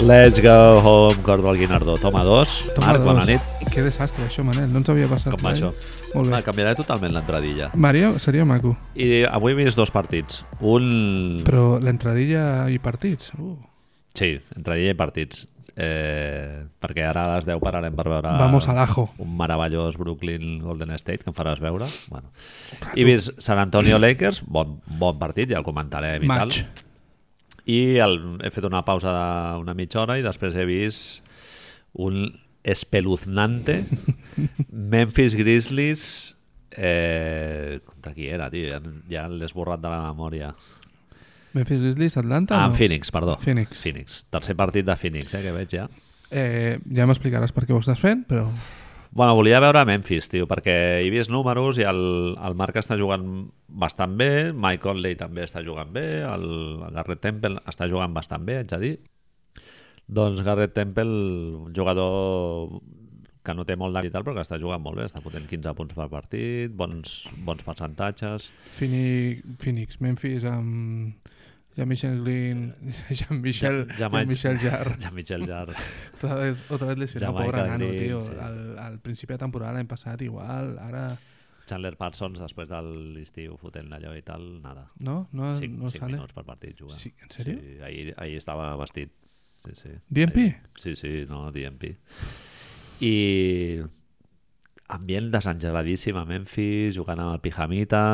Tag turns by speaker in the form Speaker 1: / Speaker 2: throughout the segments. Speaker 1: Let's go home, Cordol Guinardó. Toma 2.
Speaker 2: Toma
Speaker 1: Marc,
Speaker 2: dos.
Speaker 1: bona nit.
Speaker 2: doncs, Que desastre, això, Manel. No ens havia passat
Speaker 1: Com va això? Mm.
Speaker 2: Molt
Speaker 1: Va,
Speaker 2: bé.
Speaker 1: canviaré totalment l'entradilla.
Speaker 2: Mario seria maco,
Speaker 1: I avui he vist dos partits. Un...
Speaker 2: però l'entradilla i partits... Uh.
Speaker 1: Sí, entradilla i partits. Eh, perquè ara a les 10 pararem per veure...
Speaker 2: Vamos al ajo.
Speaker 1: Un meravellós Brooklyn Golden State que em faràs veure. Bueno.
Speaker 2: Ah,
Speaker 1: I he vist San Antonio Lakers, bon, bon partit, ja el comentarem i
Speaker 2: Match.
Speaker 1: tal. I el, he fet una pausa d'una mitja hora i després he vist un espeluznante Memphis Grizzlies eh, contra qui era, tio? Ja, ja l'he esborrat de la memòria.
Speaker 2: Memphis Grizzlies, Atlanta
Speaker 1: Ah,
Speaker 2: o no?
Speaker 1: en Phoenix, perdó.
Speaker 2: Phoenix.
Speaker 1: Phoenix. Tercer partit de Phoenix, eh, que veig ja.
Speaker 2: Eh, ja m'explicaràs per què ho estàs fent, però...
Speaker 1: Bueno, volia veure Memphis, tio, perquè he vist números i el, el Marc està jugant bastant bé, Mike Conley també està jugant bé, el, el Garrett Temple està jugant bastant bé, haig de dir. Doncs Garrett Temple, un jugador que no té molt d'hàbit, i tal, però que està jugant molt bé, està fotent 15 punts per partit, bons, bons percentatges...
Speaker 2: Phoenix, Phoenix Memphis amb... Jean-Michel Green, Jean-Michel
Speaker 1: Ja- Jamai-
Speaker 2: Jean-Michel Jarre.
Speaker 1: Jean-Michel Jarre.
Speaker 2: Otra vez, otra vez lesionado,
Speaker 1: Jamaica
Speaker 2: pobre nano,
Speaker 1: Green,
Speaker 2: tío.
Speaker 1: sí.
Speaker 2: Al, al principio de temporada l'any passat igual, ara...
Speaker 1: Chandler Parsons, després de l'estiu fotent allò i tal, nada.
Speaker 2: No? No,
Speaker 1: 5,
Speaker 2: no sale?
Speaker 1: minuts per partit jugant.
Speaker 2: Sí, en sèrio?
Speaker 1: Sí, ahir, ahir estava vestit. Sí, sí.
Speaker 2: DNP?
Speaker 1: Ahir. Sí, sí, no, DMP. I ambient desangeladíssim a Memphis, jugant amb el Pijamita...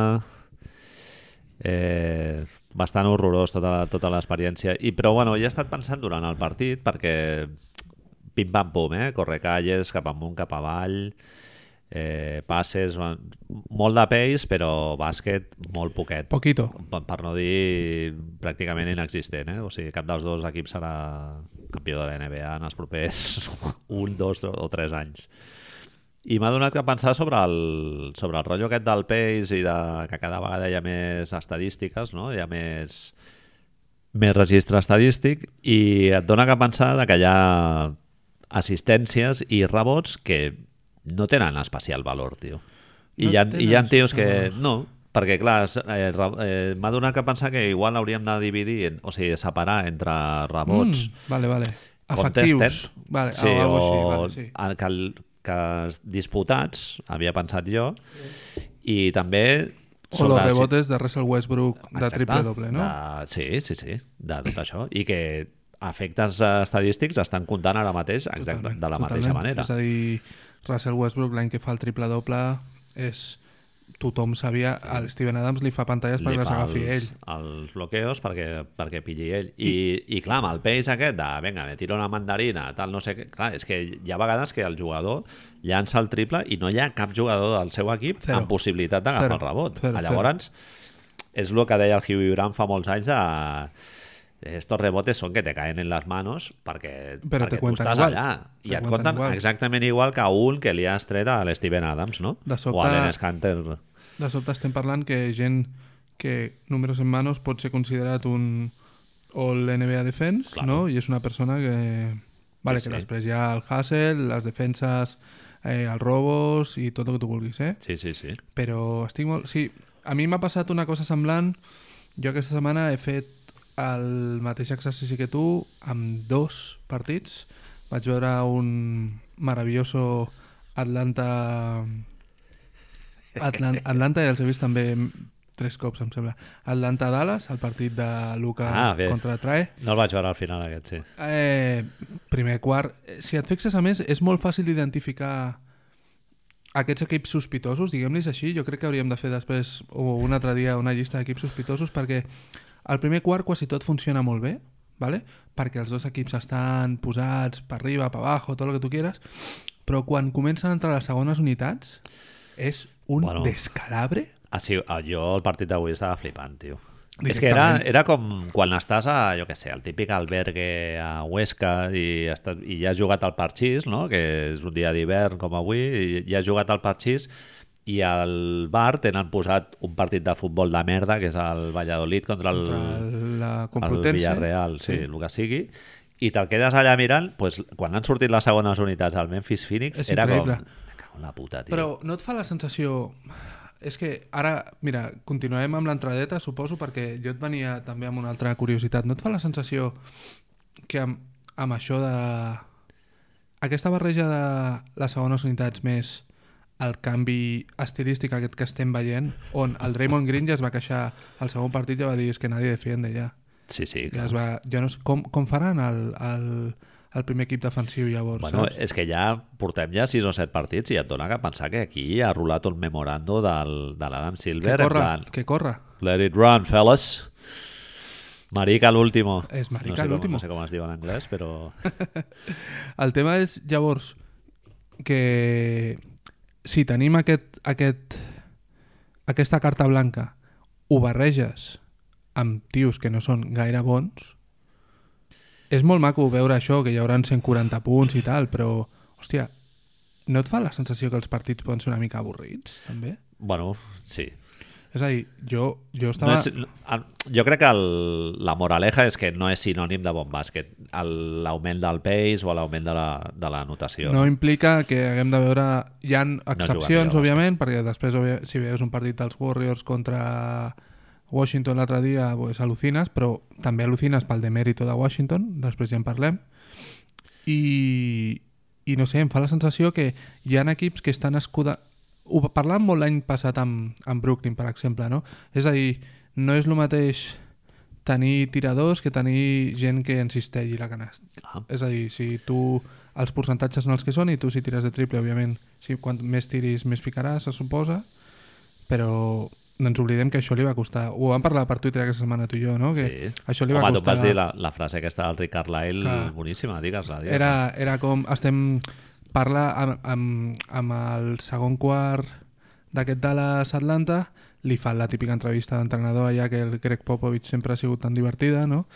Speaker 1: Eh, bastant horrorós tota la- tota l'experiència. I però bueno, ja he estat pensant durant el partit perquè pim-pam-pum, eh? Correcalles, cap amunt, cap avall, eh, passes, bueno, molt de pace, però bàsquet molt poquet
Speaker 2: Poquito.
Speaker 1: per per no dir pràcticament inexistent, eh? o sigui, cap dels dos equips serà campió de la NBA en els propers un, dos o tres anys. I m'ha donat que pensar sobre el, sobre el rotllo aquest del pace i de, que cada vegada hi ha més estadístiques, no? hi ha més, més registre estadístic i et dona que pensar de que hi ha assistències i rebots que no tenen especial valor, tio. I,
Speaker 2: No
Speaker 1: hi, ha, i hi ha
Speaker 2: tenen
Speaker 1: tios
Speaker 2: especial
Speaker 1: que...
Speaker 2: valor.
Speaker 1: No, perquè clar, s- eh, re- eh, m'ha donat que pensar que igual hauríem de dividir, en- o sigui, separar entre rebots,
Speaker 2: Mm, vale, vale.
Speaker 1: contestes,
Speaker 2: Efectius. Vale, sí, o, algo així, vale, sí.
Speaker 1: el- que, el- que els disputats, havia pensat jo, i també...
Speaker 2: O los
Speaker 1: sobre si-
Speaker 2: rebotes de Russell Westbrook de
Speaker 1: Exacte,
Speaker 2: triple doble, no?
Speaker 1: De, sí, sí, sí, de tot això. I que efectes eh, estadístics estan comptant ara mateix exacte,
Speaker 2: Totalment,
Speaker 1: de la mateixa
Speaker 2: totalment.
Speaker 1: manera.
Speaker 2: És a dir, Russell Westbrook l'any que fa el triple doble és tothom sabia, al Steven Adams li fa pantalles perquè les
Speaker 1: fa
Speaker 2: agafi
Speaker 1: els,
Speaker 2: ell.
Speaker 1: els bloqueos perquè, perquè pilli ell. I, I, i clar, amb el pace aquest de, vinga, me tiro una mandarina, tal, no sé què... Clar, és que hi ha vegades que el jugador llança el triple i no hi ha cap jugador del seu equip
Speaker 2: Zero.
Speaker 1: amb possibilitat d'agafar
Speaker 2: Zero.
Speaker 1: el rebot.
Speaker 2: Zero,
Speaker 1: Llavors, és el que deia el Hugh Durant fa molts anys de... Estos rebotes són que te caen en les manos perquè,
Speaker 2: Però
Speaker 1: perquè
Speaker 2: te
Speaker 1: tu
Speaker 2: cuentan
Speaker 1: estàs
Speaker 2: igual.
Speaker 1: allà
Speaker 2: Te
Speaker 1: i et
Speaker 2: cuentan
Speaker 1: compten
Speaker 2: igual.
Speaker 1: exactament igual que a un que li has tret a l'Steven Adams, no?
Speaker 2: De
Speaker 1: O a
Speaker 2: sobte-
Speaker 1: l'Enes Kanter.
Speaker 2: De sobte estem parlant que gent que números en manos pot ser considerat un All-NBA Defense,
Speaker 1: Claro.
Speaker 2: no? I és una persona que... Vale,
Speaker 1: Sí, sí.
Speaker 2: que després hi ha el hustle, les defenses, eh, els robos i tot el que tu vulguis, eh?
Speaker 1: Sí, sí, sí.
Speaker 2: Però estic molt... Sí, a mi m'ha passat una cosa semblant. Jo aquesta setmana he fet el mateix exercici que tu amb dos partits. Vaig veure un meravelloso Atlanta... Atlan Atlanta ja els he vist també tres cops, em sembla. Atlanta-Dallas, el partit de Luca
Speaker 1: Ah, bé.
Speaker 2: contra Trae.
Speaker 1: No el vaig veure al final aquest, sí.
Speaker 2: Eh, primer quart, eh, si et fixes a més, és molt fàcil d'identificar aquests equips sospitosos, diguem-los així, jo crec que hauríem de fer després o un altre dia una llista d'equips sospitosos perquè el primer quart quasi tot funciona molt bé, ¿vale? perquè els dos equips estan posats per arriba, per abajo, tot el que tu quieras, però quan comencen a entrar les segones unitats és un
Speaker 1: Bueno.
Speaker 2: bueno. descalabre
Speaker 1: Ah, sí, ah, jo el partit d'avui estava flipant, tio. És que era, era com quan estàs a, jo què sé, al típic albergue a Huesca i, estàs, i ja has jugat al parxís, no? que és un dia d'hivern com avui, i ja has jugat al parxís i al bar tenen posat un partit de futbol de merda, que és el Valladolid contra el,
Speaker 2: Contra la
Speaker 1: el
Speaker 2: Complutense.
Speaker 1: Villarreal, sí, sí, el que sigui, i te'l quedes allà mirant, pues, quan han sortit les segones unitats del Memphis Phoenix,
Speaker 2: És
Speaker 1: era
Speaker 2: increïble.
Speaker 1: com... Me cago en la puta, tio.
Speaker 2: Però no et fa la sensació... És que ara, mira, continuarem amb l'entradeta, suposo, perquè jo et venia també amb una altra curiositat. No et fa la sensació que amb, amb això de... Aquesta barreja de les segones unitats més el canvi estilístic aquest que estem veient, on el Raymond Green ja es va queixar al segon partit, ja va dir, és que nadie defiende ja.
Speaker 1: Sí, sí.
Speaker 2: ja
Speaker 1: clar.
Speaker 2: es va, ja no, sé- com, com faran el, el, el primer equip defensiu llavors,
Speaker 1: Bueno, eh,
Speaker 2: saps?
Speaker 1: és que ja portem ja sis o set partits i et dona que pensar que aquí ha rolat un memorando del, de l'Adam
Speaker 2: Que
Speaker 1: Silver. en
Speaker 2: corre,
Speaker 1: plan,
Speaker 2: que corre.
Speaker 1: Let it run, fellas. Marica l'último.
Speaker 2: És marica
Speaker 1: no sé com-
Speaker 2: l'último.
Speaker 1: No sé com es diu en anglès, però...
Speaker 2: El tema és, llavors, que si tenim aquest, aquest, aquesta carta blanca, ho barreges amb tios que no són gaire bons, és molt maco veure això, que hi haurà 140 punts i tal, però, hòstia, no et fa la sensació que els partits poden ser una mica avorrits, també?
Speaker 1: Bueno, sí.
Speaker 2: És a dir, jo, jo
Speaker 1: No
Speaker 2: estava...
Speaker 1: és, el- jo crec que el, la moraleja és que no és sinònim de bon bàsquet. el- L'augment del pace o l'augment de, la, de la notació.
Speaker 2: No implica que haguem de veure... Hi han excepcions,
Speaker 1: jugaria,
Speaker 2: òbviament, perquè després, òbvia- si veus un partit dels Warriors contra Washington l'altre dia, pues, al·lucines, però també al·lucines pel demèrito de Washington, després ja en parlem. I, I no sé, em fa la sensació que hi han equips que estan escuda... Ho parlàvem molt l'any passat amb, amb Brooklyn, per exemple, no? És a dir, no és el mateix tenir tiradors que tenir gent que encistelli la canasta.
Speaker 1: Ah.
Speaker 2: És a dir, si tu els percentatges són els que són i tu si tires de triple, òbviament, si quant més tiris més ficaràs, se suposa, però no ens oblidem que això li va costar. Ho vam parlar per Twitter aquesta setmana tu i jo, no? Que Això li va
Speaker 1: Home, tu em
Speaker 2: costar...
Speaker 1: vas dir la, la frase aquesta del Rick Carlisle,
Speaker 2: Clar.
Speaker 1: boníssima, digues-la. Digues
Speaker 2: era, era com estem parla amb, amb, amb el segon quart d'aquest Dallas Atlanta li fan la típica entrevista d'entrenador allà que el Greg Popovich sempre ha sigut tan divertida no?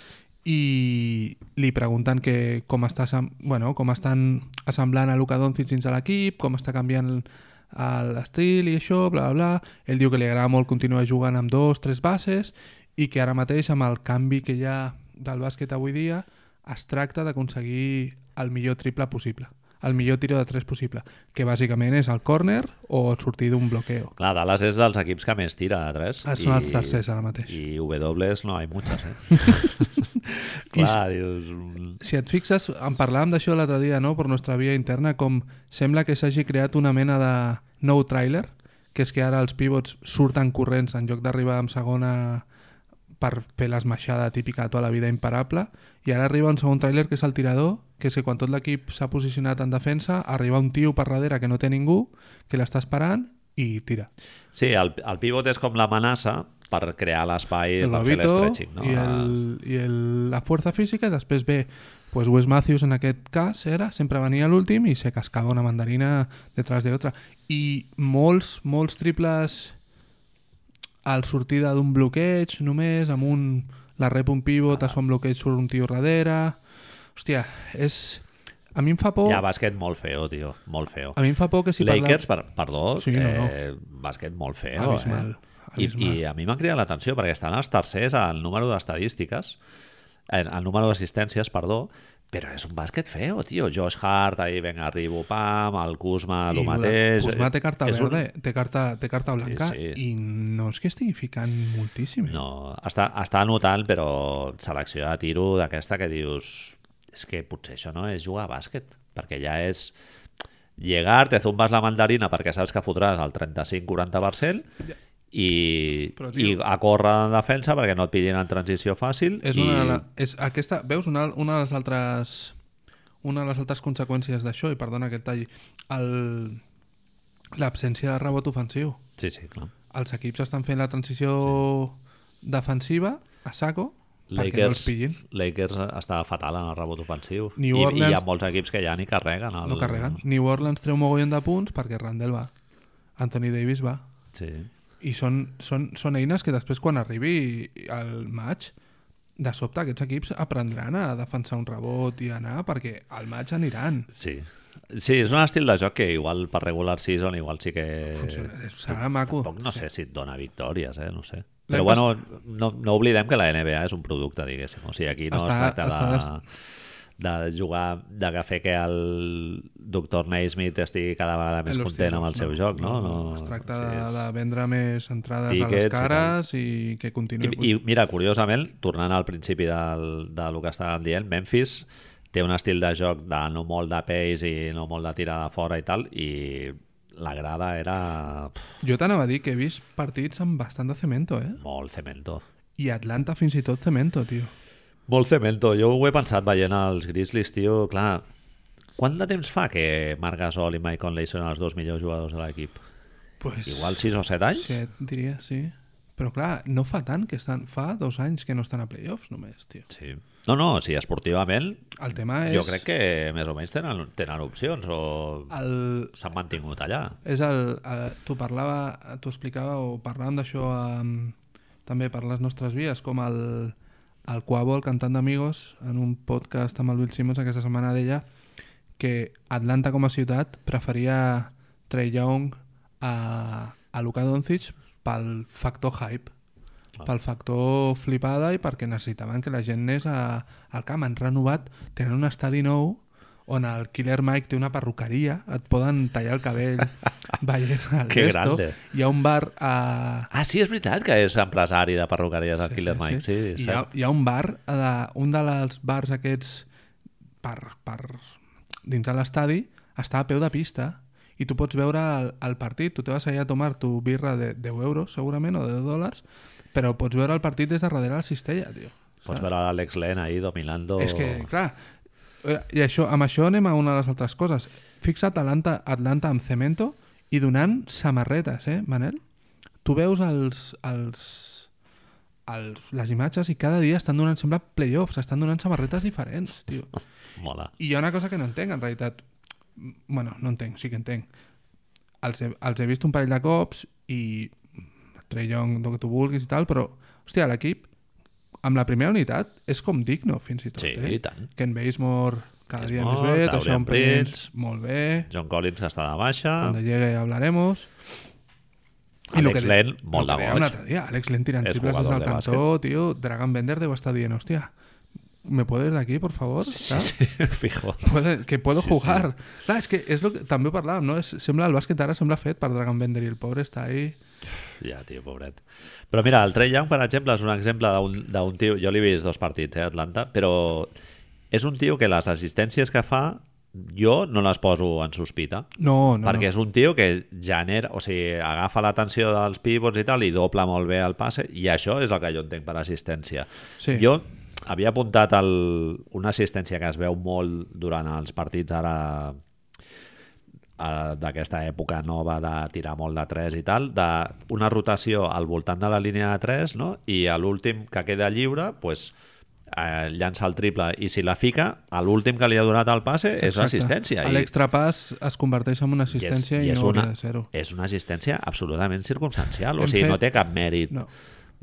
Speaker 2: i li pregunten que com, està, assem- bueno, com estan assemblant a Luka Doncic dins de l'equip, com està canviant el- l'estil i això, bla, bla, bla. Ell diu que li agrada molt continuar jugant amb dos, tres bases i que ara mateix amb el canvi que hi ha del bàsquet avui dia es tracta d'aconseguir el millor triple possible, el millor tiro de tres possible, que bàsicament és el córner o sortir d'un bloqueo.
Speaker 1: Clar, Dallas és dels equips que més tira de 3.
Speaker 2: Ah, són els tercers ara mateix.
Speaker 1: I W no hay muchas, eh? Clar, dius... mm,
Speaker 2: si et fixes, en parlàvem d'això l'altre dia, no?, per nostra via interna, com sembla que s'hagi creat una mena de nou trailer, que és que ara els pivots surten corrents en lloc d'arribar amb segona per fer l'esmaixada típica de tota la vida imparable, i ara arriba un segon trailer que és el tirador, que és que quan tot l'equip s'ha posicionat en defensa, arriba un tio per darrere que no té ningú, que l'està esperant i tira.
Speaker 1: Sí, el, el pivot és com l'amenaça per crear l'espai
Speaker 2: el
Speaker 1: per fer
Speaker 2: globito
Speaker 1: l'estretching, no? Ah,
Speaker 2: i, el, i el, la força física i després ve pues Wes Matthews en aquest cas era, sempre venia l'últim i se cascava una mandarina detrás de otra i molts, molts triples al sortida d'un bloqueig només, amb un la rep un pivot,
Speaker 1: Ah.
Speaker 2: es fa un bloqueig surt un tio darrere hòstia, és a mi em fa por
Speaker 1: Hi ha bàsquet molt feo, tio, molt feo.
Speaker 2: a mi em fa por que si parla-
Speaker 1: Lakers, per, perdó,
Speaker 2: Sí,
Speaker 1: sí,
Speaker 2: no,
Speaker 1: no, no. Eh, bàsquet molt feo.
Speaker 2: Abismal,
Speaker 1: eh?
Speaker 2: abismal.
Speaker 1: I, I a mi m'ha cridat l'atenció perquè estan els tercers al número d'estadístiques, en el número d'assistències, perdó, però és un bàsquet feo, tio. Josh Hart, ahí, venga, arribo, pam, el Kuzma,
Speaker 2: I
Speaker 1: el
Speaker 2: lo de
Speaker 1: mateix.
Speaker 2: Kuzma té carta
Speaker 1: És
Speaker 2: verda, eh? té carta, té carta blanca
Speaker 1: sí.
Speaker 2: i no és que estigui ficant moltíssim. eh?
Speaker 1: No, està, està anotant, però selecció de tiro d'aquesta que dius és que potser això no és jugar a bàsquet, perquè ja és llegar, te zumbes la mandarina perquè saps que fotràs el 35-40% i,
Speaker 2: Però, tio-
Speaker 1: i a córrer en defensa perquè no et pillin en transició fàcil
Speaker 2: És
Speaker 1: i
Speaker 2: una, de la, és aquesta, veus, una, una de les altres una de les altres conseqüències d'això, i perdona que et talli, el- l'absència de rebot ofensiu.
Speaker 1: Sí, sí, clar.
Speaker 2: Els equips estan fent la transició defensiva a saco perquè no els
Speaker 1: Lakers,
Speaker 2: pillin.
Speaker 1: Lakers està fatal en el rebot ofensiu I, i
Speaker 2: New
Speaker 1: hi ha
Speaker 2: Orleans-
Speaker 1: molts equips que ja ni carreguen el...
Speaker 2: No carreguen. New Orleans treu mogollon de punts perquè Randall va. Anthony Davis va.
Speaker 1: Sí.
Speaker 2: I són, són, són eines que després, quan arribi al maig, de sobte aquests equips aprendran a defensar un rebot i anar, perquè al maig aniran.
Speaker 1: Sí. Sí, és un estil de joc que igual per regular season igual sí que...
Speaker 2: Funciona, serà maco.
Speaker 1: Tampoc no sé si et dona victòries, eh? no sé.
Speaker 2: L'any
Speaker 1: Però bueno, no, no oblidem que la NBA és un producte, diguéssim. O sigui, aquí no
Speaker 2: Està-
Speaker 1: es tracta
Speaker 2: està
Speaker 1: de, de jugar, de que fer que el doctor Naismith estigui cada vegada més
Speaker 2: Hòstia,
Speaker 1: content amb el seu joc, no? no,
Speaker 2: Es tracta
Speaker 1: sí,
Speaker 2: de,
Speaker 1: és-
Speaker 2: de vendre més entrades a les
Speaker 1: Tickets i
Speaker 2: cares i, que continuï.
Speaker 1: I, I mira, curiosament, tornant al principi del, de lo que estàvem dient, Memphis té un estil de joc de no molt de peix i no molt de tirada fora i tal, i la grada era pff,
Speaker 2: Jo t'anava a dir que he vist partits amb bastant de cemento, eh?
Speaker 1: molt cemento.
Speaker 2: I Atlanta fins i tot cemento, tio.
Speaker 1: Molt cemento. Jo ho he pensat veient els Grizzlies, tio, clar... Quant de temps fa que Marc Gasol i Mike Conley són els dos millors jugadors de l'equip?
Speaker 2: Pues...
Speaker 1: Igual 6 o 7 anys?
Speaker 2: Set, diria, sí. Però clar, no fa tant que estan... Fa dos anys que no estan a playoffs només, tio.
Speaker 1: Sí. No, no, sí, esportivament
Speaker 2: El tema és...
Speaker 1: jo crec que més o menys tenen, tenen opcions o
Speaker 2: El,
Speaker 1: s'han mantingut allà.
Speaker 2: és el, el tu parlava, tu explicava o parlàvem d'això um, també per les nostres vies, com el, el Quavo, el cantant d'Amigos, en un podcast amb el Bill Simmons aquesta setmana deia que Atlanta com a ciutat preferia Trey Young a, a Luka Doncic pel factor hype, pel factor flipada i perquè necessitaven que la gent anés a, al camp. Han renovat, tenen un estadi nou on el Killer Mike té una perruqueria, et poden tallar el cabell veient el
Speaker 1: Que
Speaker 2: resto.
Speaker 1: grande.
Speaker 2: Hi ha un bar a...
Speaker 1: Ah, sí, és veritat que és empresari de perruqueries el Killer Mike, sí,
Speaker 2: Hi,
Speaker 1: sí,
Speaker 2: ha,
Speaker 1: cert.
Speaker 2: hi ha un bar, a de, un dels bars aquests per, per dins de l'estadi, està a peu de pista i tu pots veure el, el partit, tu te vas allà a tomar tu birra de 10 euros segurament o de 10 dòlars, però pots veure el partit des de darrere la cistella, tio.
Speaker 1: Pots veure l'Alex Len ahí dominando...
Speaker 2: És que, clar, eh, i això, amb això anem a una de les altres coses. Fixa Atlanta, Atlanta amb cemento i donant samarretes, eh, Manel? Tu veus els, els, els, les imatges i cada dia estan donant, sembla, playoffs, estan donant samarretes diferents, tio.
Speaker 1: Mola.
Speaker 2: I hi ha una cosa que no entenc, en realitat. M- bueno, no entenc, sí que entenc. Els he, els he vist un parell de cops i Trey Young, el que tu vulguis i tal, però, hòstia, l'equip amb la primera unitat és com digno, fins i tot.
Speaker 1: Sí,
Speaker 2: eh?
Speaker 1: i tant.
Speaker 2: Ken Basemore cada dia més
Speaker 1: Basemore,
Speaker 2: bé,
Speaker 1: Taurean
Speaker 2: Tashaun Prince, molt bé,
Speaker 1: John Collins que està de baixa,
Speaker 2: quan llegue hablaremos. lo
Speaker 1: Ah. Alex
Speaker 2: que
Speaker 1: Len,
Speaker 2: di-
Speaker 1: molt
Speaker 2: lo
Speaker 1: de
Speaker 2: que dèiem
Speaker 1: goig.
Speaker 2: l'altre dia, Alex Len tirant
Speaker 1: És
Speaker 2: triples des
Speaker 1: jugador
Speaker 2: del
Speaker 1: de
Speaker 2: cantó, tio, Dragan Bender deu estar dient, hòstia, ¿me puedes de aquí, por favor?
Speaker 1: Sí,
Speaker 2: Tal.
Speaker 1: sí, fijo.
Speaker 2: Puede- que puedo
Speaker 1: Sí,
Speaker 2: jugar. Clar, és que és lo que també ho parlàvem, no? És, sembla, el bàsquet ara sembla fet per Dragon Bender i el pobre està ahí.
Speaker 1: Ja, tio, pobret. Però mira, el Trey Young, per exemple, és un exemple d'un- d'un tio... Jo l'he vist dos partits, eh, a Atlanta, però és un tio que les assistències que fa jo no les poso en sospita.
Speaker 2: No, no,
Speaker 1: perquè és un tio que genera, o sigui, agafa l'atenció dels pivots i tal, i dobla molt bé el passe, i això és el que jo entenc per assistència.
Speaker 2: Sí.
Speaker 1: Jo havia apuntat el, una assistència que es veu molt durant els partits ara eh, d'aquesta època nova de tirar molt de 3 i tal, d'una rotació al voltant de la línia de 3 no? i a l'últim que queda lliure pues, eh, llança el triple i si la fica, a l'últim que li ha donat el passe
Speaker 2: no.
Speaker 1: és l'assistència.
Speaker 2: A
Speaker 1: i-
Speaker 2: l'extrapàs es converteix en una assistència i, és, i, no hauria de ser-ho.
Speaker 1: és una assistència absolutament circumstancial, o
Speaker 2: Hem
Speaker 1: sigui, no
Speaker 2: fet-
Speaker 1: té cap mèrit
Speaker 2: No.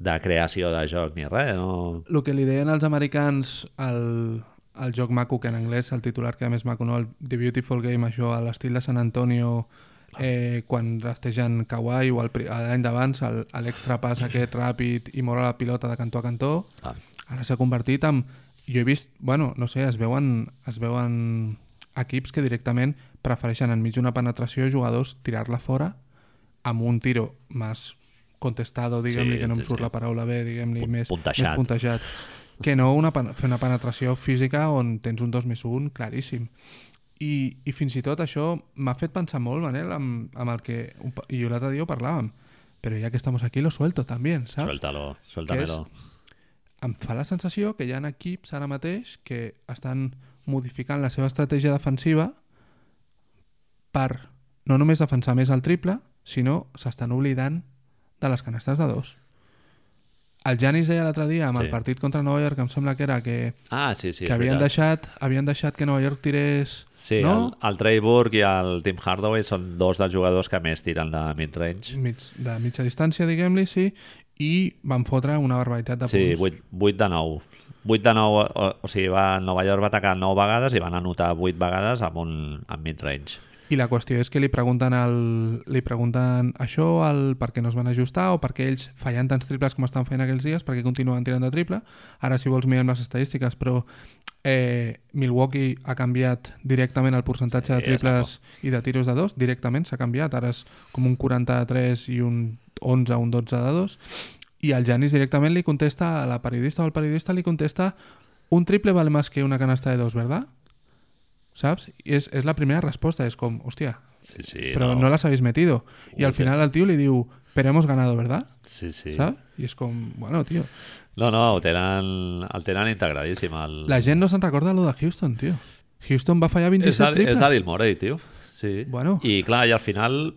Speaker 1: de creació de joc ni res. No...
Speaker 2: El que li deien els americans al, al joc maco, que en anglès el titular que més maco, no? El The Beautiful Game, això, a l'estil de San Antonio, eh, quan draftegen Kawhi o el pri- l'any d'abans, el- a l'extrapàs aquest ràpid i moure la pilota de cantó a cantó,
Speaker 1: Clar.
Speaker 2: ara s'ha convertit en... Jo he vist, bueno, no sé, es veuen, es veuen equips que directament prefereixen enmig d'una penetració jugadors tirar-la fora amb un tiro més contestado, diguem-li,
Speaker 1: Sí,
Speaker 2: que no em
Speaker 1: sí,
Speaker 2: surt
Speaker 1: sí.
Speaker 2: la paraula bé, diguem-li,
Speaker 1: Pu-
Speaker 2: més,
Speaker 1: puntejat.
Speaker 2: més puntejat, que no una, pen- fer una penetració física on tens un 2 més 1 claríssim. I, i fins i tot això m'ha fet pensar molt, Manel, amb, amb el que... un pa- I l'altre dia ho parlàvem. Però ja que estamos aquí, lo suelto també, saps?
Speaker 1: Suéltalo, suéltamelo.
Speaker 2: em fa la sensació que hi ha equips ara mateix que estan modificant la seva estratègia defensiva per no només defensar més el triple, sinó s'estan oblidant de les canastes de dos. El Janis deia l'altre dia amb
Speaker 1: Sí.
Speaker 2: sí. el partit contra Nova York, em sembla que era que,
Speaker 1: Ah, sí, sí.
Speaker 2: que
Speaker 1: és
Speaker 2: havien
Speaker 1: veritat.
Speaker 2: deixat, havien deixat que Nova York tirés...
Speaker 1: Sí,
Speaker 2: no?
Speaker 1: el, el Trey Burke i el Tim Hardaway són dos dels jugadors que més tiren de mid-range.
Speaker 2: Mig, de mitja distància, diguem-li, sí, i van fotre una barbaritat de
Speaker 1: Sí,
Speaker 2: punts.
Speaker 1: 8, 8 de 9. 8 de 9, o, o sigui, va, Nova York va atacar 9 vegades i van anotar 8 vegades amb, un, amb mid-range.
Speaker 2: I la qüestió és que li pregunten, el, li pregunten això, el per què no es van ajustar o per què ells fallant tants triples com estan fent aquells dies, per què continuen tirant de triple. Ara, si vols, mirem les estadístiques, però eh, Milwaukee ha canviat directament el
Speaker 1: Sí,
Speaker 2: percentatge de triples i de tiros de dos, directament s'ha canviat. Ara és com un 43 i un 11, un 12 de dos. I el Janis directament li contesta, a la periodista o al periodista li contesta un triple vale más que una canasta de dos, ¿verdad? saps? I és, és la primera resposta, és com, hòstia,
Speaker 1: Sí, sí.
Speaker 2: però no, les habéis metido. I al
Speaker 1: Ujete.
Speaker 2: final el tio li diu, pero hemos ganado, ¿verdad?
Speaker 1: Sí, sí.
Speaker 2: Saps? I és com, bueno, tio,
Speaker 1: No, no, ho tenen, el tenen integradíssim. El...
Speaker 2: la gent no se'n recorda lo de Houston, tio. Houston va fallar
Speaker 1: és,
Speaker 2: 27
Speaker 1: de,
Speaker 2: triples.
Speaker 1: és d'Adil Morey, tio. Sí.
Speaker 2: Bueno.
Speaker 1: I clar, i al final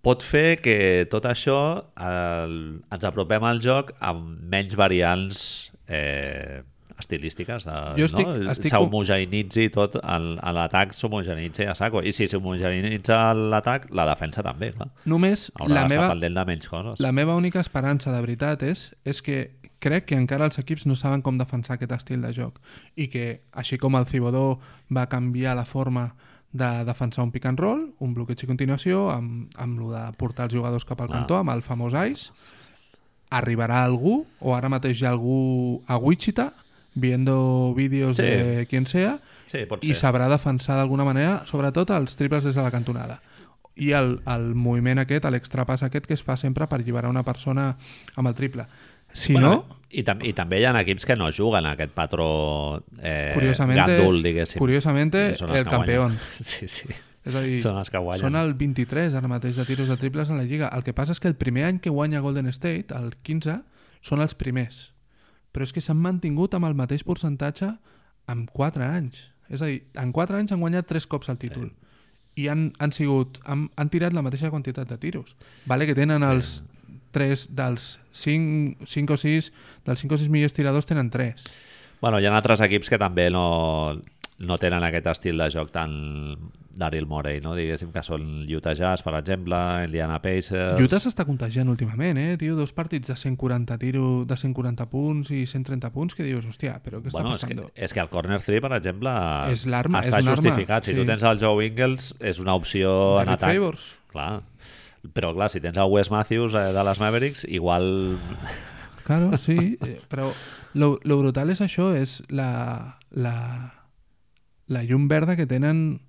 Speaker 1: pot fer que tot això el, ens apropem al joc amb menys variants eh, estilístiques. De,
Speaker 2: Jo estic-
Speaker 1: no?
Speaker 2: estic com-
Speaker 1: S'homogenitzi tot, el- a l'atac s'homogenitzi a saco. I si s'homogenitza l'atac, la defensa també, clar.
Speaker 2: Només
Speaker 1: Haurà
Speaker 2: la
Speaker 1: d'estar
Speaker 2: meva,
Speaker 1: pendent de menys coses.
Speaker 2: la meva única esperança, de veritat, és, és que crec que encara els equips no saben com defensar aquest estil de joc i que, així com el Cibodó va canviar la forma de defensar un pick and roll, un bloqueig i continuació, amb, amb lo de portar els jugadors cap al
Speaker 1: Clar.
Speaker 2: cantó, amb el famós ice, arribarà algú, o ara mateix hi ha algú a Wichita, viendo vídeos
Speaker 1: Sí.
Speaker 2: de quien sea,
Speaker 1: Sí, pot
Speaker 2: i
Speaker 1: ser.
Speaker 2: sabrà defensar d'alguna manera, sobretot els triples des de la cantonada. I el, el moviment aquest, l'extrapàs aquest que es fa sempre per alliberar una persona amb el triple. Si
Speaker 1: Bueno,
Speaker 2: no,
Speaker 1: i, tam I també hi ha equips que no juguen a aquest patró eh,
Speaker 2: Curiosamente-
Speaker 1: gandul, diguéssim.
Speaker 2: curiosamente,
Speaker 1: I són els
Speaker 2: el
Speaker 1: que guanyen.
Speaker 2: campeón.
Speaker 1: Sí, sí.
Speaker 2: és a dir,
Speaker 1: Són els que guanyen.
Speaker 2: són el 23 ara mateix de tiros de triples en la Lliga. El que passa és que el primer any que guanya Golden State, el 15, són els primers. Però és que s'han mantingut amb el mateix percentatge en 4 anys. És a dir, en 4 anys han guanyat 3 cops el títol. I han, han sigut... Han, han tirat la mateixa quantitat de tiros. Vale que tenen sí. els 3 dels 5, 5 o 6 dels 5 o 6 millors tiradors tenen 3
Speaker 1: Bueno, hi ha altres equips que també no, no tenen aquest estil de joc tan d'Aril Morey, no? diguéssim que són Utah Jazz, per exemple, Indiana Pacers...
Speaker 2: Utah s'està contagiant últimament, eh, tio? Dos partits de 140 tiro, de 140 punts i 130 punts que dius, hòstia, però què està
Speaker 1: Bueno, és, que,
Speaker 2: passant?
Speaker 1: és que el Corner 3, per exemple,
Speaker 2: És l'arma,
Speaker 1: està
Speaker 2: és una arma,
Speaker 1: justificat. Si
Speaker 2: sí.
Speaker 1: tu tens el Joe Ingles, és una opció en atac.
Speaker 2: Favors.
Speaker 1: Clar. Però, clar, si tens el Wes Matthews eh, de les Mavericks, igual...
Speaker 2: Claro, sí, eh, però lo, lo brutal és això, és la, la, la llum verda que tenen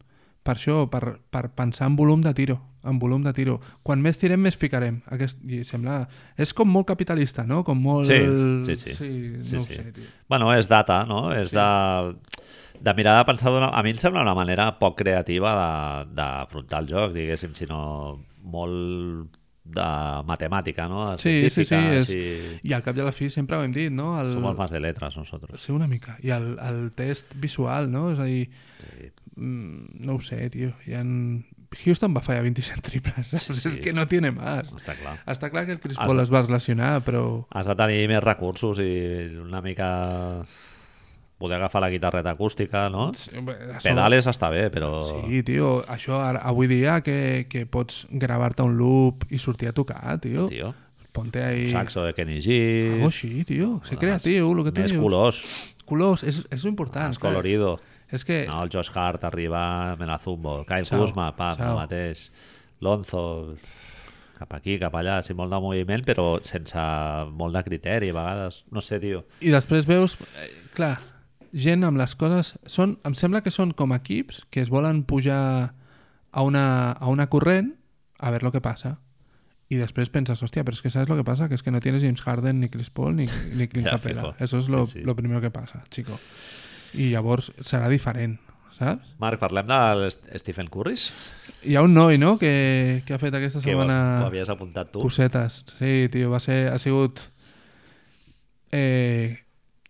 Speaker 2: per això, per, per pensar en volum de tiro, en volum de tiro. Quan més tirem, més ficarem. Aquest, i sembla... És com molt capitalista, no? Com molt...
Speaker 1: Sí, sí, sí.
Speaker 2: sí,
Speaker 1: Sí,
Speaker 2: no ho
Speaker 1: sí.
Speaker 2: sé, tio.
Speaker 1: Bueno, és data, no? És de, de mirar de pensar d'una... A mi em sembla una manera poc creativa de- d'afrontar el joc, diguéssim, sinó molt de matemàtica, no? De
Speaker 2: Sí, sí, sí.
Speaker 1: científica,
Speaker 2: És...
Speaker 1: així.
Speaker 2: I al cap i a la fi sempre ho hem dit, no? El...
Speaker 1: Som els más de letras, nosaltres.
Speaker 2: Sí, una mica. I el, el test visual, no? És a dir, mm, no ho sé, tio. Hi ha... Houston va fallar 27 triples, saps?
Speaker 1: Sí, sí.
Speaker 2: És que no tiene más.
Speaker 1: Està clar.
Speaker 2: Està clar que el Chris
Speaker 1: Has-
Speaker 2: Paul es va relacionar, però...
Speaker 1: Has de tenir més recursos i una mica poder agafar la guitarreta acústica, no? Pedales està bé, però...
Speaker 2: Sí, tio, això ara, avui dia que, que pots gravar-te un loop i sortir a tocar, tio.
Speaker 1: Tio,
Speaker 2: Ponte ahí...
Speaker 1: saxo de Kenny G,
Speaker 2: Algo així, tio. Ser creatiu, el que Eh. tu
Speaker 1: més
Speaker 2: dius.
Speaker 1: colors,
Speaker 2: Colors, és, és important.
Speaker 1: més colorido.
Speaker 2: És que...
Speaker 1: No, el Josh Hart arriba, me la zumbo. Kyle
Speaker 2: Ciao,
Speaker 1: Kuzma, pam,
Speaker 2: ciao.
Speaker 1: el mateix. Lonzo, cap aquí, cap allà, sí, molt de moviment, però sense molt de criteri, a vegades. No sé, tio.
Speaker 2: I després veus, eh, clar, gent amb les coses... Són, em sembla que són com equips que es volen pujar a una, a una corrent a veure el que passa. I després penses, hòstia, però és que saps el que passa? Que és que no tienes James Harden, ni Chris Paul, ni, ni Clint
Speaker 1: Ja,
Speaker 2: Capela.
Speaker 1: fijo.
Speaker 2: Eso es lo,
Speaker 1: Sí, sí.
Speaker 2: sí, sí. lo primero que passa, chico. I llavors serà diferent, saps?
Speaker 1: Marc, parlem de l'St- Stephen Currys?
Speaker 2: Hi ha un noi, no?, que, que ha fet aquesta
Speaker 1: Que ho, ho
Speaker 2: setmana
Speaker 1: havies apuntat tu.
Speaker 2: cosetes. Sí, tio, va ser, ha sigut... Eh,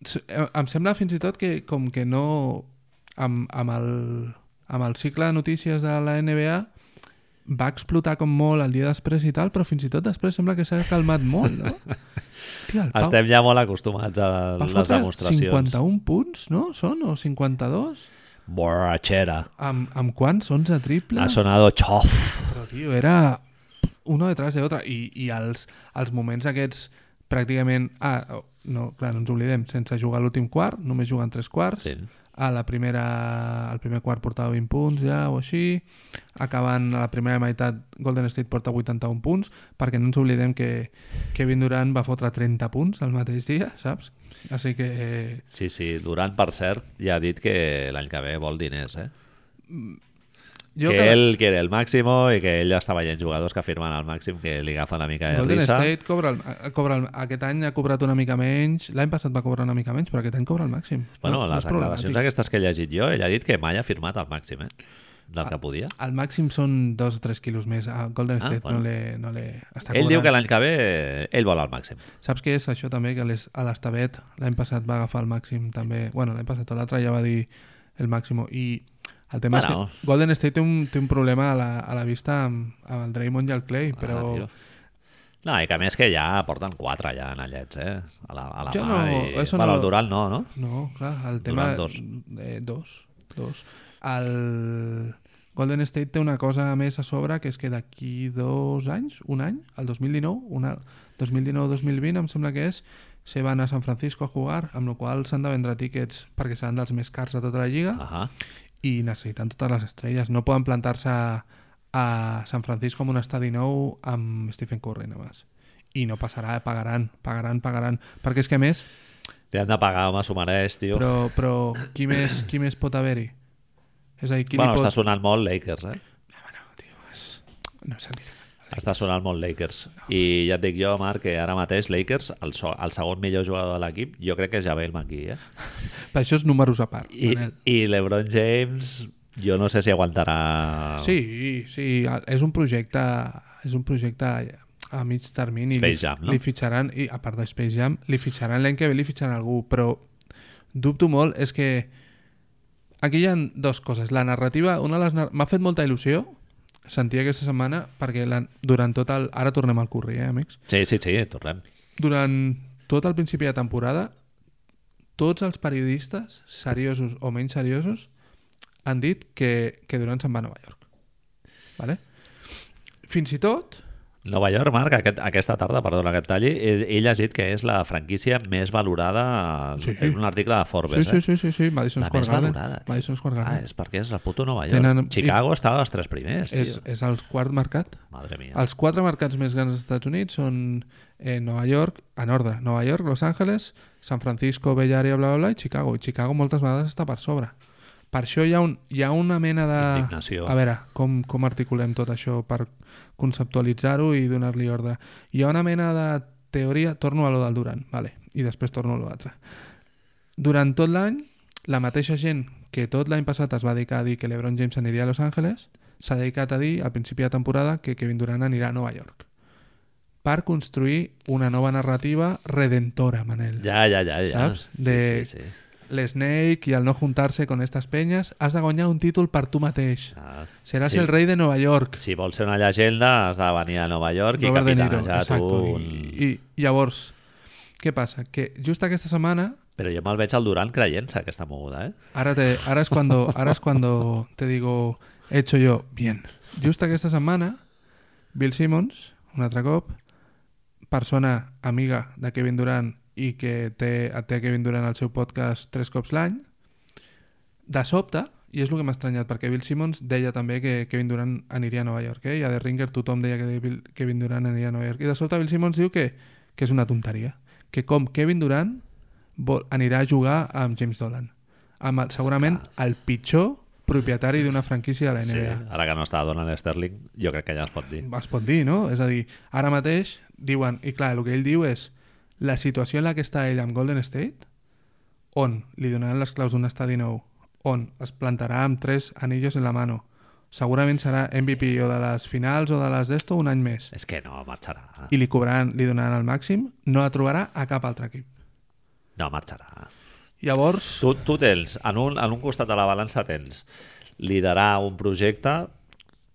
Speaker 2: s- eh, em sembla fins i tot que com que no... Amb, amb, el, amb el cicle de notícies de la NBA va explotar com molt el dia després i tal, però fins i tot després sembla que s'ha calmat molt, no? Tio, el Pau
Speaker 1: Estem ja molt acostumats a
Speaker 2: va
Speaker 1: les
Speaker 2: fotre
Speaker 1: demostracions.
Speaker 2: 51 punts, no? Són? O 52?
Speaker 1: Borrachera.
Speaker 2: Amb, amb quants? 11 triples?
Speaker 1: Ha sonado chof.
Speaker 2: Però, tio, era una detrás de otra. I, i els, els moments aquests pràcticament... Ah, no, clar, no ens oblidem. Sense jugar l'últim quart, només jugant tres quarts.
Speaker 1: Sí.
Speaker 2: A la primera, el primer quart portava 20 punts ja o així. Acabant a la primera meitat, Golden State porta 81 punts, perquè no ens oblidem que Kevin Durant va fotre 30 punts el mateix dia, saps? Així que... Eh,
Speaker 1: Sí, sí. Durant, per cert, ja ha dit que l'any que ve vol diners, eh?
Speaker 2: Jo
Speaker 1: que
Speaker 2: cada-
Speaker 1: ell quiere el màximo i que ell està veient jugadors que firmen al màxim que li agafen una mica de
Speaker 2: Golden
Speaker 1: risa.
Speaker 2: State cobra, el, eh, cobra el, aquest any ha cobrat una mica menys, l'any passat va cobrar una mica menys, però aquest any cobra el màxim.
Speaker 1: Bueno,
Speaker 2: No- no
Speaker 1: les
Speaker 2: és
Speaker 1: declaracions
Speaker 2: problemàtic.
Speaker 1: aquestes que he llegit jo, ell ha dit que mai ha firmat al màxim, eh? Del
Speaker 2: Ah,
Speaker 1: que podia.
Speaker 2: Al màxim són dos o tres quilos més. A Golden
Speaker 1: Ah,
Speaker 2: State
Speaker 1: bueno.
Speaker 2: no l'he... No l'he- està
Speaker 1: Ell diu
Speaker 2: cobrant.
Speaker 1: que l'any que ve eh, ell vol al màxim.
Speaker 2: Saps què és això també? Que les, a l'Estavet l'any passat va agafar el màxim també... Bueno, l'any passat o l'altre ja va dir el màxim. I el tema
Speaker 1: Bueno.
Speaker 2: és que Golden State té un, té un problema a la, a la vista amb, amb el Draymond i el Clay, però...
Speaker 1: Ah, tio. no, i que a més que ja porten quatre ja anellets, eh? A la, a la
Speaker 2: Jo
Speaker 1: mà.
Speaker 2: no,
Speaker 1: i...
Speaker 2: eso
Speaker 1: bueno,
Speaker 2: no
Speaker 1: el
Speaker 2: lo-
Speaker 1: Durant no, no?
Speaker 2: No, clar, el tema...
Speaker 1: Durant dos.
Speaker 2: Eh, dos. Dos. El Golden State té una cosa a més a sobre, que és que d'aquí dos anys, un any, el 2019, una... 2019-2020, em sembla que és, se van a San Francisco a jugar, amb la qual cosa s'han de vendre tíquets perquè seran dels més cars de tota la lliga
Speaker 1: Ahà.
Speaker 2: i necessiten totes les estrelles. No poden plantar-se a, a San Francisco amb un estadi nou amb Stephen Curry només. I no passarà, pagaran, pagaran, pagaran. Perquè és que a més,
Speaker 1: Li han de pagar, home, s'ho mereix, tio. Però,
Speaker 2: però, però qui, més, qui més pot haver-hi? És a dir, qui
Speaker 1: bueno,
Speaker 2: li pot...
Speaker 1: està sonant molt Lakers, eh?
Speaker 2: Ah, bueno, tio, és... No s'ha dit.
Speaker 1: Està sonant molt Lakers. I ja et dic jo, Marc, que ara mateix Lakers, el, so, el segon millor jugador de l'equip, jo crec que és Javel McGee, eh?
Speaker 2: Ah, Per això és números a part,
Speaker 1: I,
Speaker 2: Manel.
Speaker 1: I LeBron James, jo no sé si aguantarà...
Speaker 2: Sí, sí, és un projecte és un projecte a mig termini.
Speaker 1: Space
Speaker 2: Li-
Speaker 1: Jam, no?
Speaker 2: Li fitxaran, i a part de Space Jam, li fitxaran l'any que ve, li fitxaran algú, però dubto molt, és que aquí hi ha dos coses. La narrativa, una de les... nar- M'ha fet molta il·lusió sentir aquesta setmana, perquè la, durant tot el... Ara tornem al curri, eh, amics?
Speaker 1: Sí, sí, sí, tornem.
Speaker 2: durant tot el principi de temporada tots els periodistes seriosos o menys seriosos han dit que, que Durant se'n va a Nova York vale? fins i tot
Speaker 1: Nova York, Marc, aquest, aquesta tarda, perdona que et talli, he, he llegit que és la franquícia més valorada
Speaker 2: Sí.
Speaker 1: sí. en un article de Forbes.
Speaker 2: sí, sí,
Speaker 1: eh?
Speaker 2: sí, sí, sí, Madison
Speaker 1: La
Speaker 2: Square
Speaker 1: més
Speaker 2: Garden
Speaker 1: valorada, tio.
Speaker 2: Madison Square
Speaker 1: Ah,
Speaker 2: Garden
Speaker 1: és perquè és el puto Nova York.
Speaker 2: Tenen-
Speaker 1: Chicago estava als tres primers,
Speaker 2: és,
Speaker 1: tio.
Speaker 2: és el quart mercat
Speaker 1: Madre mía.
Speaker 2: els quatre mercats més grans dels Estats Units són eh, Nova York, en ordre Nova York, Los Angeles, San Francisco Bell Area, bla, bla, bla, i Chicago i Chicago moltes vegades està per sobre per això hi ha, un, hi ha una mena de...
Speaker 1: Indignació.
Speaker 2: A veure, com, com articulem tot això per conceptualitzar-ho i donar-li ordre. Hi ha una mena de teoria... Torno a lo del Durant, vale, i després torno a lo altre. Durant tot l'any, la mateixa gent que tot l'any passat es va dedicar a dir que LeBron James aniria a Los Angeles, s'ha dedicat a dir al principi de temporada que Kevin Durant anirà a Nova York per construir una nova narrativa redentora, Manel.
Speaker 1: Ja, ja, ja. ja.
Speaker 2: Saps?
Speaker 1: Sí,
Speaker 2: De-
Speaker 1: sí, sí.
Speaker 2: L'Snake i el no juntar-se con estas peñas, has de guanyar un títol per tu mateix.
Speaker 1: Ah,
Speaker 2: Seràs
Speaker 1: sí.
Speaker 2: el rei de Nova York.
Speaker 1: Si vols ser una llegenda, has de venir a Nova York i
Speaker 2: Robert De Niro,
Speaker 1: capitanejar tu
Speaker 2: exacto.
Speaker 1: un...
Speaker 2: I, I llavors, què passa? Que just aquesta setmana,
Speaker 1: Però jo me'l veig al Durant creient-se aquesta moguda, eh?
Speaker 2: ara, te, ara, és cuando, ara és cuando te digo, he hecho yo, bien. Just aquesta setmana, Bill Simmons, un altre cop, persona amiga de Kevin Durant i que té, té Kevin Durant al seu podcast tres cops l'any, de sobte, i és el que m'ha estranyat, perquè Bill Simmons deia també que Kevin Durant aniria a Nova York, eh? i a The Ringer tothom deia que Bill, Kevin Durant aniria a Nova York, i de sobte Bill Simmons diu que, que és una tonteria, que com Kevin Durant vol, anirà a jugar amb James Dolan, amb el, segurament el pitjor propietari d'una franquícia de la
Speaker 1: Sí,
Speaker 2: NBA.
Speaker 1: ara que no està Donald Sterling, jo crec que ja es pot dir.
Speaker 2: es pot dir, no? És a dir, ara mateix diuen, i clar, el que ell diu és la situació en la que està ell amb Golden State, on li donaran les claus d'un estadi nou, on es plantarà amb tres anillos en la mano, segurament serà MVP o de les finals o de les d'esto un any més,
Speaker 1: És que no marxarà.
Speaker 2: i li cobraran, li donaran el màxim, no la trobarà a cap altre equip.
Speaker 1: No marxarà.
Speaker 2: Llavors,
Speaker 1: Tu, tu tens, en un, en un costat de la balança tens liderar un projecte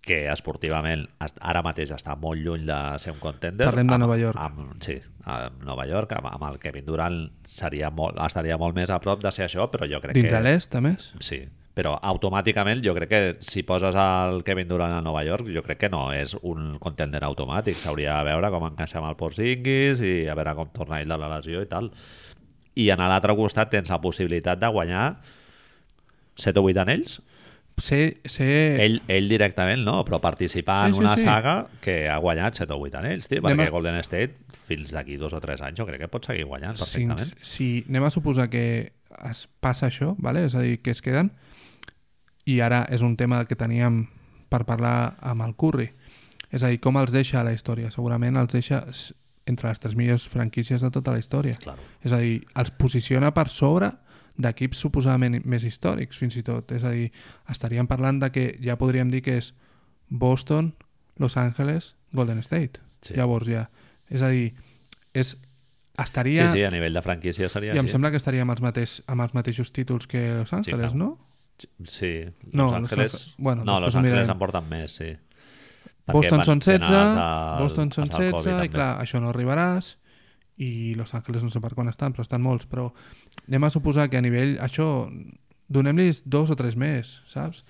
Speaker 1: que esportivament es- ara mateix està molt lluny de ser un contender.
Speaker 2: Parlem de
Speaker 1: Amb-
Speaker 2: Nova York.
Speaker 1: Amb, sí, amb Nova York, amb, amb el Kevin Durant seria molt, estaria molt més a prop de ser això, però jo crec
Speaker 2: dins de
Speaker 1: que...
Speaker 2: l'est, a més,
Speaker 1: Sí, però automàticament jo crec que si poses el Kevin Durant a Nova York, jo crec que no és un contender automàtic. S'hauria de veure com encaixa amb el Porzingis i a veure com torna ell de la lesió i tal. I en l'altre costat tens la possibilitat de guanyar 7 o 8 anells.
Speaker 2: ser, ser
Speaker 1: Ell, ell directament no, però participar
Speaker 2: Sí,
Speaker 1: en
Speaker 2: sí,
Speaker 1: una
Speaker 2: sí.
Speaker 1: saga que ha guanyat 7 o 8 anells, tio,
Speaker 2: Anem
Speaker 1: perquè
Speaker 2: a-
Speaker 1: Golden State fins d'aquí dos o tres anys jo crec que pot seguir guanyant
Speaker 2: si,
Speaker 1: perfectament.
Speaker 2: si anem a suposar que es passa això, vale? és a dir, que es queden, i ara és un tema que teníem per parlar amb el Curry. És a dir, com els deixa a la història. Segurament els deixa s- entre les tres millors franquícies de tota la història.
Speaker 1: Claro.
Speaker 2: És a dir, els posiciona per sobre d'equips suposadament més històrics, fins i tot. És a dir, estaríem parlant de que ja podríem dir que és Boston, Los Angeles, Golden State.
Speaker 1: Sí.
Speaker 2: Llavors ja. És a dir, és,
Speaker 1: Sí,
Speaker 2: estaria...
Speaker 1: sí, a nivell de franquícia seria
Speaker 2: I em
Speaker 1: així.
Speaker 2: sembla que estaria amb els, mateix, amb els mateixos títols que Los Angeles,
Speaker 1: clar.
Speaker 2: no?
Speaker 1: Sí, Los
Speaker 2: No, Los
Speaker 1: Angeles...
Speaker 2: Ange- bueno,
Speaker 1: no,
Speaker 2: després
Speaker 1: Los
Speaker 2: ho
Speaker 1: Angeles
Speaker 2: mirarem.
Speaker 1: en porten més, sí.
Speaker 2: Boston
Speaker 1: van-
Speaker 2: són
Speaker 1: tenen
Speaker 2: 16,
Speaker 1: els del-
Speaker 2: Boston són
Speaker 1: els del
Speaker 2: 16,
Speaker 1: Kobe,
Speaker 2: i
Speaker 1: també.
Speaker 2: clar, això no arribaràs, i Los Angeles no sé per quan estan, però estan molts, però anem a suposar que a nivell, això, donem-los dos o tres més, saps?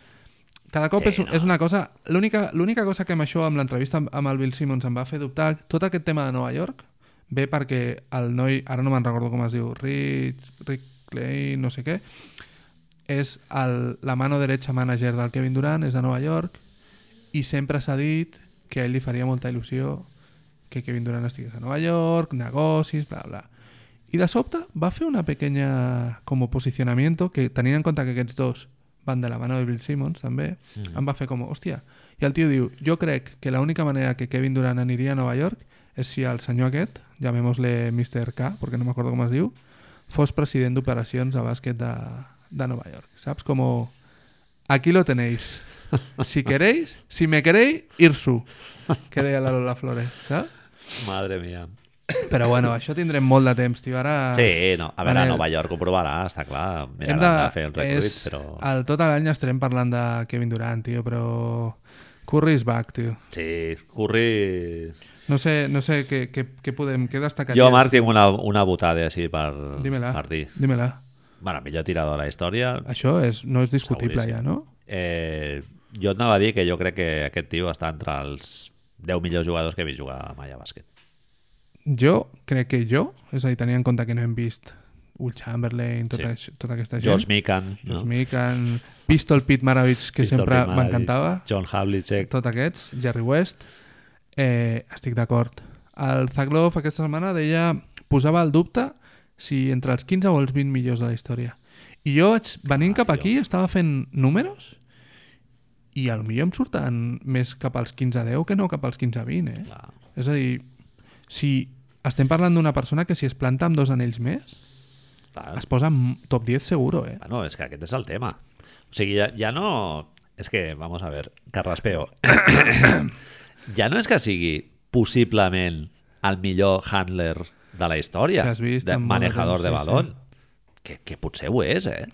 Speaker 2: Cada cop
Speaker 1: Sí,
Speaker 2: sí, és,
Speaker 1: no.
Speaker 2: no. és una cosa... L'única l'única cosa que amb això, amb l'entrevista amb, amb el Bill Simmons em va fer dubtar, tot aquest tema de Nova York ve perquè el noi, ara no me'n recordo com es diu, Rich, Rick Clay, no sé què, és el, la mano derecha manager del Kevin Durant, és de Nova York, i sempre s'ha dit que a ell li faria molta il·lusió que Kevin Durant estigués a Nova York, negocis, bla, bla. I de sobte va fer una pequeña como posicionamiento que tenint en compte que aquests dos van de la mano de Bill Simmons també, mm. em va fer com, hòstia, i el tio diu, jo crec que l'única manera que Kevin Durant aniria a Nova York és si el senyor aquest, llamémosle Mr. K, perquè no m'acordo com es diu, fos president d'operacions de bàsquet de, de Nova York. Saps? Com aquí lo tenéis. Si queréis, si me queréis, irsu. Que deia la Lola Flores, saps?
Speaker 1: Madre mía.
Speaker 2: Però bueno, això tindrem molt de temps, tio. Ara...
Speaker 1: Sí, no. a veure,
Speaker 2: Manel.
Speaker 1: a Nova York ho provarà, està clar. Mira, hem
Speaker 2: Ah, Hem
Speaker 1: de, fer el recruit,
Speaker 2: és-
Speaker 1: però...
Speaker 2: El, tot l'any estarem parlant de Kevin Durant, tio, però... Curry is back, tio.
Speaker 1: Sí, Curry...
Speaker 2: No sé, no sé què, què, què podem... Què destacaries?
Speaker 1: Jo, Marc, tinc una, una botada així per,
Speaker 2: Dímela.
Speaker 1: per dir.
Speaker 2: Dímela.
Speaker 1: Bueno, millor tirador de la història.
Speaker 2: Això és, no és discutible
Speaker 1: Seguríssim.
Speaker 2: ja, no?
Speaker 1: Eh, jo et anava a dir que jo crec que aquest tio està entre els 10 millors jugadors que he vist jugar mai a bàsquet.
Speaker 2: Jo crec que jo, és a dir, tenia en compte que no hem vist Will Chamberlain, tota, sí. tota aquesta gent.
Speaker 1: George Mikan, no?
Speaker 2: George Mikan, Doncs Pistol Pete Maravich, que
Speaker 1: Pistol
Speaker 2: sempre
Speaker 1: Pete Maravich,
Speaker 2: m'encantava.
Speaker 1: John Havlicek.
Speaker 2: Tot aquests, Jerry West. Eh, estic d'acord. El Zaglov aquesta setmana deia, posava el dubte si entre els 15 o els 20 millors de la història. I jo vaig, venint
Speaker 1: Ah,
Speaker 2: cap
Speaker 1: tio.
Speaker 2: aquí, estava fent números i a lo millor em surten més cap als 15-10 que no cap als 15-20, eh?
Speaker 1: Clar.
Speaker 2: És a dir, si estem parlant d'una persona que si es planta amb dos anells més,
Speaker 1: Clar.
Speaker 2: es posa en top 10 seguro, eh?
Speaker 1: Bueno, és que aquest és el tema. O sigui, ja, ja no... És que, vamos a ver, Carraspeo. ja no és que sigui possiblement el millor handler de la història,
Speaker 2: Que has vist
Speaker 1: de
Speaker 2: en molt de
Speaker 1: manejador
Speaker 2: temps,
Speaker 1: de
Speaker 2: sí,
Speaker 1: balón, que, que potser ho és, eh?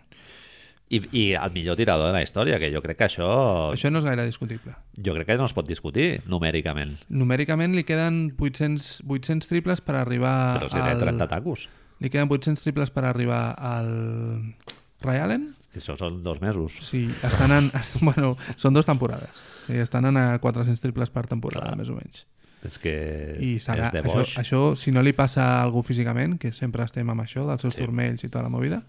Speaker 1: I, I el millor tirador de la història, que jo crec que això,
Speaker 2: Això no és gaire discutible.
Speaker 1: jo crec que no es pot discutir numèricament.
Speaker 2: Numèricament li queden 800, 800 triples per arribar
Speaker 1: Però si té 30 tacos,
Speaker 2: Li queden 800 triples per arribar al Ray Allen.
Speaker 1: que això són dos mesos.
Speaker 2: Sí, estan en... Bueno, són dues temporades. Sí, estan en a 400 triples per temporada, Clar. més o menys.
Speaker 1: És que
Speaker 2: I serà,
Speaker 1: és de
Speaker 2: això,
Speaker 1: boix.
Speaker 2: això, si no li passa a algú físicament, que sempre estem amb això, dels seus sí. turmells i tota la movida,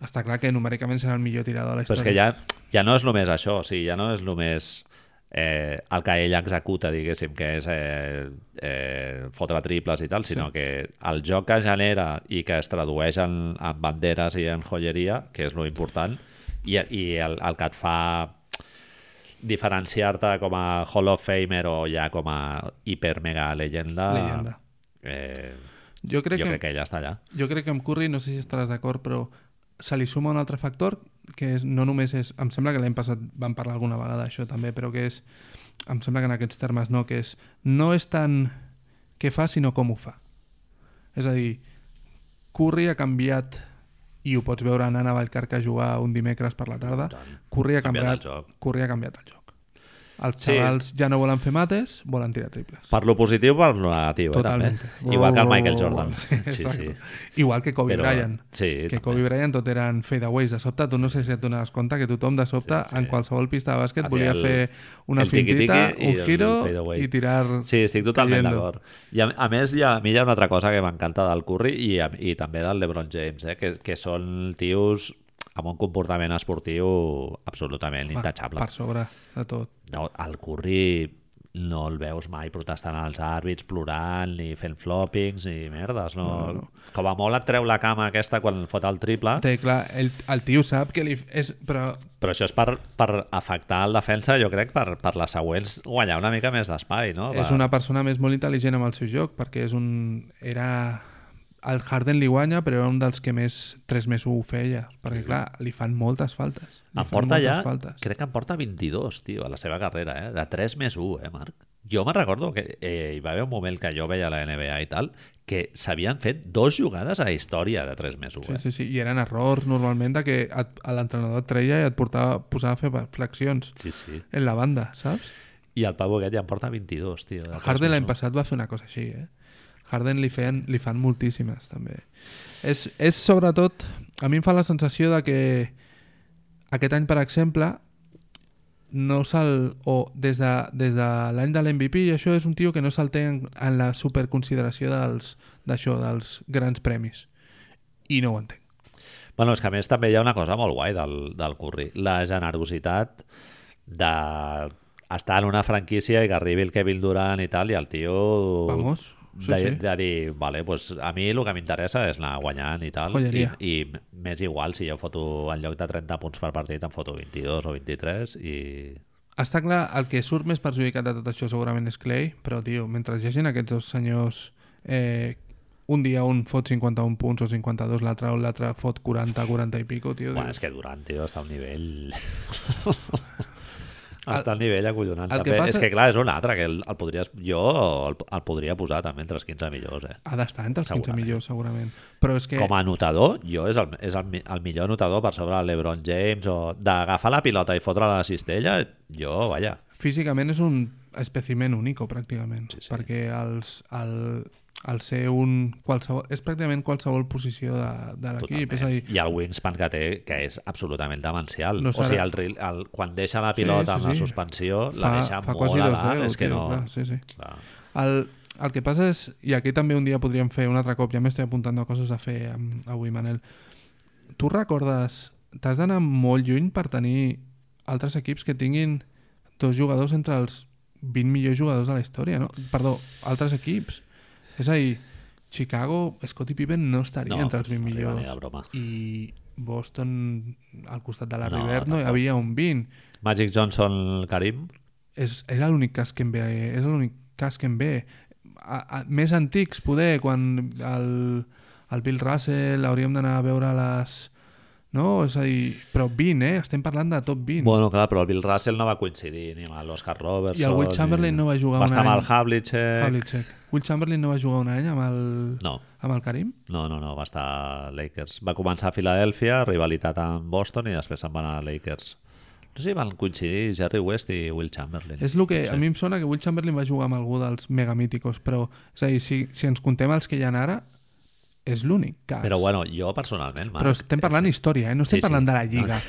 Speaker 2: està clar que numèricament serà el millor tirador de la
Speaker 1: Però és
Speaker 2: història.
Speaker 1: que ja, ja no és només això, o sigui, ja no és només eh, el que ell executa, diguéssim, que és eh, eh, fotre triples i tal, sinó sí. que el joc que genera i que es tradueix en, en banderes i en joieria, que és lo important, i, i el, el que et fa diferenciar-te com a Hall of Famer o ja com a hiper-mega llegenda,
Speaker 2: Leyenda.
Speaker 1: Eh,
Speaker 2: Jo crec,
Speaker 1: jo
Speaker 2: que,
Speaker 1: crec que ella està allà.
Speaker 2: Jo crec que amb Curry, no sé si estaràs d'acord, però se li suma un altre factor que és, no només és... Em sembla que l'any passat vam parlar alguna vegada d'això també, però que és... Em sembla que en aquests termes no, que és... No és tant què fa, sinó com ho fa. És a dir, Curry ha canviat i ho pots veure anant a Vallcarca a jugar un dimecres per la tarda. Curry ha
Speaker 1: Ha canviat el
Speaker 2: canviat,
Speaker 1: joc.
Speaker 2: Curry ha canviat el joc. Els
Speaker 1: Sí.
Speaker 2: xavals ja no volen fer mates, volen tirar triples.
Speaker 1: Per lo positiu, per lo negatiu, eh, també.
Speaker 2: Totalmente.
Speaker 1: Igual que el Michael Jordan.
Speaker 2: Sí,
Speaker 1: Sí, sí.
Speaker 2: exacte. Uh. Igual que Kobe
Speaker 1: Però,
Speaker 2: Bryant.
Speaker 1: sí,
Speaker 2: que
Speaker 1: també.
Speaker 2: Kobe Bryant tot eren fadeaways. De sobte, tu no sé si et donaves compte que tothom de sobte,
Speaker 1: Sí, sí.
Speaker 2: en qualsevol pista de bàsquet,
Speaker 1: Hacía
Speaker 2: volia
Speaker 1: el-
Speaker 2: fer una
Speaker 1: el tiqui-tiqui
Speaker 2: fintita,
Speaker 1: i
Speaker 2: un
Speaker 1: el
Speaker 2: giro
Speaker 1: fadeaway.
Speaker 2: i tirar...
Speaker 1: Sí, estic totalment
Speaker 2: cayendo.
Speaker 1: d'acord. I a, a més, hi ha, a mi hi ha una altra cosa que m'encanta del Curry i, a- i també del LeBron James, eh? que, que són tios amb un comportament esportiu absolutament
Speaker 2: Va,
Speaker 1: intachable.
Speaker 2: Per sobre de tot.
Speaker 1: No, el Curry no el veus mai protestant als àrbits, plorant, ni fent floppings, ni merdes. No?
Speaker 2: No,
Speaker 1: No,
Speaker 2: no,
Speaker 1: no. Com a molt et treu la cama aquesta quan fot el triple,
Speaker 2: Té, clar, el, el tio sap que li... És, però
Speaker 1: però això és per, per afectar el defensa, jo crec, per, per les següents guanyar una mica més d'espai. No?
Speaker 2: És
Speaker 1: Per-
Speaker 2: una persona més molt intel·ligent amb el seu joc, perquè és un... Era... El Harden li guanya, però era un dels que més 3 més 1 ho feia. Perquè, sí. clar, li fan moltes faltes. Li
Speaker 1: Em
Speaker 2: fan
Speaker 1: porta
Speaker 2: moltes
Speaker 1: ja,
Speaker 2: Faltes.
Speaker 1: crec que em porta 22, tio, a la seva carrera, eh? De 3 més 1, eh, Marc? Jo me'n recordo que eh, hi va haver un moment que jo veia la NBA i tal, que s'havien fet dos jugades a història de 3 més 1,
Speaker 2: Sí,
Speaker 1: eh?
Speaker 2: sí, sí. I eren errors, normalment, de que et, a l'entrenador et treia i et portava, posava a fer flexions
Speaker 1: Sí, sí.
Speaker 2: en la banda, saps?
Speaker 1: I el Pau aquest ja en porta 22, tio. de
Speaker 2: El
Speaker 1: tres
Speaker 2: Harden
Speaker 1: més
Speaker 2: l'any
Speaker 1: un.
Speaker 2: passat va fer una cosa així, eh? Harden li, feien, li fan moltíssimes, també. És, és sobretot... A mi em fa la sensació de que aquest any, per exemple, no se'l... O des de, des de l'any de l'MVP, i això és un tio que no se'l té en, en la superconsideració dels d'això, dels grans premis. I no ho entenc.
Speaker 1: Bueno, és que a més també hi ha una cosa molt guai del, del Curry. La generositat de estar en una franquícia i que arribi el Kevin Durant i tal, i el tio...
Speaker 2: Vamos. Sí,
Speaker 1: de,
Speaker 2: sí.
Speaker 1: de dir, vale, pues a mi el que m'interessa és anar guanyant i tal, i,
Speaker 2: Joieria.
Speaker 1: i m'és igual si jo foto en lloc de 30 punts per partit em foto 22 o 23 i...
Speaker 2: Està clar, el que surt més perjudicat de tot això segurament és Clay, però, tio, mentre hi hagin aquests dos senyors... Eh, un dia un fot 51 punts o 52, l'altre o l'altre fot 40, 40 i pico, tio.
Speaker 1: Bueno, és
Speaker 2: dius,
Speaker 1: que Durant, tio, està a un nivell... està a un nivell acollonant.
Speaker 2: el que
Speaker 1: També.
Speaker 2: passa-
Speaker 1: És que, clar, és un altre, que el, el podries... Jo el, el podria posar també entre els 15 millors, eh?
Speaker 2: Ha d'estar entre els 15
Speaker 1: Segurament.
Speaker 2: millors, segurament. Però és que...
Speaker 1: com a anotador, jo és el, és el, mi- el millor anotador per sobre de LeBron James o d'agafar la pilota i fotre la cistella, jo, vaja,
Speaker 2: físicament és un espècimen único, pràcticament, sí, sí. perquè els, el, el ser un qualsevol... És pràcticament qualsevol posició de, de l'equip, és a
Speaker 1: totalment.
Speaker 2: dir,
Speaker 1: I el wingspan que té, que és absolutament demencial.
Speaker 2: No
Speaker 1: No o sigui,
Speaker 2: serà-
Speaker 1: el, ril- el, quan deixa la pilota sí, sí,
Speaker 2: sí,
Speaker 1: amb
Speaker 2: sí.
Speaker 1: la suspensió, la
Speaker 2: fa,
Speaker 1: deixa
Speaker 2: fa
Speaker 1: molt
Speaker 2: quasi
Speaker 1: a
Speaker 2: dos
Speaker 1: dalt,
Speaker 2: deus,
Speaker 1: és que
Speaker 2: tio,
Speaker 1: no...
Speaker 2: clar, sí, sí.
Speaker 1: Clar.
Speaker 2: El, el que passa és, i aquí també un dia podríem fer un altre cop, ja m'estic apuntant a coses a fer amb, avui, Manel. Tu recordes, t'has d'anar molt lluny per tenir altres equips que tinguin dos jugadors entre els 20 millors jugadors de la història, no? Perdó, altres equips. És a dir, Chicago, Scottie Pippen no estaria
Speaker 1: No,
Speaker 2: entre els 20
Speaker 1: no arriba ni
Speaker 2: millors.
Speaker 1: de broma.
Speaker 2: I Boston, al costat de la
Speaker 1: No,
Speaker 2: no, River, no hi havia un 20.
Speaker 1: Magic Johnson, Karim,
Speaker 2: És, és l'únic cas que em ve. És l'únic cas que em ve. A, a, més antics, poder, quan el, el Bill Russell hauríem d'anar a veure les... No? És a dir, però 20, eh? Estem parlant de top 20.
Speaker 1: Bueno, clar, però el Bill Russell no va coincidir ni amb l'Oscar Robertson.
Speaker 2: I el Will Chamberlain no va jugar
Speaker 1: Va
Speaker 2: un
Speaker 1: estar amb
Speaker 2: any.
Speaker 1: el Havlicek.
Speaker 2: Havlicek. Will Chamberlain no va jugar un any amb el,
Speaker 1: No,
Speaker 2: amb el Karim?
Speaker 1: No, no, no, va estar a Lakers. Va començar a Filadèlfia, rivalitat amb Boston i després se'n van a Lakers. No sé si van coincidir Jerry West i Will Chamberlain.
Speaker 2: És el que a mi em sona que Will Chamberlain va jugar amb algú dels megamíticos, però és a dir, si, si ens contem els que hi ha ara, és l'únic cas.
Speaker 1: Però bueno, jo personalment, Marc,
Speaker 2: Però estem parlant història, eh? no
Speaker 1: Sí,
Speaker 2: estem sí,
Speaker 1: sí.
Speaker 2: parlant de la Lliga.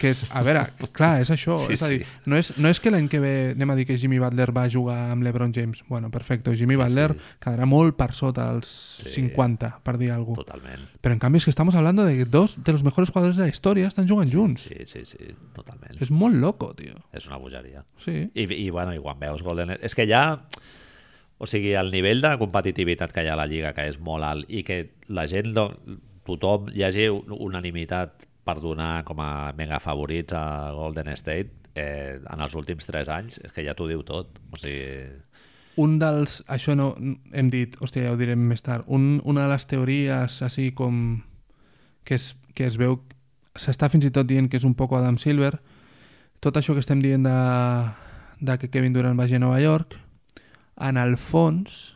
Speaker 2: Que és, a veure, clar, és això.
Speaker 1: Sí,
Speaker 2: Sí, és a dir,
Speaker 1: sí.
Speaker 2: no és, no és que l'any que ve anem a dir que Jimmy Butler va jugar amb l'Ebron James. Bueno, perfecte, Jimmy Butler quedarà molt per sota els 50, per dir alguna cosa.
Speaker 1: totalment.
Speaker 2: Però en canvi és que estamos hablando de que dos de los mejores jugadores de la història estan jugant junts.
Speaker 1: Sí, sí, sí, totalment. És,
Speaker 2: És molt loco, tio.
Speaker 1: és una bogeria.
Speaker 2: Sí.
Speaker 1: I, I, bueno, i quan veus Golden... És que ja... O sigui, el nivell de competitivitat que hi ha a la Lliga, que és molt alt, i que la gent, no, tothom, hi hagi unanimitat per donar com a mega favorits a Golden State, eh, en els últims 3 anys, és que ja t'ho diu tot. O sigui,
Speaker 2: un dels... Això no... Hem dit, hòstia, ja ho direm més tard. Un, una de les teories, així com... Que es, que es veu... S'està fins i tot dient que és un poc Adam Silver. Tot això que estem dient de, de que Kevin Durant vagi a Nova York, en el fons,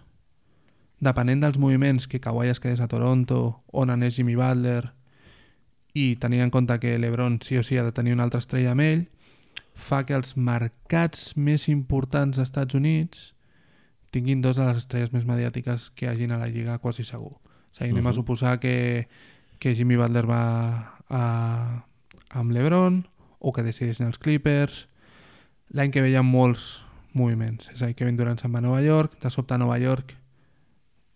Speaker 2: depenent dels moviments que Kawhi es quedés a Toronto, on anés Jimmy Butler, i tenint en compte que l'Ebron sí o sí ha de tenir una altra estrella amb ell, fa que els mercats més importants dels Estats Units tinguin dos de les estrelles més mediàtiques que hi hagin a la Lliga quasi segur. O sigui, anem a suposar que, que Jimmy Butler va a, amb l'Ebron o que decideixen els Clippers. L'any que veiem molts moviments. És a dir, Kevin Durant se'n va a Nova York, de sobte a Nova York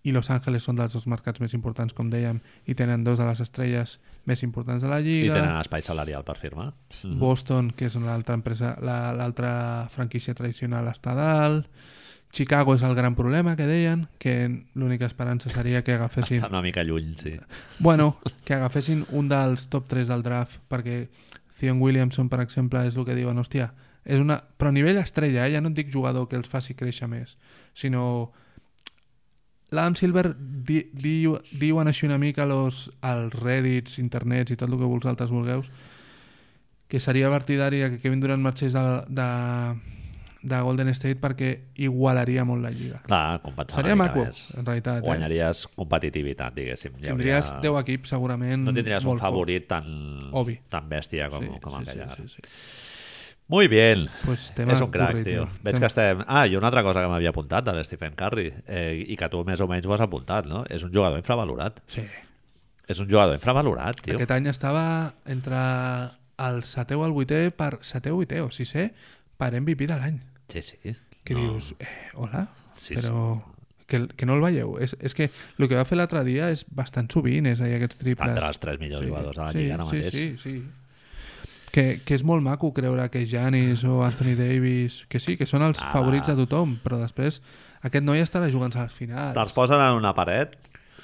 Speaker 2: i Los Angeles són dels dos mercats més importants, com dèiem, i tenen dos de les estrelles més importants de la
Speaker 1: I
Speaker 2: Lliga.
Speaker 1: tenen espai salarial per firmar.
Speaker 2: Boston, que és l'altra empresa, la- l'altra franquícia tradicional està a dalt. Chicago és el gran problema, que deien, que l'única esperança seria que agafessin...
Speaker 1: Està una mica lluny, sí.
Speaker 2: Bueno, que agafessin un dels top 3 del draft, perquè Zion Williamson, per exemple, és el que diuen, hòstia, és una... però a nivell estrella, eh? ja no et dic jugador que els faci créixer més, sinó... L'Adam Silver di, di, diuen així una mica los, als reddits, internets i tot el que vosaltres vulgueu que seria partidari que Kevin Durant marxés de, de, de Golden State perquè igualaria molt la lliga.
Speaker 1: Clar, compensar
Speaker 2: Seria
Speaker 1: una mica
Speaker 2: maco,
Speaker 1: més.
Speaker 2: en realitat. Eh?
Speaker 1: Guanyaries competitivitat, diguéssim. Hi
Speaker 2: Tindries 10 equips segurament
Speaker 1: No tindries un
Speaker 2: molt forts.
Speaker 1: favorit tan,
Speaker 2: Obvi.
Speaker 1: tan bèstia com, com
Speaker 2: sí,
Speaker 1: aquella.
Speaker 2: sí, sí, sí.
Speaker 1: Muy bien.
Speaker 2: Pues tema
Speaker 1: és un crac,
Speaker 2: curri,
Speaker 1: tio.
Speaker 2: tio.
Speaker 1: Veig
Speaker 2: Tema-
Speaker 1: que estem... Ah, i una altra cosa que m'havia apuntat de l'Stephen Curry, eh, i que tu més o menys ho has apuntat, no? És un jugador infravalorat.
Speaker 2: Sí.
Speaker 1: És un jugador infravalorat, tio.
Speaker 2: Aquest any estava entre el setè o el vuitè per setè o vuitè o sisè per MVP de l'any.
Speaker 1: Sí, sí.
Speaker 2: Que dius, eh, hola,
Speaker 1: Sí,
Speaker 2: però que, que no el veieu. És, és que el que va fer l'altre dia és bastant sovint, és a dir, aquests triples.
Speaker 1: Està entre els tres millors jugadors de la
Speaker 2: sí,
Speaker 1: Lliga ara mateix.
Speaker 2: Sí, sí, sí. Que, que és molt maco creure que Janis o Anthony Davis, que sí, que són els
Speaker 1: Ah.
Speaker 2: favorits de tothom, però després aquest noi estarà jugant al final.
Speaker 1: Te'ls posen en una paret.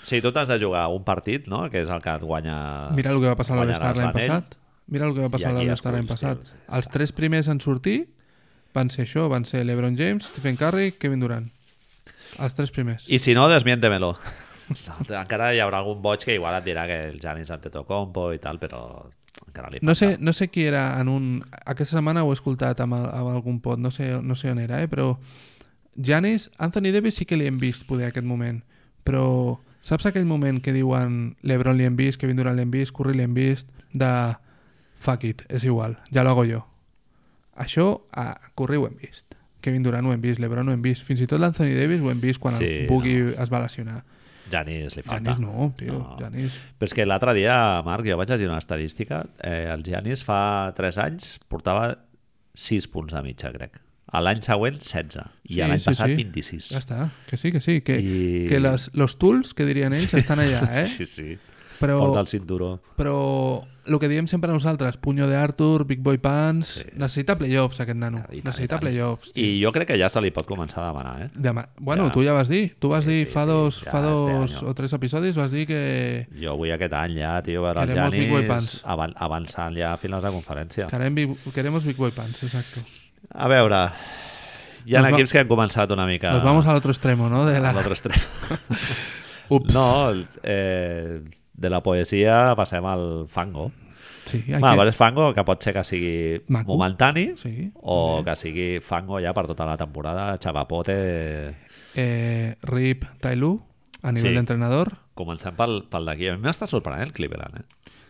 Speaker 1: Si tu t'has de jugar un partit, no? Que és el que et guanya...
Speaker 2: Mira el que va passar a
Speaker 1: guanyaràs
Speaker 2: l'All-Star l'any
Speaker 1: l'anell.
Speaker 2: passat. Mira el que va passar a
Speaker 1: aquí
Speaker 2: l'All-Star l'any
Speaker 1: esculls, tio.
Speaker 2: passat. Els tres primers en sortir van ser això, van ser LeBron James, Stephen Curry, Kevin Durant. Els tres primers.
Speaker 1: I si no, desmiéntemelo. Encara hi haurà algun boig que igual et dirà que el Giannis Antetokounmpo i tal, però encara li falta.
Speaker 2: No sé, no sé qui era en un... Aquesta setmana ho he escoltat amb, el- amb algun pot, no sé, no sé on era, eh? però Janis, Anthony Davis sí que li hem vist poder aquest moment, però saps aquell moment que diuen LeBron li hem vist, Kevin Durant li hem vist, Curry li hem vist, de fuck it, és igual, ja lo hago jo. Això a Curry ho hem vist. Kevin Durant ho hem vist, LeBron ho hem vist, fins i tot l'Anthony Davis ho hem vist quan sí,
Speaker 1: Sí,
Speaker 2: el Boogie no. es va lesionar.
Speaker 1: Giannis li falta.
Speaker 2: Janis no, tio,
Speaker 1: No.
Speaker 2: no. Janis...
Speaker 1: Però és que l'altre dia, Marc, jo vaig llegir una estadística. Eh, el Giannis fa 3 anys portava 6 punts de mitja, crec. A L'any següent, 16. I a l'any passat, 26.
Speaker 2: Ja està, que sí, que sí, que,
Speaker 1: I-
Speaker 2: que les, los tools que dirien ells estan allà, eh?
Speaker 1: Sí, sí.
Speaker 2: Però,
Speaker 1: Porta el cinturó.
Speaker 2: però el que diem sempre nosaltres, Puño de Arthur, Big Boy Pants,
Speaker 1: Sí.
Speaker 2: necessita playoffs aquest nano,
Speaker 1: I tant,
Speaker 2: necessita
Speaker 1: i tant.
Speaker 2: playoffs. tio.
Speaker 1: I jo crec que ja se li pot començar a demanar, eh?
Speaker 2: Demà... Bueno,
Speaker 1: Ja.
Speaker 2: tu ja vas dir, tu vas
Speaker 1: Sí,
Speaker 2: dir
Speaker 1: sí,
Speaker 2: fa
Speaker 1: sí,
Speaker 2: dos,
Speaker 1: ja
Speaker 2: fa
Speaker 1: este
Speaker 2: dos
Speaker 1: año.
Speaker 2: o tres episodis, vas dir que
Speaker 1: Jo vull aquest any ja, tio, veure el
Speaker 2: Queremos Big Boy
Speaker 1: Giannis
Speaker 2: Pants.
Speaker 1: avan avançant ja a finals de conferència.
Speaker 2: querem Big- queremos Big Boy Pants, exacto.
Speaker 1: A veure, hi ha
Speaker 2: Nos va-
Speaker 1: equips que han començat una mica...
Speaker 2: Nos vamos al otro extremo, ¿no? De
Speaker 1: a
Speaker 2: la...
Speaker 1: l'altre extrem.
Speaker 2: Ups.
Speaker 1: No, el- eh, de la poesia passem al fango.
Speaker 2: Sí, hay
Speaker 1: Va, Ah,
Speaker 2: que-
Speaker 1: vale, fango que pot ser que sigui
Speaker 2: Maco.
Speaker 1: momentani
Speaker 2: Sí,
Speaker 1: o que sigui fango ja per tota la temporada, xapapote...
Speaker 2: eh, Rip Tailu, a nivel
Speaker 1: Sí.
Speaker 2: de entrenador,
Speaker 1: Comencem pel, pel d'aquí. A mi m'està sorprenent el Cleveland, eh?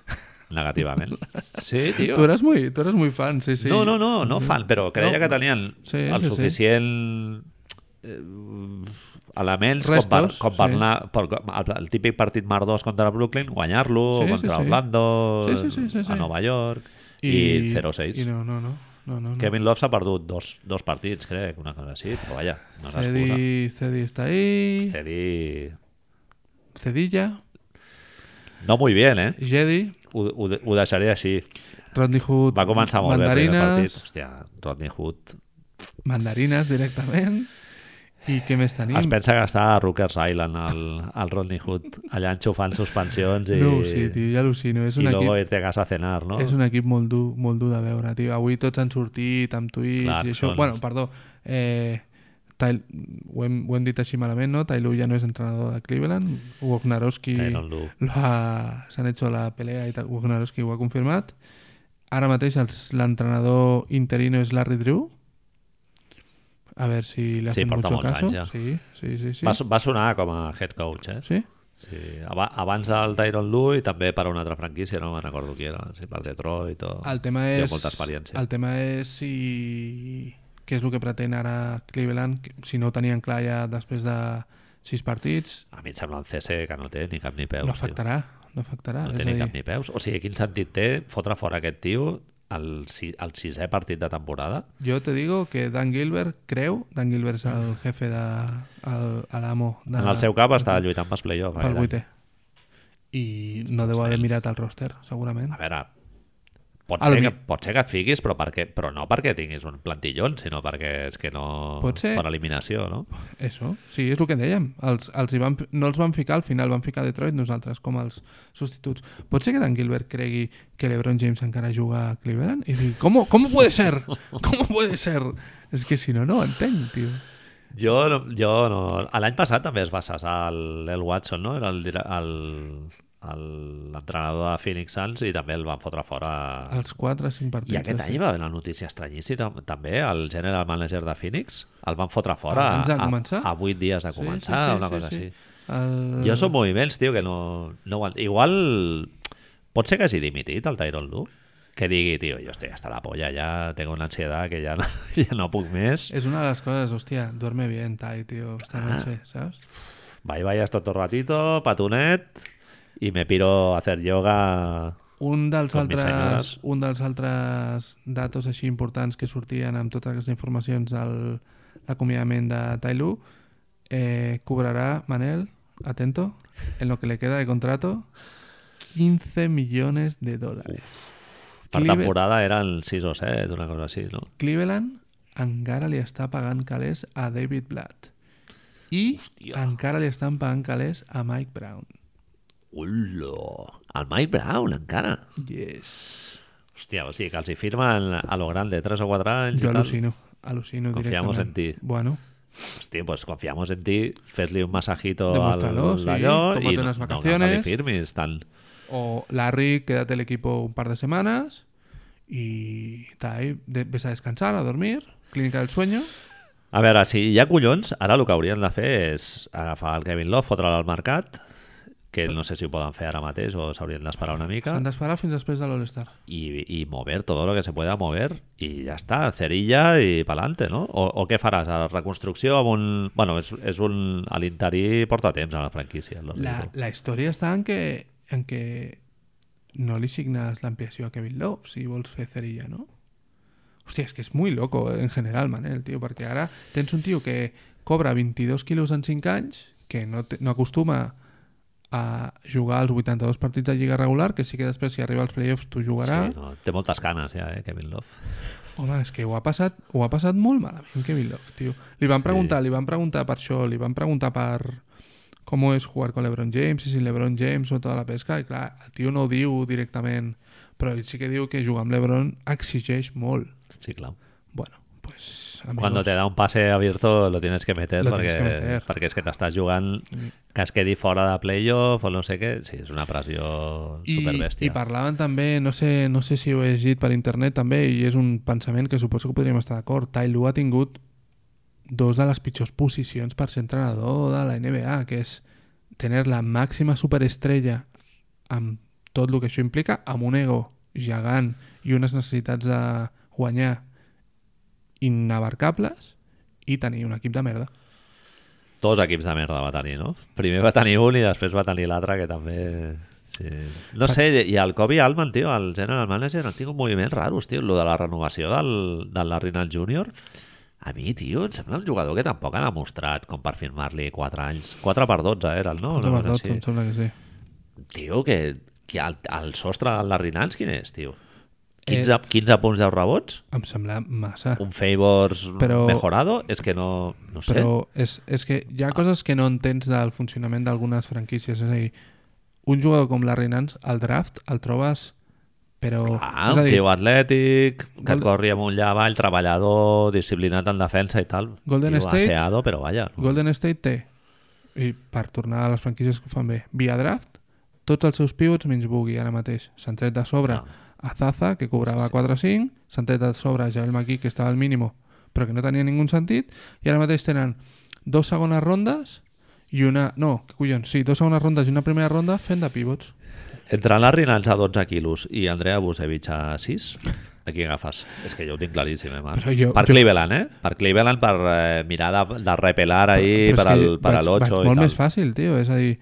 Speaker 1: Negativament. Sí, tio.
Speaker 2: Tú eras muy, tú eras muy fan, sí, sí.
Speaker 1: No, no, no, no fan, però creia
Speaker 2: No.
Speaker 1: que tenien
Speaker 2: Sí,
Speaker 1: el
Speaker 2: sí, sí.
Speaker 1: suficient eh, elements com per,
Speaker 2: Restos,
Speaker 1: com per
Speaker 2: sí.
Speaker 1: anar per, el, el típic partit mardós contra Brooklyn, guanyar-lo
Speaker 2: Sí, sí,
Speaker 1: contra
Speaker 2: sí.
Speaker 1: Orlando,
Speaker 2: Sí, sí, sí, sí, sí.
Speaker 1: a Nova York i,
Speaker 2: Y
Speaker 1: 0-6.
Speaker 2: Y no, no, no. no, no, no.
Speaker 1: Kevin Love s'ha perdut dos, dos partits, crec, una cosa així, però vaja, no és excusa.
Speaker 2: Cedi, Cedi está ahí.
Speaker 1: Cedi...
Speaker 2: Cedilla.
Speaker 1: No muy bien, eh?
Speaker 2: Jedi.
Speaker 1: Ho, ho, ho deixaré així.
Speaker 2: Rodney Hood.
Speaker 1: Va començar molt bé el primer
Speaker 2: mandarinas,
Speaker 1: partit. Hòstia, Rodney Hood...
Speaker 2: Mandarinas directamente. ¿Y qué me están
Speaker 1: Es pensa que està a Rookers Island, el, el Rodney Hood, allà enxufant suspensions i...
Speaker 2: No, sí, tío, ya alucino. Es
Speaker 1: I
Speaker 2: un
Speaker 1: luego
Speaker 2: equip,
Speaker 1: irte a casa a cenar, no?
Speaker 2: és un equip molt dur, molt dur de veure, tio. Avui tots han sortit amb tuits
Speaker 1: Clar,
Speaker 2: i això.
Speaker 1: són-
Speaker 2: Bueno, perdó, eh, Tyl... ho, hem, ho hem dit així malament, no? Tyloo ja no és entrenador de Cleveland. Wojnarowski...
Speaker 1: Tyronn Lue.
Speaker 2: lo ha- s'han hecho la pelea i tal, Wojnarowski ho ha confirmat. Ara mateix els- l'entrenador interino és Larry Drew. A ver si le
Speaker 1: Sí,
Speaker 2: hacen
Speaker 1: porta
Speaker 2: mucho
Speaker 1: molts
Speaker 2: caso.
Speaker 1: anys, ja.
Speaker 2: Sí, sí, sí. sí.
Speaker 1: Va, so- va sonar com a head coach, eh?
Speaker 2: sí?
Speaker 1: Sí. Aba- Abans del Tyron Lue i també per a una altra franquícia, no me'n recordo qui era, si per Detroit o...
Speaker 2: El tema
Speaker 1: Té
Speaker 2: és...
Speaker 1: molta experiència.
Speaker 2: El tema és si... Què és el que pretén ara Cleveland, que- si no ho tenien clar ja després de sis partits,
Speaker 1: A mi em sembla un CC que no té ni cap ni peus.
Speaker 2: no
Speaker 1: tio.
Speaker 2: afectarà. No afectarà.
Speaker 1: No té
Speaker 2: és
Speaker 1: ni
Speaker 2: a dir,
Speaker 1: cap ni peus. O sigui, quin sentit té fotre fora aquest tio el, si, el sisè partit de temporada.
Speaker 2: Yo te digo que Dan Gilbert, creu, Dan Gilbert és el jefe de... El, a l'amo. De,
Speaker 1: En el seu cap està lluitant pels play-offs.
Speaker 2: Pel
Speaker 1: aquest any.
Speaker 2: vuitè. I no deu haver mirat el roster, segurament.
Speaker 1: A veure, pot
Speaker 2: Al
Speaker 1: ser,
Speaker 2: mi-
Speaker 1: que, pot ser que et fiquis, però, perquè, però no perquè tinguis un plantillon, sinó perquè és que no...
Speaker 2: Pot ser.
Speaker 1: Per eliminació, no?
Speaker 2: Eso, sí, és el que dèiem. Els, els hi van, no els van ficar al final, van ficar Detroit nosaltres com els substituts. Pot ser que Dan Gilbert cregui que l'Ebron James encara juga a Cleveland? I dic, com, com puede ser? Com puede ser? És que si no, no ho entenc, tio.
Speaker 1: Jo, no- jo no... A L'any passat també es va cessar el, el Watson, no? Era el dire- el- el- l'entrenador de Phoenix Suns i també el van fotre fora.
Speaker 2: Els 4 o 5 partits.
Speaker 1: I aquest any va haver una notícia estranyíssima també, el general manager de Phoenix el van fotre fora
Speaker 2: Abans de
Speaker 1: a,
Speaker 2: començar?
Speaker 1: a 8 dies de començar, una cosa així.
Speaker 2: El...
Speaker 1: Jo són moviments, tio, que no... no ho en- Igual... Pot ser que hagi dimitit el Tyron Lu? Que digui, tio, jo estic hasta la polla, ja tengo una ansietat que ja no, ja no puc més.
Speaker 2: És una de les coses, hòstia, duerme bien, Tai, tio,
Speaker 1: Ah.
Speaker 2: esta noche, saps?
Speaker 1: Bye bye hasta otro ratito, patunet, y me piro a hacer yoga.
Speaker 2: Un dels,
Speaker 1: Com més
Speaker 2: altres,
Speaker 1: senyores.
Speaker 2: un dels altres datos així importants que sortien amb totes les informacions del l'acomiadament de Tailu eh, cobrarà Manel, atento, en lo que le queda de contrato 15 millones de dólares.
Speaker 1: Per
Speaker 2: Cleveland-
Speaker 1: temporada eren 6 o 7, una cosa així, no?
Speaker 2: Cleveland encara li està pagant calés a David Blatt i
Speaker 1: Hòstia.
Speaker 2: encara li estan pagant calés a Mike Brown.
Speaker 1: Ullo! El Mike Brown, encara.
Speaker 2: Yes.
Speaker 1: Hòstia, o sigui, que els hi firmen a lo grande 3 o 4 anys i
Speaker 2: Jo
Speaker 1: tal.
Speaker 2: al·lucino, al·lucino
Speaker 1: Confiamos
Speaker 2: directament.
Speaker 1: en ti.
Speaker 2: Bueno,
Speaker 1: Hòstia, pues confiamos en ti, fes-li un massajito al
Speaker 2: Demuéstralo, sí,
Speaker 1: allò
Speaker 2: tómate
Speaker 1: i no,
Speaker 2: unas
Speaker 1: no, no,
Speaker 2: vacaciones.
Speaker 1: li firmis tant.
Speaker 2: O Larry, quédate el equipo un par de semanas y está ahí, de- ves a descansar, a dormir, clínica del sueño.
Speaker 1: A veure, si hi ha collons, ara el que haurien de fer és agafar el Kevin Love, fotre'l al mercat, que no sé si ho poden fer ara mateix o s'haurien d'esperar una mica.
Speaker 2: S'han d'esperar fins després de l'All-Star.
Speaker 1: y, y mover todo lo que se pueda mover y ya está, cerilla y para adelante, ¿no? O, o què faràs? A la reconstrucció amb un... Bueno, és, és un... A l'interí porta temps a la franquícia. El
Speaker 2: La, la historia está en que, en que no le signas la ampliación a Kevin Love si vols fer cerilla, no? Hostia, es que es muy loco eh, en general, Manel, tío, porque ahora tens un tío que cobra 22 kilos en 5 anys, que no, te- no acostuma a jugar els 82 partits de lliga regular, que sí que després si arriba als playoffs tu
Speaker 1: Sí,
Speaker 2: jugaràs,
Speaker 1: no, té moltes canes ja, eh, Kevin Love.
Speaker 2: Home, és que ho ha passat, ho ha passat molt malament Kevin Love, tio. Li
Speaker 1: Sí.
Speaker 2: van preguntar, li van preguntar per això, li van preguntar per com és jugar con LeBron James i sin LeBron James o tota la pesca, i clar, el tio no ho diu directament, però ell sí que diu que jugar amb LeBron exigeix molt.
Speaker 1: Sí, clar.
Speaker 2: Bueno, pues,
Speaker 1: Quan
Speaker 2: amigos,
Speaker 1: te da un passe abierto lo tienes que meter,
Speaker 2: Lo
Speaker 1: perquè,
Speaker 2: tienes que meter.
Speaker 1: perquè és que t'estàs jugant que es quedi fora de playoff o no sé què. Sí, és una pressió
Speaker 2: I,
Speaker 1: superbèstia.
Speaker 2: I parlaven també, no sé, no sé si ho he llegit per internet també, i és un pensament que suposo que podríem estar d'acord. Tai Lu ha tingut dos de les pitjors posicions per ser entrenador de la NBA, que és tenir la màxima superestrella amb tot el que això implica, amb un ego gegant i unes necessitats de guanyar inabarcables i tenir un equip de merda.
Speaker 1: Dos equips de merda va tenir, no? Primer va tenir un i després va tenir l'altre, que també... Sí. No sé, i el Kobe Allman, tio, el general manager, han tingut moviments raros, tio. Lo de la renovació del, del Larry Nance Jr. A mi, tio, em sembla un jugador que tampoc ha demostrat com per firmar-li 4 anys. 4 per 12 era el, no?
Speaker 2: Contra
Speaker 1: Una cosa
Speaker 2: Bardot, em
Speaker 1: així.
Speaker 2: sembla que sí.
Speaker 1: Tio, que, que el, el sostre del Larry Nance quin és, tio? 15,
Speaker 2: Eh,
Speaker 1: 15 punts, 10 rebots?
Speaker 2: Em sembla massa.
Speaker 1: Un favors
Speaker 2: Però-
Speaker 1: mejorado? És que no, no sé.
Speaker 2: Però és, és que hi ha coses que no entens del funcionament d'algunes franquícies. És a dir, un jugador com Larry Nance, al draft el trobes, però...
Speaker 1: Ah,
Speaker 2: és a
Speaker 1: un
Speaker 2: dir,
Speaker 1: tio atlètic, que
Speaker 2: Golden-
Speaker 1: et corri amunt i avall, treballador, disciplinat en defensa i tal.
Speaker 2: Golden
Speaker 1: tio
Speaker 2: State-
Speaker 1: aseado, però vaja. no?
Speaker 2: Golden State té, i per tornar a les franquícies que ho fan bé, via draft, tots els seus pivots menys Boogie ara mateix. S'han tret de sobre
Speaker 1: Ah.
Speaker 2: a Zaza, que cobrava 4-5, s'han tret de sobre a Javel McKee, que estava al mínimo, però que no tenia ningun sentit, i ara mateix tenen dos segones rondes i una... No, que collons, sí, dos segones rondes i una primera ronda fent de pivots.
Speaker 1: Entre Larry Nance a 12 quilos i Andrea Busevich a 6, a qui agafes? És que jo ho tinc claríssim, eh, Marc?
Speaker 2: Però jo-
Speaker 1: per
Speaker 2: jo-
Speaker 1: Cleveland, eh? Per Cleveland, per eh, mirar de, de repelar ahir
Speaker 2: Però
Speaker 1: per,
Speaker 2: és que
Speaker 1: al, per a
Speaker 2: vaig-
Speaker 1: l'8
Speaker 2: vaig
Speaker 1: i
Speaker 2: Molt
Speaker 1: tal.
Speaker 2: més fàcil, tio. És a dir,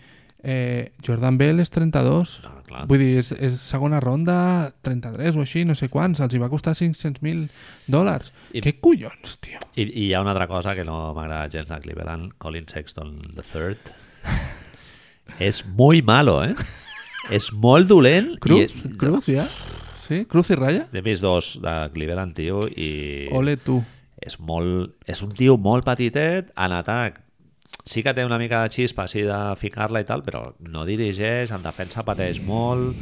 Speaker 2: eh, Jordan Bell és 32,
Speaker 1: No, clar.
Speaker 2: Vull dir, és, és segona ronda, 33 o així, no sé quants, els hi va costar 500.000 dòlars.
Speaker 1: I-
Speaker 2: Què collons, tio?
Speaker 1: I, I hi ha una altra cosa que no m'agrada gens de Cleveland, Colin Sexton III. és muy malo, eh? És molt dolent.
Speaker 2: Cruz,
Speaker 1: I,
Speaker 2: Cruz, ja? Sí? Cruz i ratlla?
Speaker 1: He vist dos de Cleveland, tio, i...
Speaker 2: Ole tu.
Speaker 1: és, molt, és un tio molt petitet en atac. Sí que té una mica de xispa així de ficar-la i tal, però no dirigeix, en defensa pateix molt.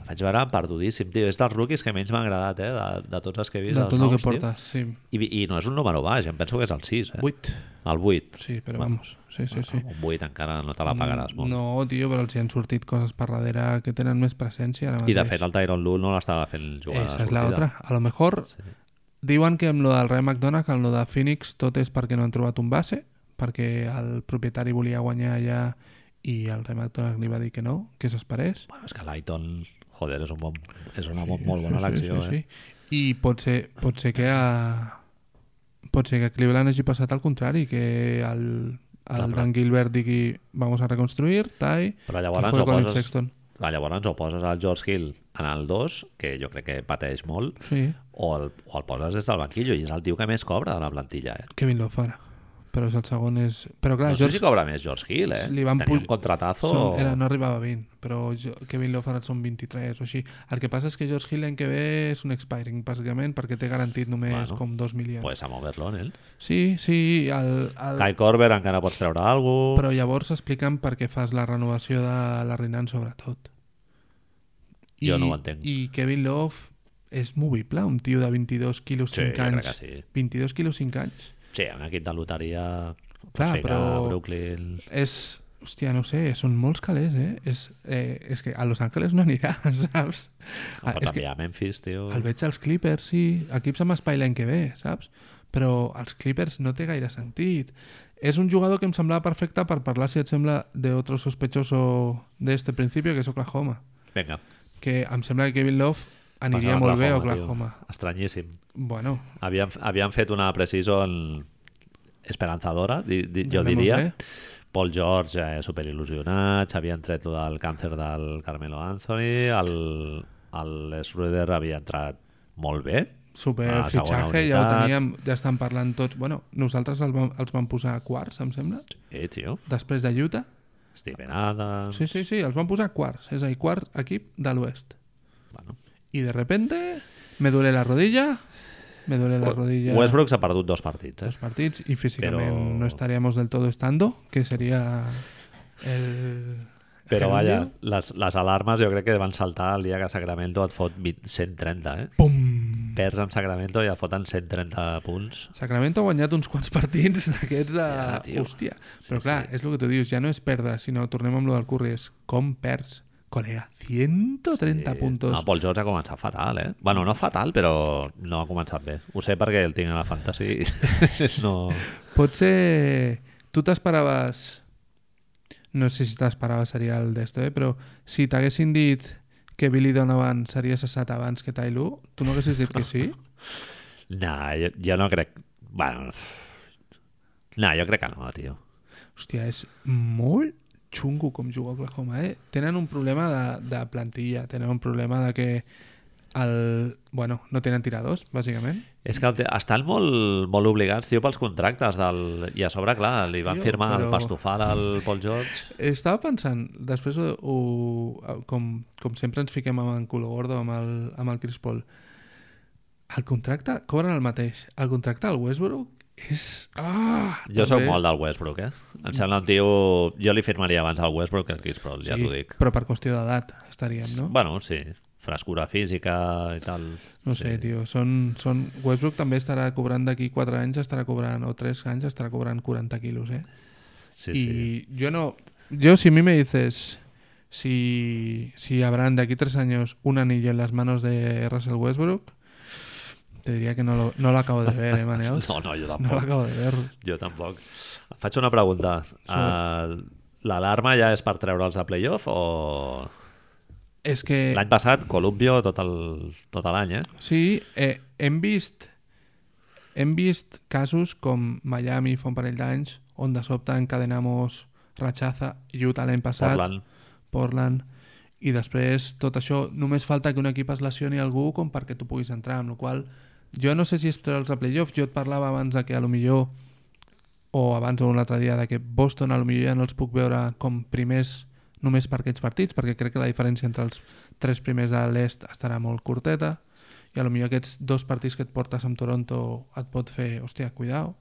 Speaker 1: El vaig veure perdudíssim, tio. És dels rookies que menys m'ha agradat, eh? De, de tots els que he vist.
Speaker 2: De
Speaker 1: dels
Speaker 2: tot el
Speaker 1: nous,
Speaker 2: que
Speaker 1: tio. Eh.
Speaker 2: porta, sí.
Speaker 1: I, I no és un número baix, em penso que és el 6, eh?
Speaker 2: 8,
Speaker 1: El 8.
Speaker 2: sí, però
Speaker 1: Bueno,
Speaker 2: vamos. Sí, sí, sí.
Speaker 1: Un 8 encara no te la pagaràs molt.
Speaker 2: No, tio, però els hi han sortit coses per darrere que tenen més presència ara mateix.
Speaker 1: I de fet el Tyron Lue no l'estava fent jugar
Speaker 2: Esa
Speaker 1: de
Speaker 2: és la
Speaker 1: sortida.
Speaker 2: otra. A lo mejor diuen que amb lo del Ray McDonough, amb lo de Phoenix, tot és perquè no han trobat un base, perquè el propietari volia guanyar allà i el Ray McDonough li va dir que no, que s'esperés.
Speaker 1: Bueno, és que l'Aiton, joder, és, un bon, és una sí, molt bona elecció, eh?
Speaker 2: sí, sí, sí. I pot ser, pot ser que a... pot ser que a Cleveland hagi passat al contrari, que el,
Speaker 1: Clar,
Speaker 2: el
Speaker 1: però-
Speaker 2: Dan Gilbert digui vamos a reconstruir, tai,
Speaker 1: eh? Però
Speaker 2: que
Speaker 1: llavors
Speaker 2: juegue
Speaker 1: ho
Speaker 2: Colin
Speaker 1: poses...
Speaker 2: Sexton.
Speaker 1: Ah, llavors o poses el George Hill en el 2, que jo crec que pateix molt,
Speaker 2: Sí,
Speaker 1: o el, o el poses des del banquillo, i és el tio que més cobra de la plantilla. Eh?
Speaker 2: Kevin Lofara. Però és el segon és... Però clar,
Speaker 1: no sé
Speaker 2: George
Speaker 1: si cobra més George Hill, eh?
Speaker 2: Li van
Speaker 1: Tenia
Speaker 2: puj-
Speaker 1: un contratazo...
Speaker 2: Són, era, no arribava a 20, però jo, Kevin Lofard són 23 o així. El que passa és que George Hill l'any que ve és un expiring, bàsicament, perquè té garantit només
Speaker 1: Bueno.
Speaker 2: bueno, com 2 milions. Pues...
Speaker 1: Pues a moverlo, eh?
Speaker 2: Sí, sí, el, el...
Speaker 1: Kai Corber encara pots treure alguna cosa...
Speaker 2: però llavors expliquen per què fas la renovació de la Renan, sobretot.
Speaker 1: Jo no ho entenc.
Speaker 2: I Kevin Love és movible, un tio de 22 quilos
Speaker 1: Sí,
Speaker 2: 5
Speaker 1: jo crec
Speaker 2: anys.
Speaker 1: que sí.
Speaker 2: 22 quilos 5 anys.
Speaker 1: Sí, un equip de loteria...
Speaker 2: Clar,
Speaker 1: Clar, però...
Speaker 2: però-
Speaker 1: Brooklyn...
Speaker 2: És... Hòstia, no sé, són molts calés, eh? És, eh, és que a Los Angeles no anirà, saps?
Speaker 1: Ah,
Speaker 2: Ah,
Speaker 1: però
Speaker 2: és
Speaker 1: també
Speaker 2: que
Speaker 1: a Memphis, tio...
Speaker 2: el veig als Clippers, sí, equips amb espai l'any que ve, saps? Però als Clippers no té gaire sentit. És un jugador que em semblava perfecte per parlar, si et sembla, de otro sospechoso de este principio, que és Oklahoma.
Speaker 1: Vinga,
Speaker 2: Que em sembla que Kevin Love
Speaker 1: passem
Speaker 2: aniria
Speaker 1: a
Speaker 2: molt bé
Speaker 1: tio.
Speaker 2: a Oklahoma.
Speaker 1: Estranyíssim.
Speaker 2: Bueno,
Speaker 1: Havien, havien fet una precision esperanzadora, di, di, jo
Speaker 2: Veurem
Speaker 1: diria.
Speaker 2: el què.
Speaker 1: Paul George eh, superil·lusionat, s'havien tret lo del càncer del Carmelo Anthony, el, el Schroeder havia entrat molt bé.
Speaker 2: super
Speaker 1: a la segona
Speaker 2: fitxatge, ja ho
Speaker 1: unitat.
Speaker 2: teníem, ja estan parlant tots. Bueno, nosaltres el vam, els vam posar quarts, em sembla,
Speaker 1: Sí, eh, tio.
Speaker 2: després de Utah.
Speaker 1: Steven Adams...
Speaker 2: Sí, sí, sí, els van posar quarts, és a dir, quart equip de l'oest.
Speaker 1: Bueno.
Speaker 2: Y de repente me duele la rodilla, me duele la rodilla
Speaker 1: Westbrook s'ha perdut dos partits,
Speaker 2: los
Speaker 1: eh?
Speaker 2: partidos y físicamente
Speaker 1: Pero-
Speaker 2: no estaríamos del todo estando, que sería el...
Speaker 1: Però
Speaker 2: el
Speaker 1: vaja,
Speaker 2: gerundio.
Speaker 1: les, les alarmes jo crec que van saltar el dia que Sacramento et fot 20, 130, eh?
Speaker 2: Pum!
Speaker 1: Perds amb Sacramento i et foten 130 punts.
Speaker 2: Sacramento ha guanyat uns quants partits d'aquests de...
Speaker 1: Ja, tio.
Speaker 2: Hòstia.
Speaker 1: Sí,
Speaker 2: Però clar,
Speaker 1: sí.
Speaker 2: és el que tu dius, ja no és perdre, sinó tornem amb lo del Curry, és com perds, col·lega, 130
Speaker 1: Sí.
Speaker 2: puntos.
Speaker 1: No, Paul George ha començat fatal, eh? Bueno, no fatal, però no ha començat bé. Ho sé perquè el tinc a la fantasy. no...
Speaker 2: Potser tu t'esperaves... No sé si t'esperaves seria el d'esto, eh? però si t'haguessin dit que Billy Donovan seria cessat abans que Tai Lu, tu no haguessis dit que sí?
Speaker 1: Nah, jo, jo no crec... Bueno... Nah, jo crec que no, tio.
Speaker 2: Hòstia, és molt xungo com juga Oklahoma, eh? Tenen un problema de, de plantilla, tenen un problema de que el... Bueno, no tenen tiradors, bàsicament.
Speaker 1: És que el te- estan molt, molt obligats, tio, pels contractes. Del... I a sobre, clar, li van
Speaker 2: Tio,
Speaker 1: firmar però...
Speaker 2: però-
Speaker 1: el pastofal al Paul George.
Speaker 2: Estava pensant, després ho, ho, com, com sempre ens fiquem amb en Culo Gordo, amb el, amb el Chris Paul, el contracte, cobren el mateix. El contracte del Westbrook és... Ah,
Speaker 1: Jo sóc molt del Westbrook, eh? Em sembla un tio... Jo li firmaria abans al Westbrook que al Chris Paul, ja t'ho dic.
Speaker 2: Però per qüestió d'edat estaríem, no?
Speaker 1: Bueno, sí, frescura física i tal.
Speaker 2: No sé, tio, són, són... Westbrook també estarà cobrant d'aquí 4 anys, estarà cobrant, o 3 anys, estarà cobrant 40 quilos, eh?
Speaker 1: Sí,
Speaker 2: y
Speaker 1: Este, sí.
Speaker 2: yo no, yo si a mí me dices si, si habrán de aquí tres años un anillo en las manos de Russell Westbrook, te diría que no lo, no lo acabo de ver, ¿eh, Maneos?
Speaker 1: No, no, jo
Speaker 2: No lo
Speaker 1: tampoc.
Speaker 2: acabo de ver.
Speaker 1: Jo tampoc. Et faig una pregunta. Uh, L'alarma ja és per treure'ls a playoff o...
Speaker 2: Es que
Speaker 1: L'any passat, Columbio tot el- tot l'any, eh?
Speaker 2: sí, eh, hem vist hem vist casos com Miami fa un parell d'anys on de sobte encadenamos Rachaza, Utah l'any passat
Speaker 1: Portland.
Speaker 2: Portland i després tot això només falta que un equip es lesioni algú com perquè tu puguis entrar, amb la qual jo no sé si es treure els a playoff, jo et parlava abans de que a lo millor o abans o un altre dia de que Boston a lo millor ja no els puc veure com primers només per aquests partits, perquè crec que la diferència entre els tres primers de l'est estarà molt curteta i a lo millor aquests dos partits que et portes amb Toronto et pot fer, hòstia, cuidao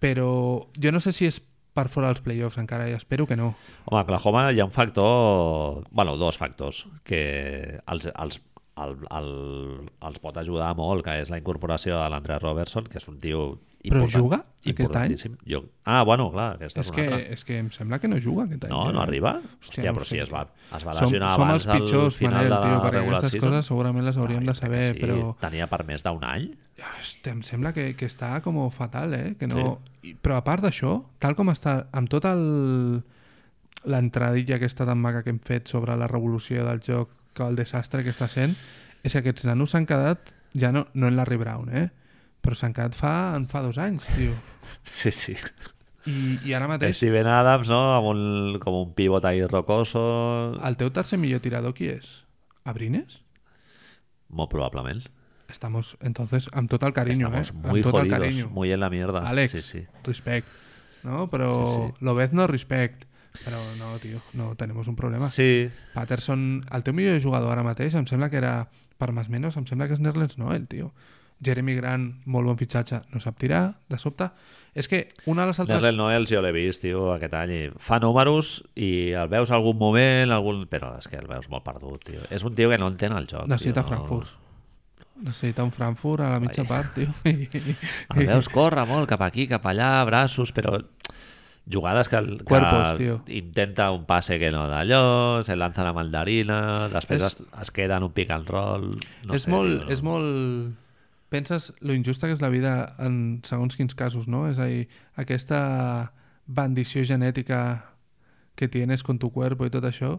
Speaker 2: però jo no sé si és per fora dels playoffs encara i espero que no
Speaker 1: Home, a Oklahoma hi ha un factor... bueno, dos factors que els, els, el, el, els pot ajudar molt, que és la incorporació de l'Andre Robertson, que és un tio
Speaker 2: Però
Speaker 1: important,
Speaker 2: juga aquest
Speaker 1: importantíssim. Jo... Ah, bueno, clar, aquesta és,
Speaker 2: és
Speaker 1: una
Speaker 2: que,
Speaker 1: altra.
Speaker 2: és que em sembla que no juga aquest any
Speaker 1: No,
Speaker 2: eh?
Speaker 1: no arriba? Hòstia,
Speaker 2: no
Speaker 1: però
Speaker 2: ho
Speaker 1: si
Speaker 2: sé.
Speaker 1: es va, es va
Speaker 2: som,
Speaker 1: lesionar
Speaker 2: som
Speaker 1: abans
Speaker 2: els pitjors,
Speaker 1: del final
Speaker 2: Manel,
Speaker 1: de la
Speaker 2: tio, perquè
Speaker 1: regular
Speaker 2: aquestes
Speaker 1: season.
Speaker 2: coses segurament les hauríem
Speaker 1: Ai,
Speaker 2: de
Speaker 1: crec que
Speaker 2: saber,
Speaker 1: sí.
Speaker 2: però
Speaker 1: Tenia per més d'un any?
Speaker 2: Hòstia, em sembla que, que està com fatal, eh? Que no... I- Però a part d'això, tal com està, amb tot el l'entradilla aquesta tan maca que hem fet sobre la revolució del joc, que el desastre que està sent, és que aquests nanos s'han quedat, ja no, no en Larry Brown, eh? Però s'han quedat fa, en fa dos anys, tio.
Speaker 1: Sí, sí.
Speaker 2: I, i ara mateix,
Speaker 1: Steven Adams, no? Amb un, com un pivot ahí rocoso...
Speaker 2: el teu tercer millor tirador qui és? Abrines?
Speaker 1: Molt probablement.
Speaker 2: Estamos, entonces, amb tot el carinyo,
Speaker 1: Estamos
Speaker 2: eh?
Speaker 1: muy
Speaker 2: amb tot el
Speaker 1: jodidos,
Speaker 2: carinyo.
Speaker 1: muy en la mierda.
Speaker 2: Alex,
Speaker 1: Sí, sí.
Speaker 2: respect. ¿No? Pero
Speaker 1: Sí, sí.
Speaker 2: lo ves no respect. Pero no, tío, no tenemos un problema.
Speaker 1: Sí,
Speaker 2: Patterson, el teu millor jugador ara mateix, em sembla que era, per més menys, em sembla que és Nerlens Noel, tio. Jeremy Grant, molt bon fitxatge, no sap tirar, de sobte. És que una de les altres...
Speaker 1: Nerlens Noel jo l'he vist, tio, aquest any. i Fa números i el veus algun moment, algun... però és que el veus molt perdut, tio. És un tio que no entén el joc, tio.
Speaker 2: Necessita
Speaker 1: no-
Speaker 2: Frankfurt. Necessita un Frankfurt a la mitja part, tio.
Speaker 1: El veus córrer molt cap aquí, cap allà, braços, però jugades que, el, que
Speaker 2: Cuerpos, tio.
Speaker 1: intenta un passe que no d'allò, se lanza la mandarina, després
Speaker 2: És-
Speaker 1: es, es queda en un pick and roll... No
Speaker 2: és,
Speaker 1: sé,
Speaker 2: molt,
Speaker 1: tio,
Speaker 2: és molt... Penses lo injusta que és la vida en segons quins casos, no? És a dir, aquesta bendició genètica que tienes con tu cuerpo y tot això,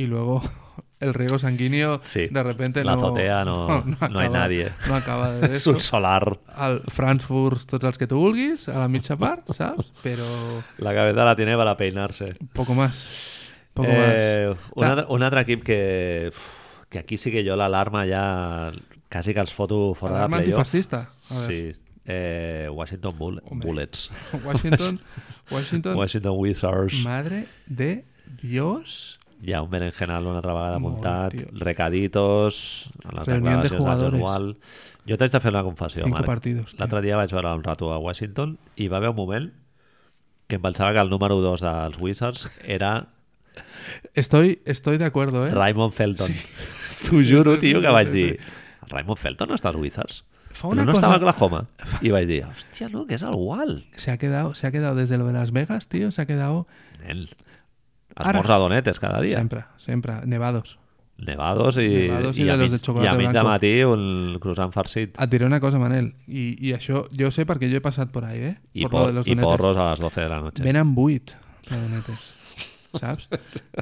Speaker 2: i luego el riego sanguíneo
Speaker 1: Sí,
Speaker 2: de repente
Speaker 1: la
Speaker 2: no...
Speaker 1: azotea no- no hay nadie.
Speaker 2: No acaba de
Speaker 1: És
Speaker 2: esto.
Speaker 1: un solar.
Speaker 2: El Frankfurt, tots els que tu vulguis, a la mitja part, saps? Però
Speaker 1: La cabeza la tiene para peinarse.
Speaker 2: poco más. Ah. Poco
Speaker 1: Eh, un,
Speaker 2: La-
Speaker 1: altre, un altre equip que... uf, que aquí sí que jo l'alarma ja quasi que els foto
Speaker 2: más.
Speaker 1: fora de
Speaker 2: Alarma
Speaker 1: playoff.
Speaker 2: antifascista. A ver.
Speaker 1: Sí. Eh, Washington Bull
Speaker 2: Home.
Speaker 1: Bullets.
Speaker 2: Washington, Washington,
Speaker 1: Washington Wizards.
Speaker 2: Madre de Dios.
Speaker 1: Hi ha un berenjenal una altra vegada
Speaker 2: Molt,
Speaker 1: muntat,
Speaker 2: tio.
Speaker 1: recaditos, en les
Speaker 2: Reunión de
Speaker 1: declaracions del John
Speaker 2: jugadores.
Speaker 1: Wall. Jo t'haig de fer una confessió,
Speaker 2: Cinco
Speaker 1: Marc.
Speaker 2: partidos, tio.
Speaker 1: L'altre dia vaig veure un rato a Washington i va haver un moment que em pensava que el número 2 dels Wizards era
Speaker 2: Estoy, estoy de acuerdo, ¿eh?
Speaker 1: Raymond Felton. T'ho juro,
Speaker 2: sí,
Speaker 1: tio, que
Speaker 2: sí,
Speaker 1: vaig
Speaker 2: sí,
Speaker 1: dir el Raymond Felton no està als Wizards?
Speaker 2: Fa
Speaker 1: Però
Speaker 2: una
Speaker 1: no estava a
Speaker 2: cosa-
Speaker 1: Oklahoma. I vaig dir, hòstia, no, que és el Wall.
Speaker 2: Se ha quedado, se ha quedado desde lo de Las Vegas, tío, se ha quedado
Speaker 1: Nen,
Speaker 2: Ara-
Speaker 1: esmorza donetes cada dia.
Speaker 2: siempre, siempre, nevados.
Speaker 1: Nevados i,
Speaker 2: Nevados i de
Speaker 1: a
Speaker 2: los
Speaker 1: mig,
Speaker 2: de chocolate
Speaker 1: i a mig de
Speaker 2: blanco.
Speaker 1: matí un croissant farcit.
Speaker 2: A Ah, diré una cosa, Manel, y, y això yo sé porque yo he pasado por ahí, ¿eh?
Speaker 1: I,
Speaker 2: por
Speaker 1: por,
Speaker 2: lo de los
Speaker 1: i
Speaker 2: donetes.
Speaker 1: porros a les 12 de la noche.
Speaker 2: Venen buit, de donetes, saps?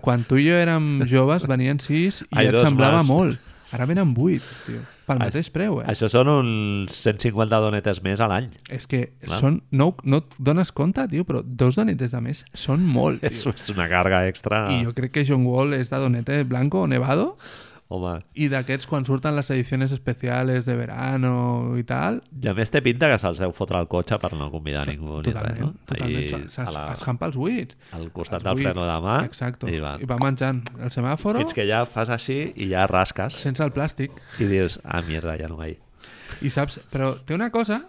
Speaker 2: Quan tu i jo érem joves venien sis i
Speaker 1: Ai,
Speaker 2: ja et
Speaker 1: dos
Speaker 2: semblava
Speaker 1: más.
Speaker 2: molt. Ara venen buit, tio, pel mateix preu, eh?
Speaker 1: Això són uns 150 donetes més a l'any.
Speaker 2: És que
Speaker 1: Clar.
Speaker 2: són... No, no et dones compte, tio, però dos donetes de més són molt, tio.
Speaker 1: És, és una carga extra.
Speaker 2: I jo crec que John Wall és de Donete Blanco o Nevado
Speaker 1: Home,
Speaker 2: i d'aquests quan surten les edicions especials de verano i tal,
Speaker 1: i a més té pinta que se'ls deu fotre al cotxe per no convidar ningú ni res, eh, no?
Speaker 2: totalment, totalment
Speaker 1: Ahí
Speaker 2: s'es-
Speaker 1: a la,
Speaker 2: es campa els buits.
Speaker 1: al costat
Speaker 2: Els
Speaker 1: del
Speaker 2: buits,
Speaker 1: freno de mà
Speaker 2: Exacto.
Speaker 1: i va.
Speaker 2: I va menjant el semàforo
Speaker 1: Fins que ja fas així i ja rasques
Speaker 2: sense el plàstic.
Speaker 1: i dius, ah, mierda, ja no vaig.
Speaker 2: I saps, però té una cosa,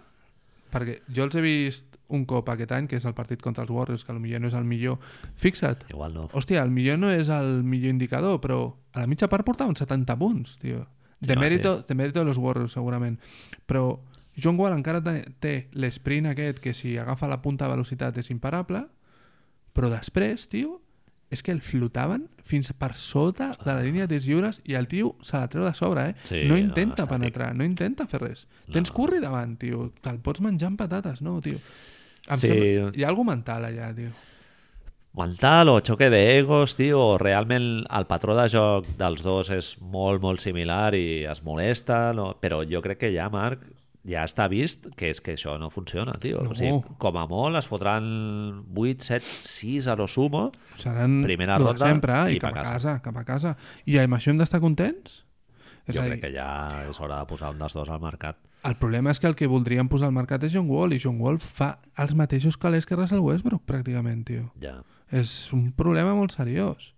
Speaker 2: perquè jo els he vist un cop aquest any, que és el partit contra els Warriors, que potser no és el millor. Fixa't,
Speaker 1: Igual no.
Speaker 2: hòstia, el millor no és el millor indicador, però a la mitja part portaven 70 punts, tio. De,
Speaker 1: home,
Speaker 2: mèrito, de mèrito de los Warriors, segurament. Però John Wall encara te- té l'esprint aquest que si agafa la punta de velocitat és imparable, però després, tio, és que el flotaven fins per sota de la línia de tirs lliures i el tio se la treu de sobre, eh?
Speaker 1: Sí,
Speaker 2: no
Speaker 1: no,
Speaker 2: intenta
Speaker 1: estàtic.
Speaker 2: penetrar, no intenta fer res. Tens curri davant, tio. Te'l pots menjar amb patates, no, tio? Em
Speaker 1: Sí.
Speaker 2: sembla... Hi ha alguna mental allà, tio.
Speaker 1: mental o xoque d'egos, tio, o realment el patró de joc dels dos és molt, molt similar i es molesten, o... però jo crec que ja, Marc, ja està vist que és que això no funciona, tio.
Speaker 2: No.
Speaker 1: O sigui, com a molt es fotran 8, 7, 6 a lo sumo.
Speaker 2: Seran
Speaker 1: Primera
Speaker 2: lo de
Speaker 1: ronda
Speaker 2: sempre
Speaker 1: i
Speaker 2: i, cap
Speaker 1: pa
Speaker 2: a
Speaker 1: casa.
Speaker 2: casa. cap a casa. I amb això hem d'estar contents? És
Speaker 1: jo
Speaker 2: a dir,
Speaker 1: crec que ja és hora de posar un dels dos al mercat.
Speaker 2: El problema és que el que voldríem posar al mercat és John Wall i John Wall fa els mateixos calés que Russell Westbrook, pràcticament, tio.
Speaker 1: Ja,
Speaker 2: És un problema molt seriós.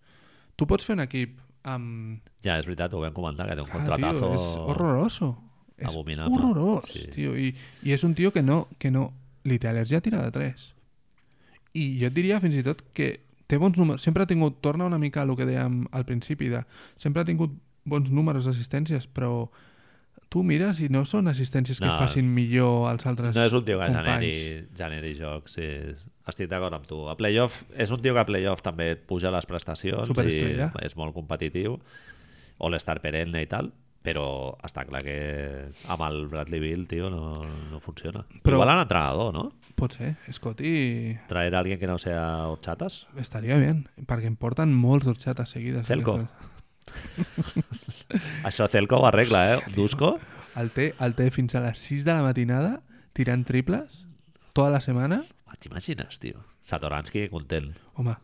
Speaker 2: Tu pots fer un equip amb...
Speaker 1: ja és veritat, ho vam comentar, que té un
Speaker 2: Ah, tio,
Speaker 1: contratazo...
Speaker 2: és horroroso. És
Speaker 1: abominable.
Speaker 2: horrorós,
Speaker 1: Sí.
Speaker 2: tio. I, I és un tio que no, que no... Li té al·lèrgia a tirar de 3. I jo et diria fins i tot que té bons números. Sempre ha tingut... Torna una mica al que dèiem al principi de... Sempre ha tingut bons números d'assistències, però tu mires i no són assistències que
Speaker 1: No.
Speaker 2: facin millor als altres
Speaker 1: No és un tio que generi,
Speaker 2: companys.
Speaker 1: generi jocs, sí. Estic d'acord amb tu. A playoff, és un tio que a playoff també et puja les prestacions i
Speaker 2: Superestrella.
Speaker 1: és molt competitiu. All-Star perenne i tal, però està clar que amb el Bradley Bill, tio, no, no funciona.
Speaker 2: Però-
Speaker 1: Però... Igual en entrenador, no?
Speaker 2: Pot ser, Scotty
Speaker 1: Traer a alguien que no sea horchatas.
Speaker 2: estaria bé, perquè em porten molts dorxates seguides.
Speaker 1: Celco. Això Celco ho arregla, eh? Dusko,
Speaker 2: El té, el té fins a les 6 de la matinada tirant triples tota la setmana.
Speaker 1: Ah, t'imagines, tio? Satoransky content.
Speaker 2: Home,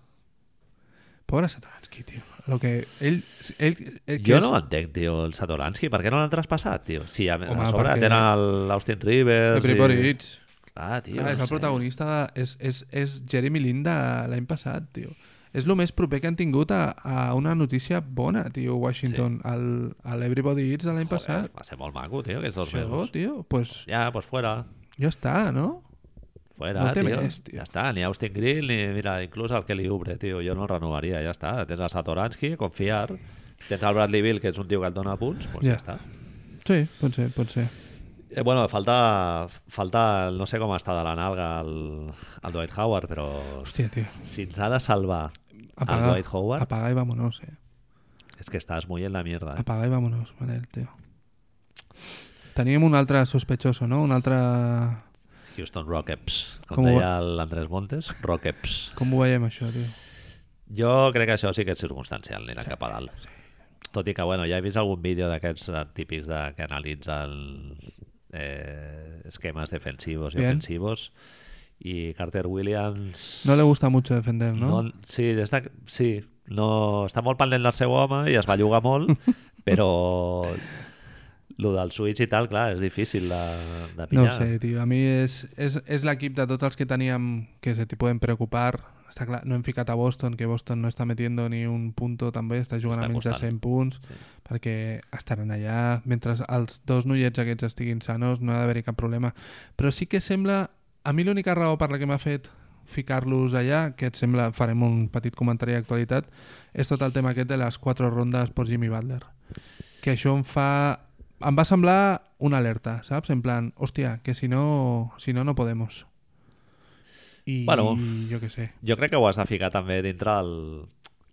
Speaker 2: pobre Satansky, tio. Lo que ell, ell, ell Eh, que
Speaker 1: Jo
Speaker 2: és-
Speaker 1: no entenc, tio, el Satoransky. Per què no l'han traspassat, tio? Si a,
Speaker 2: Home,
Speaker 1: a sobre
Speaker 2: perquè-
Speaker 1: tenen el- l'Austin Rivers...
Speaker 2: Everybody
Speaker 1: i-
Speaker 2: eats.
Speaker 1: Clar, tio,
Speaker 2: Ah, és
Speaker 1: no
Speaker 2: el
Speaker 1: sé.
Speaker 2: protagonista, de, és, és, és Jeremy Lin de l'any passat, tio. És el més proper que han tingut a, a una notícia bona, tio, Washington, al a l'Everybody Eats de l'any
Speaker 1: Joder,
Speaker 2: passat.
Speaker 1: Va ser molt maco, tio, aquests dos
Speaker 2: Això,
Speaker 1: mesos.
Speaker 2: tio, pues
Speaker 1: Ja, pues fuera.
Speaker 2: ja està, no?
Speaker 1: Fuera,
Speaker 2: No te
Speaker 1: tio.
Speaker 2: veres, tio.
Speaker 1: Ja està, ni Austin Grill, ni mira, inclús el Kelly Oubre, tio, jo no el renovaria, ja està. Tens el Satoransky, confiar. Tens el Bradley Bill, que és un tio que et dona punts, doncs ja, ja
Speaker 2: Ja.
Speaker 1: està.
Speaker 2: Sí, pot ser, pot ser.
Speaker 1: Eh, bueno, falta, falta, no sé com està de la nalga el, el Dwight Howard, però
Speaker 2: Hòstia, tio.
Speaker 1: si ens ha de salvar el Dwight Howard,
Speaker 2: Apaga i vámonos, eh.
Speaker 1: és que estàs muy en la mierda. Eh?
Speaker 2: Apaga i vámonos, Manel, tio. Teníem un altre sospechoso, no? Un altre...
Speaker 1: Houston Rockets, com,
Speaker 2: Com ho
Speaker 1: deia l'Andrés Montes, Rockets.
Speaker 2: Com ho veiem, això, tio?
Speaker 1: Jo crec que això sí que és circumstancial, aniran cap a dalt. Tot i que, bueno, ja he vist algun vídeo d'aquests eh, típics de, que analitzen eh, esquemes defensius i
Speaker 2: Bien.
Speaker 1: ofensius i Carter Williams
Speaker 2: No le gusta mucho defender,
Speaker 1: no?
Speaker 2: ¿no?
Speaker 1: no sí, està, sí, no, està molt pendent del seu home i es va llogar molt, però lo del switch i tal, clar, és difícil de, de
Speaker 2: No
Speaker 1: pillar.
Speaker 2: ho sé, tio. A mi és, és, és l'equip de tots els que teníem que se t'hi poden preocupar. Està clar, no hem ficat a Boston, que Boston no està metiendo ni un punto també, està jugant
Speaker 1: Està
Speaker 2: a menys de
Speaker 1: costant.
Speaker 2: 100 punts,
Speaker 1: Sí.
Speaker 2: perquè estaran allà. Mentre els dos noiets aquests estiguin sanos, no ha d'haver-hi cap problema. Però sí que sembla... A mi l'única raó per la que m'ha fet ficar-los allà, que et sembla, farem un petit comentari d'actualitat, és tot el tema aquest de les quatre rondes per Jimmy Butler. Que això em fa... Em va semblar una alerta, saps? En plan, hòstia, que si no, si no, no podemos. I
Speaker 1: Bueno.
Speaker 2: jo què sé.
Speaker 1: Jo crec que ho has de ficar també dintre el...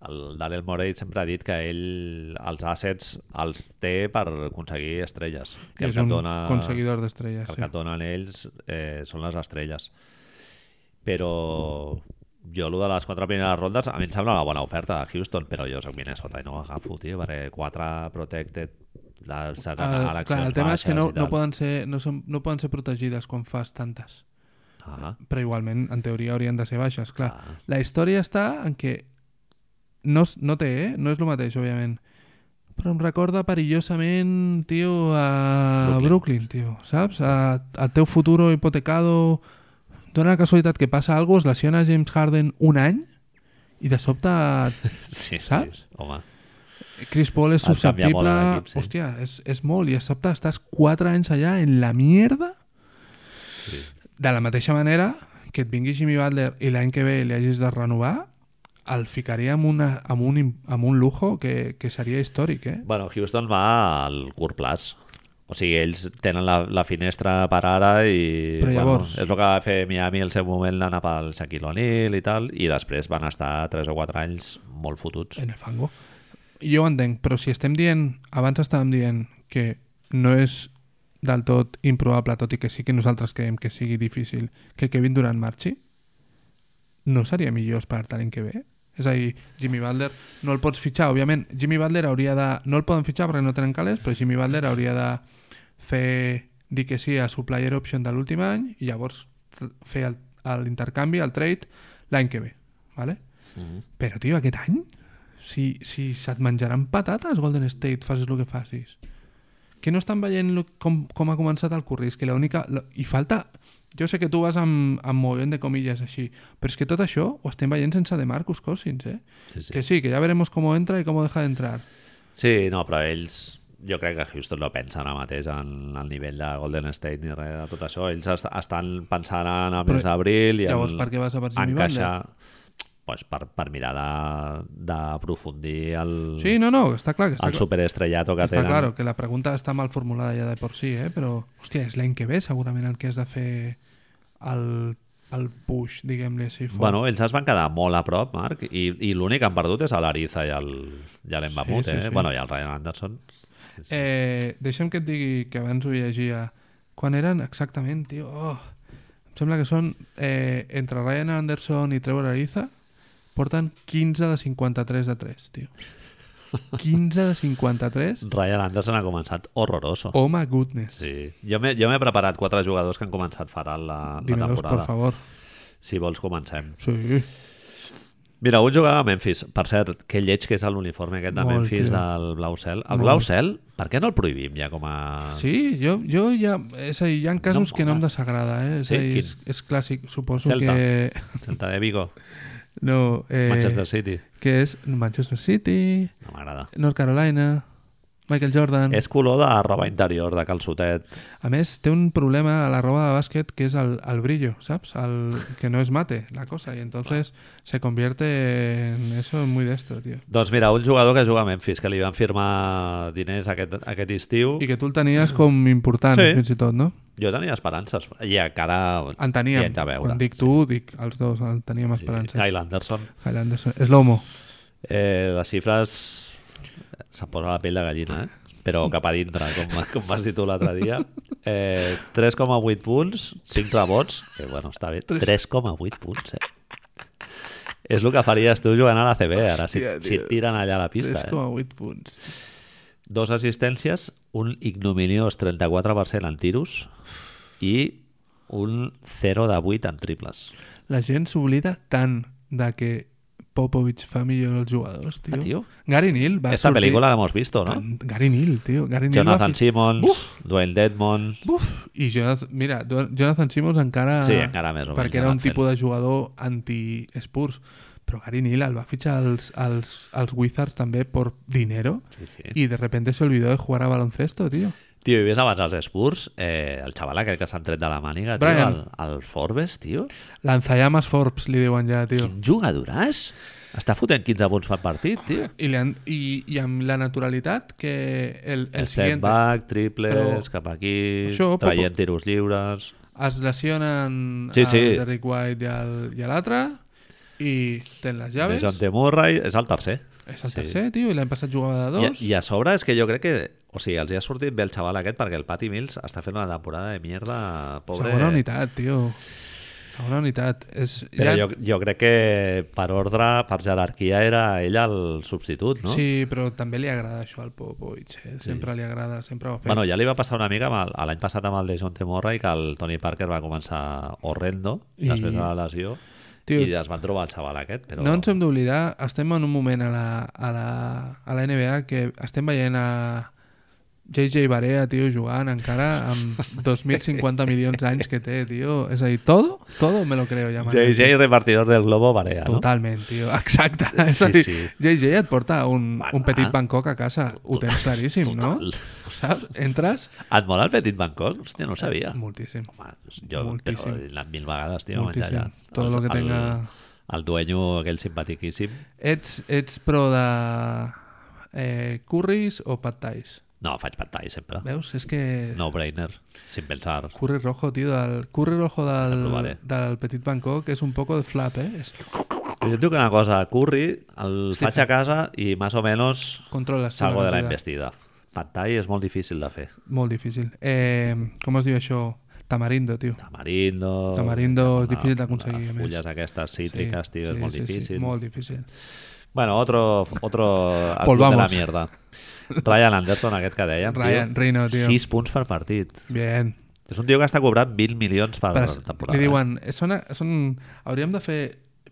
Speaker 1: El Daryl Morey sempre ha dit que ell els assets els té per aconseguir estrelles. Que el
Speaker 2: és
Speaker 1: que et
Speaker 2: un
Speaker 1: dona-
Speaker 2: conseguidor d'estrelles.
Speaker 1: que el
Speaker 2: Sí.
Speaker 1: que et donen ells eh, són les estrelles. Però jo, el de les quatre primeres rondes, a mi em sembla una bona oferta de Houston, però jo soc Minnesota i no agafo, tio, perquè quatre protected, la, seran
Speaker 2: El,
Speaker 1: eleccions
Speaker 2: Eh, Ah, clar, el tema és que
Speaker 1: baixes
Speaker 2: no,
Speaker 1: i
Speaker 2: no,
Speaker 1: tal.
Speaker 2: poden ser, no, són, no poden ser protegides quan fas tantes.
Speaker 1: Ah,
Speaker 2: Però igualment, en teoria, haurien de ser baixes, clar.
Speaker 1: Ah.
Speaker 2: La història està en que no, s- no té, eh? No és el mateix, òbviament. Però em recorda perillosament, tio, a Brooklyn, tio, saps? A, al teu futuro hipotecado... Dóna la casualitat que passa alguna cosa, es lesiona James Harden un any i de sobte
Speaker 1: sí,
Speaker 2: Saps?
Speaker 1: Sí, home,
Speaker 2: Chris Paul és
Speaker 1: Et canvia molt
Speaker 2: susceptible...
Speaker 1: l'equip, sí.
Speaker 2: Hòstia, és, és molt. I de sobte estàs 4 anys allà en la mierda
Speaker 1: sí.
Speaker 2: De la mateixa manera que et vingui Jimmy Butler i l'any que ve li hagis de renovar, el ficaria amb, una, amb, un, im- amb un lujo que, que seria històric, eh?
Speaker 1: Bueno, Houston va al curt plaç. O sigui, ells tenen la, la finestra per ara i
Speaker 2: Però llavors-
Speaker 1: bueno, és el que va fer Miami al seu moment d'anar pel Shaquille O'Neal i tal, i després van estar 3 o 4 anys molt fotuts.
Speaker 2: En el fango. Jo ho entenc, però si estem dient, abans estàvem dient que no és del tot improbable, tot i que sí que nosaltres creiem que sigui difícil que Kevin Durant marxi, no seria millor esperar tant que ve? És a dir, Jimmy Butler no el pots fitxar, òbviament, Jimmy Butler hauria de... No el poden fitxar perquè no tenen calés, però Jimmy Butler hauria de fer dir que sí a su player option de l'últim any i llavors tr- fer el- el- l'intercanvi, el, trade, l'any que ve. ¿vale?
Speaker 1: Mhm.
Speaker 2: Però, tio, aquest any, si, si se't menjaran patates, Golden State, facis el que facis. Que no estan veient lo, com, com ha començat el curri, és que l'única... la- I falta... Jo sé que tu vas amb, amb moviment de comilles així, però és que tot això ho estem veient sense de Marcus Cousins, eh?
Speaker 1: Sí, sí.
Speaker 2: Que sí, que ya veremos cómo entra y cómo deja de entrar.
Speaker 1: Sí, no, però ells... Jo crec que Houston no pensa ara mateix en el nivell de Golden State ni res de tot això. Ells est estan pensant en el mes
Speaker 2: Però
Speaker 1: d'abril i
Speaker 2: llavors
Speaker 1: en
Speaker 2: per què vas a per Jimmy
Speaker 1: encaixar... Pues per, per mirar de- d'aprofundir el,
Speaker 2: Sí, no, no, està clar que està,
Speaker 1: el superestrellato que
Speaker 2: clar, està
Speaker 1: tenen.
Speaker 2: claro, que la pregunta està mal formulada ja de por sí, eh? però, hòstia, és l'any que ve segurament el que has de fer el, el push, diguem-ne així. fort.
Speaker 1: Bueno, ells es van quedar molt a prop, Marc, i, i l'únic que han perdut és a l'Ariza i el, i a l'Embamut, sí,
Speaker 2: Sí, sí,
Speaker 1: sí, eh?
Speaker 2: sí.
Speaker 1: Bueno, i el Ryan Anderson.
Speaker 2: Eh, deixa'm que et digui que abans ho llegia. Quan eren exactament, tio? Oh, em sembla que són eh, entre Ryan Anderson i Trevor Ariza porten 15 de 53 de 3, tio. 15 de 53?
Speaker 1: Ryan Anderson ha començat horroroso.
Speaker 2: Oh my goodness.
Speaker 1: Sí. Jo m'he jo m'he preparat quatre jugadors que han començat fatal la, la
Speaker 2: Dímelos,
Speaker 1: temporada.
Speaker 2: por favor.
Speaker 1: Si vols, comencem.
Speaker 2: Sí.
Speaker 1: Mira, un jugava a Memphis. Per cert, que lleig que és l'uniforme aquest de
Speaker 2: Molt,
Speaker 1: Memphis
Speaker 2: tio.
Speaker 1: del blau cel. El
Speaker 2: Molt.
Speaker 1: blau cel, per què no el prohibim ja com a...
Speaker 2: Sí, jo, jo ja... És a dir, hi ha casos
Speaker 1: Ah. No em
Speaker 2: que no em
Speaker 1: mola.
Speaker 2: desagrada, eh? És,
Speaker 1: Sí,
Speaker 2: a dir,
Speaker 1: quin?
Speaker 2: és, és clàssic, suposo
Speaker 1: Celta.
Speaker 2: que...
Speaker 1: Celta de Vigo,
Speaker 2: No, eh,
Speaker 1: Manchester City.
Speaker 2: Que és Manchester City,
Speaker 1: No m'agrada.
Speaker 2: North Carolina, Michael Jordan...
Speaker 1: És color de roba interior, de calçotet.
Speaker 2: A més, té un problema a la roba de bàsquet que és el, el brillo, ¿sabes? El, que no es mate la cosa. Y entonces se convierte en eso muy de esto, tío.
Speaker 1: Doncs mira, un jugador que juga a Memphis, que li van firmar diners aquest, aquest estiu.
Speaker 2: Y que tú el tenías con importante,
Speaker 1: Sí.
Speaker 2: fins i tot, no?
Speaker 1: Jo tenia esperances. I encara...
Speaker 2: En teníem.
Speaker 1: Hi haig de veure,
Speaker 2: Quan dic tu, dic els dos, el teníem
Speaker 1: Sí,
Speaker 2: esperances.
Speaker 1: Kyle Anderson.
Speaker 2: Kyle Anderson. És l'homo.
Speaker 1: Eh, les xifres... Se'm posa la pell de gallina, eh? Però cap a dintre, com, com vas dir tu l'altre dia. Eh, 3,8 punts, 5 rebots, que bueno, està bé. 3,8 punts, eh? És el que faries tu jugant a la CB, ara, si,
Speaker 2: Hòstia,
Speaker 1: si et tiren allà a la pista. Eh?
Speaker 2: 3,8 punts.
Speaker 1: Dos assistències, un ignominiós 34% en tiros i un 0 de 8 en triples.
Speaker 2: La gent s'oblida tant de que Popovich fa millor els jugadors, tio.
Speaker 1: Ah, tio.
Speaker 2: Gary Neal va
Speaker 1: Esta
Speaker 2: sortir...
Speaker 1: pel·lícula l'hemos visto, no?
Speaker 2: Tant- Gary Neal, tio. Gary Neal va
Speaker 1: Jonathan
Speaker 2: fi-
Speaker 1: Simmons,
Speaker 2: Uf!
Speaker 1: Dwayne Dedmon...
Speaker 2: Buf, i Jonathan, mira, Do- Jonathan Simmons encara...
Speaker 1: Sí, encara més o menys
Speaker 2: Perquè
Speaker 1: anava
Speaker 2: era un
Speaker 1: fent.
Speaker 2: tipus de jugador anti-Spurs. Però Gary Neal el va fitxar als, als, als Wizards també per dinero
Speaker 1: Sí, sí. I...
Speaker 2: y de repente se olvidó de jugar a baloncesto, tío.
Speaker 1: Tio, i vés abans els Spurs, eh, el xaval aquest que s'han tret de la màniga, tio, el,
Speaker 2: Brian.
Speaker 1: el Forbes, tio.
Speaker 2: Lanzallamas Forbes li diuen ja, tio.
Speaker 1: Quin jugadoràs! Està fotent 15 punts per partit, tio.
Speaker 2: I, li han, i, i amb la naturalitat que el, el
Speaker 1: Step
Speaker 2: siguiente
Speaker 1: back, triples,
Speaker 2: Però-
Speaker 1: cap aquí,
Speaker 2: Això, Popo-
Speaker 1: traient tiros lliures...
Speaker 2: es lesionen
Speaker 1: Sí, sí.
Speaker 2: el Derrick White i el- i a l'altre i ten les llaves.
Speaker 1: John Murray és el tercer.
Speaker 2: És el
Speaker 1: Sí.
Speaker 2: tercer, tio, i l'any passat jugava de
Speaker 1: I,
Speaker 2: dos.
Speaker 1: I a sobre és que jo crec que... O sigui, els hi ha sortit bé el xaval aquest perquè el Patty Mills està fent una temporada de mierda, pobre...
Speaker 2: Segona unitat, tio. Segona unitat. És,
Speaker 1: Però jo, jo crec que per ordre, per jerarquia, era ell el substitut, no?
Speaker 2: Sí, però també li agrada això al Popovich. Eh? Sempre li agrada, sempre ho ha fet.
Speaker 1: Bueno, ja li va passar una mica amb el- a l'any passat amb el de John Temorra i que el Tony Parker va començar horrendo
Speaker 2: I-
Speaker 1: I... després de la lesió
Speaker 2: Tio-
Speaker 1: i es van trobar el xaval aquest, però...
Speaker 2: No ens hem d'oblidar, estem en un moment a la, a la, a la NBA que estem veient a JJ Barea, tio, jugant encara amb 2.050 milions d'anys que té, tio. És a dir, todo, todo me lo creo ja. Manel.
Speaker 1: JJ, repartidor del globo, Barea, no?
Speaker 2: Totalment, tio, exacte. És
Speaker 1: Sí,
Speaker 2: a dir,
Speaker 1: sí.
Speaker 2: JJ et porta un,
Speaker 1: Va,
Speaker 2: un petit
Speaker 1: va.
Speaker 2: Bangkok a casa, ho tens claríssim,
Speaker 1: Total.
Speaker 2: no? Saps? Entres...
Speaker 1: Et mola el petit Bangkok? Hòstia, no ho sabia.
Speaker 2: Moltíssim.
Speaker 1: Home, jo Moltíssim.
Speaker 2: Moltíssim.
Speaker 1: he anat mil vegades, tio, a menjar
Speaker 2: Moltíssim.
Speaker 1: allà.
Speaker 2: Todo lo que tenga-
Speaker 1: El, el dueño aquell simpatiquíssim.
Speaker 2: Ets, ets pro de eh, curris o pad thais?
Speaker 1: No, faig pantall sempre.
Speaker 2: Veus? És que...
Speaker 1: No brainer, sin pensar.
Speaker 2: Curry rojo, tio, del curry rojo
Speaker 1: Ja
Speaker 2: del,
Speaker 1: provaré.
Speaker 2: del Petit Bangkok és un poco de flap, eh? És,
Speaker 1: Jo et dic una cosa, Curry el faig a casa i més o menys
Speaker 2: controles. tu
Speaker 1: salgo de la
Speaker 2: quantitat.
Speaker 1: investida. Pantall és molt difícil de fer.
Speaker 2: Molt difícil. Eh, com es diu això? Tamarindo, tio.
Speaker 1: Tamarindo...
Speaker 2: Tamarindo és
Speaker 1: una-
Speaker 2: difícil d'aconseguir, a
Speaker 1: Les
Speaker 2: més.
Speaker 1: fulles aquestes cítriques, tio, és molt difícil.
Speaker 2: Sí, molt difícil.
Speaker 1: Bueno, otro, otro al club de la
Speaker 2: Volvamos.
Speaker 1: mierda. Ryan Anderson, aquest que dèiem.
Speaker 2: Ryan,
Speaker 1: tio,
Speaker 2: Reino, tio.
Speaker 1: 6 punts per partit.
Speaker 2: Bien.
Speaker 1: És un tio que està cobrant 20 milions per,
Speaker 2: Però
Speaker 1: per temporada.
Speaker 2: li diuen, eh, són, són, hauríem de fer,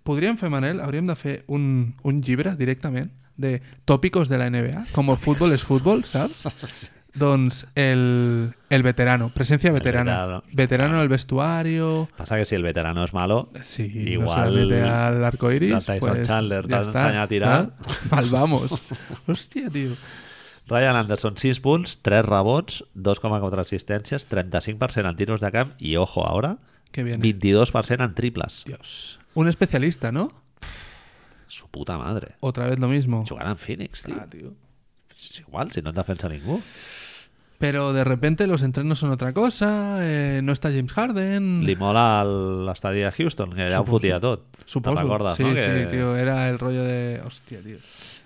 Speaker 2: podríem fer, Manel, hauríem de fer un, un llibre directament de tòpicos de la NBA, com el futbol és futbol, saps? Doncs el, el veterano, presencia veterana.
Speaker 1: veterano. Ah.
Speaker 2: Veterano en el vestuario...
Speaker 1: Passa que si el veterano és malo,
Speaker 2: Sí,
Speaker 1: Igual
Speaker 2: no se la mete al arco iris,
Speaker 1: la Tyson
Speaker 2: pues,
Speaker 1: Chandler
Speaker 2: ya
Speaker 1: t'ha
Speaker 2: está,
Speaker 1: ensenyat a tirar.
Speaker 2: ¿sabes? Mal vamos. Hostia, tío.
Speaker 1: Ryan Anderson, 6 punts, 3 rebots, 2,4 assistències, 35% en tiros de camp i, ojo, ara,
Speaker 2: Qué bien.
Speaker 1: 22% en triples.
Speaker 2: Dios. Un especialista, ¿no?
Speaker 1: Su puta madre.
Speaker 2: Otra vez lo mismo.
Speaker 1: Jugant en Phoenix, tio.
Speaker 2: Ah, tío.
Speaker 1: És igual, si no et defensa ningú.
Speaker 2: Pero de repente los entrenos son otra cosa, eh, no está James Harden.
Speaker 1: Li mola el- l'estadi de Houston, que allà ho
Speaker 2: Mm. Suposo.
Speaker 1: fotia tot. Te'n
Speaker 2: Supongo.
Speaker 1: recordes,
Speaker 2: sí,
Speaker 1: no?
Speaker 2: sí,
Speaker 1: que...
Speaker 2: tío. Era el rollo de. Hostia, tío.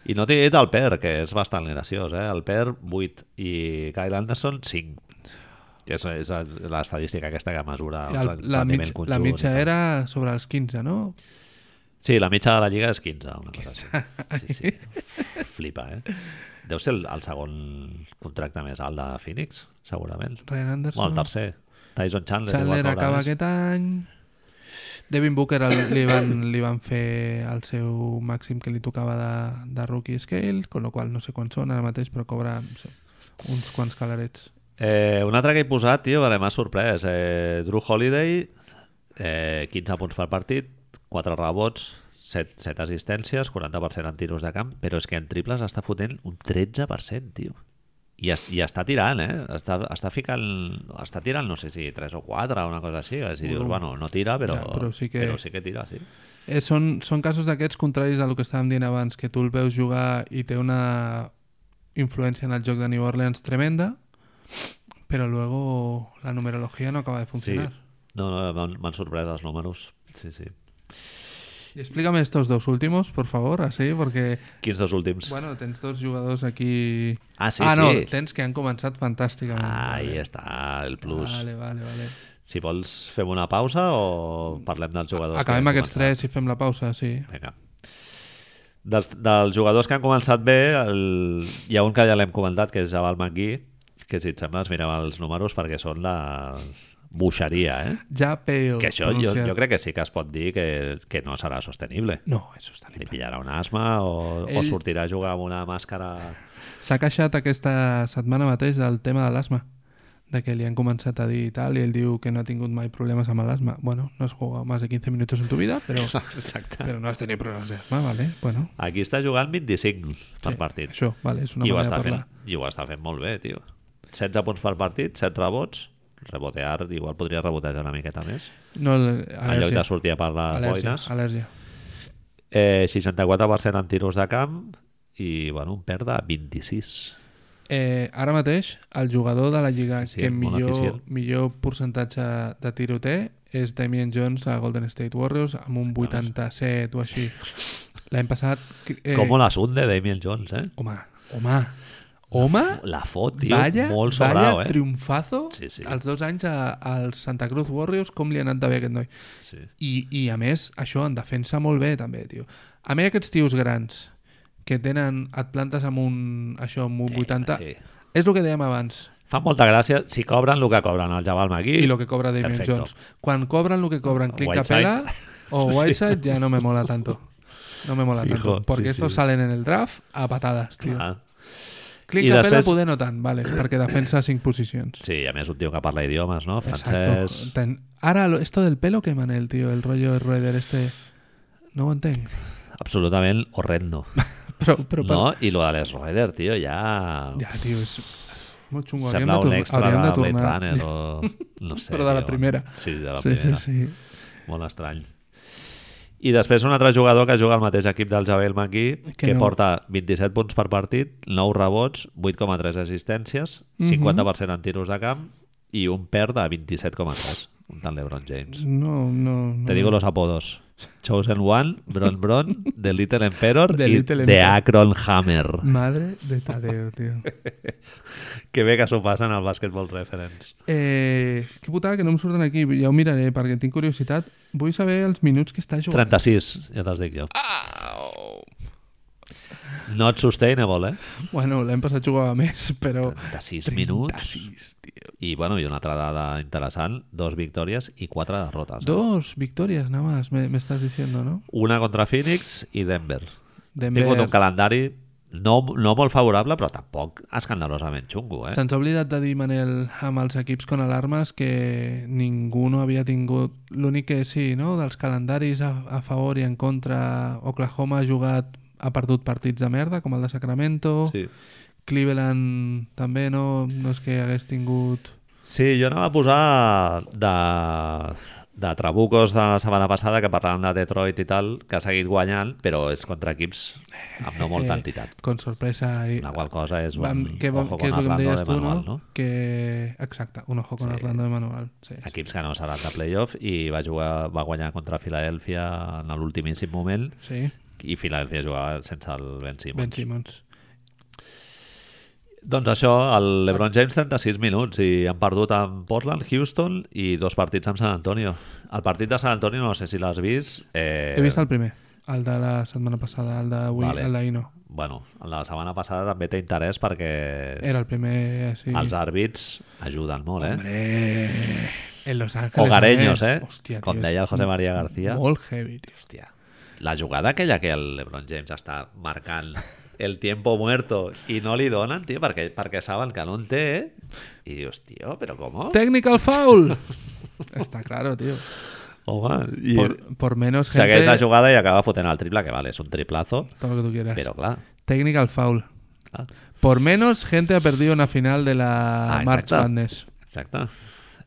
Speaker 1: I no t'he dit el Per, que és bastant graciós, eh? El Per, 8, i Kyle Anderson, 5. Que és, és l'estadística aquesta que mesura el,
Speaker 2: El-
Speaker 1: rendiment
Speaker 2: la, mitja,
Speaker 1: conjunt.
Speaker 2: la
Speaker 1: i
Speaker 2: mitja
Speaker 1: tal.
Speaker 2: era sobre els 15, ¿no?
Speaker 1: Sí, la mitja de la lliga és 15, una cosa així. Sí, sí. Flipa, eh? Deu ser el, el segon contracte més alt de Phoenix, segurament.
Speaker 2: Ryan
Speaker 1: Bueno, el
Speaker 2: Anderson.
Speaker 1: tercer. Tyson Chandler. igual
Speaker 2: Chandler
Speaker 1: cobra
Speaker 2: acaba
Speaker 1: més.
Speaker 2: aquest any. Devin Booker el, li, van, li van fer el seu màxim que li tocava de, de rookie scale, con lo qual no sé quants són ara mateix, però cobra no sé, uns quants calarets.
Speaker 1: Eh, un altre que he posat, tio, que m'ha sorprès. Eh, Drew Holiday, eh, 15 punts per partit, 4 rebots, 7, 7 assistències, 40% en tiros de camp, però és que en triples està fotent un 13%, tio. I, es, I està tirant, eh? Està, està, ficant, està tirant, no sé si 3 o 4 o una cosa així. Si dius,
Speaker 2: Bueno.
Speaker 1: bueno, no tira, però,
Speaker 2: Ja, però sí que-
Speaker 1: però sí que tira, sí.
Speaker 2: Eh, són, són casos d'aquests contraris a lo que estàvem dient abans, que tu el veus jugar i té una influència en el joc de New Orleans tremenda, però luego la numerología no acaba de funcionar.
Speaker 1: Sí. No, no, m'han- m'han sorprès els números. Sí, sí.
Speaker 2: Y explícame estos dos últimos, por favor, así, porque
Speaker 1: Quins dos últims?
Speaker 2: Bueno, tens dos jugadors aquí...
Speaker 1: Ah, sí,
Speaker 2: ah, no,
Speaker 1: sí.
Speaker 2: tens que han començat fantàsticament.
Speaker 1: Ah, ahí està, el plus.
Speaker 2: Vale, vale, vale.
Speaker 1: Si vols, fem una pausa o parlem dels jugadors?
Speaker 2: Acabem
Speaker 1: que han
Speaker 2: aquests
Speaker 1: començat?
Speaker 2: tres i fem la pausa, sí.
Speaker 1: Vinga. Dels, dels jugadors que han començat bé, el, hi ha un que ja l'hem comentat, que és Jabal Magui, que si et sembla, es mirem els números perquè són la buixeria, eh?
Speaker 2: Ja peo.
Speaker 1: Que això jo, jo crec que sí que es pot dir que, que no serà sostenible.
Speaker 2: No, això és
Speaker 1: Li
Speaker 2: terrible.
Speaker 1: pillarà un asma o, Ell... o
Speaker 2: Ell-
Speaker 1: sortirà a jugar amb una màscara...
Speaker 2: S'ha queixat aquesta setmana mateix del tema de l'asma, de que li han començat a dir i tal, i ell diu que no ha tingut mai problemes amb l'asma. Bueno, no has jugado más de 15 minutos en tu vida, però,
Speaker 1: Exacte.
Speaker 2: però no has tenido problemes d'asma, vale? Bueno,
Speaker 1: Aquí està jugant 25 per
Speaker 2: sí,
Speaker 1: partit.
Speaker 2: Això, vale, és una
Speaker 1: I ho,
Speaker 2: manera
Speaker 1: està
Speaker 2: de
Speaker 1: fent,
Speaker 2: parlar.
Speaker 1: I ho està fent molt bé, tio. 16 punts per partit, 7 rebots, rebotear, igual podria rebotejar una miqueta més,
Speaker 2: No, el-
Speaker 1: en lloc de
Speaker 2: al·lèrgia,
Speaker 1: sortir a per les
Speaker 2: al·lèrgia,
Speaker 1: boines.
Speaker 2: al·lèrgia.
Speaker 1: Eh, 64% en tiros de camp i, bueno, un perd de 26.
Speaker 2: Eh, ara mateix, el jugador de la Lliga
Speaker 1: Sí,
Speaker 2: que
Speaker 1: molt
Speaker 2: millor,
Speaker 1: eficient.
Speaker 2: millor percentatge de tiro té és Damien Jones a Golden State Warriors amb un 87 o així. L'any passat... Eh,
Speaker 1: Eh. Com la sunde Damien Jones, eh?
Speaker 2: Home, home, home,
Speaker 1: La fot, tio,
Speaker 2: vaya,
Speaker 1: molt
Speaker 2: vaya
Speaker 1: sobrau, eh?
Speaker 2: triomfazo
Speaker 1: Sí, sí.
Speaker 2: els dos anys a- als Santa Cruz Warriors, com li ha anat de bé aquest noi.
Speaker 1: Sí.
Speaker 2: I, I a més, això en defensa molt bé també, tio. A mi aquests tios grans que tenen, et plantes amb un, això, amb un 80...
Speaker 1: sí.
Speaker 2: És el que dèiem abans.
Speaker 1: Fa molta gràcia si cobren el que cobren el Jabal Magui.
Speaker 2: y lo que cobra Damien
Speaker 1: Perfecto.
Speaker 2: Jones. Cuando cobran lo que cobran Click
Speaker 1: Whiteside.
Speaker 2: Capela o Whiteside, ya no me mola tanto. No me mola
Speaker 1: Fijo,
Speaker 2: tanto. Porque
Speaker 1: sí,
Speaker 2: estos
Speaker 1: sí.
Speaker 2: salen en el draft a patadas, tío.
Speaker 1: Ah,
Speaker 2: Click
Speaker 1: I
Speaker 2: Capela
Speaker 1: després-
Speaker 2: poder no tant, vale, perquè defensa cinc posicions.
Speaker 1: sí, a més un tio que parla idiomes, no? Francès...
Speaker 2: Exacto. Ten- Ahora, lo- esto del pelo que manel, tío, el rollo de Roeder este... No ho entenc.
Speaker 1: Absolutament horrendo.
Speaker 2: Però, però per-
Speaker 1: No? I lo de Les Rider, tio, ja...
Speaker 2: Ja, tio, és molt xungo.
Speaker 1: Sembla un
Speaker 2: Hauríem de,
Speaker 1: extra
Speaker 2: tornar- hauríem
Speaker 1: de
Speaker 2: de
Speaker 1: Blade
Speaker 2: tornar.
Speaker 1: Runner o... No sé,
Speaker 2: Però de la
Speaker 1: tio.
Speaker 2: primera.
Speaker 1: Sí, de la
Speaker 2: sí, sí,
Speaker 1: primera.
Speaker 2: sí.
Speaker 1: Molt estrany. I després un altre jugador que juga al mateix equip del Javel Maquí, que,
Speaker 2: Que no.
Speaker 1: porta 27 punts per partit, 9 rebots, 8,3 assistències,
Speaker 2: Mhm.
Speaker 1: 50% en tiros de camp i un per de 27,3, un tal LeBron James.
Speaker 2: No, no, no.
Speaker 1: Te digo los apodos. Chosen One, Bron Bron, The Little Emperor
Speaker 2: The
Speaker 1: i
Speaker 2: Little
Speaker 1: The
Speaker 2: Emperor.
Speaker 1: Akron Hammer.
Speaker 2: Madre de Tadeo, tío.
Speaker 1: Que bé que s'ho passen al Basketball Reference.
Speaker 2: Eh, que putada que no em surten aquí. Ja ho miraré perquè tinc curiositat. Vull saber els minuts que està jugant.
Speaker 1: 36, ja te'ls dic jo. Not sustainable, eh?
Speaker 2: Bueno, l'any passat jugava més, però...
Speaker 1: 36 minuts.
Speaker 2: 36, tio.
Speaker 1: I, bueno, i una altra dada interessant, dos victòries i quatre derrotes.
Speaker 2: Dos victòries, nada más, me, me estás diciendo, ¿no?
Speaker 1: Una contra Phoenix i Denver. Denver.
Speaker 2: Denver.
Speaker 1: Tingut un calendari no, no molt favorable, però tampoc escandalosament xungo, eh?
Speaker 2: Se'ns ha oblidat de dir, Manel, amb els equips con alarmes que ningú no havia tingut... L'únic que sí, no?, dels calendaris a, a favor i en contra. Oklahoma ha jugat, ha perdut partits de merda, com el de Sacramento.
Speaker 1: Sí.
Speaker 2: Cleveland també, no? No és que hagués tingut...
Speaker 1: Sí, jo anava a posar de, de Trabucos de la setmana passada, que parlàvem de Detroit i tal, que ha seguit guanyant, però és contra equips amb no molta entitat.
Speaker 2: Con sorpresa i...
Speaker 1: La qual cosa és un
Speaker 2: Vam, que, vam,
Speaker 1: ojo
Speaker 2: que
Speaker 1: con
Speaker 2: és el que em
Speaker 1: Orlando
Speaker 2: deies
Speaker 1: de
Speaker 2: tu, no?
Speaker 1: manual, no?
Speaker 2: Que... Exacte, un ojo con
Speaker 1: Sí.
Speaker 2: Orlando de manual. Sí, sí.
Speaker 1: Equips que no seran de playoff i va, jugar, va guanyar contra Filadèlfia en l'ultimíssim moment
Speaker 2: sí.
Speaker 1: i Filadèlfia jugava sense el Ben Simmons.
Speaker 2: Ben Simmons.
Speaker 1: Doncs això, el LeBron James 36 minuts i han perdut amb Portland, Houston i dos partits amb San Antonio. El partit de San Antonio, no sé si l'has vist... Eh,
Speaker 2: He vist el primer, el de la setmana passada, el d'avui,
Speaker 1: Vale.
Speaker 2: vale. el d'ahir no.
Speaker 1: Bueno, el de la setmana passada també té interès perquè Eh,
Speaker 2: Era el primer, Eh, sí.
Speaker 1: els àrbits ajuden molt, eh?
Speaker 2: Hombre, en Los Ángeles.
Speaker 1: Hogareños,
Speaker 2: a
Speaker 1: eh?
Speaker 2: més. Hòstia,
Speaker 1: Com
Speaker 2: tio,
Speaker 1: deia el
Speaker 2: és
Speaker 1: José María García.
Speaker 2: Molt heavy, tio.
Speaker 1: Hòstia. La jugada aquella que el LeBron James està marcant el tiempo muerto i no li donen, tio, perquè, perquè saben que no en té, eh? i dius, tio, però com?
Speaker 2: Technical foul! Està claro, tio.
Speaker 1: Home, i
Speaker 2: Por, por menos gente...
Speaker 1: segueix la jugada i acaba fotent el triple, que vale, és un triplazo,
Speaker 2: Todo lo que tú quieras.
Speaker 1: però clar,
Speaker 2: Technical foul.
Speaker 1: clar
Speaker 2: Por menos gente ha perdido una final de la
Speaker 1: Ah,
Speaker 2: March
Speaker 1: exacte.
Speaker 2: Madness.
Speaker 1: exacte,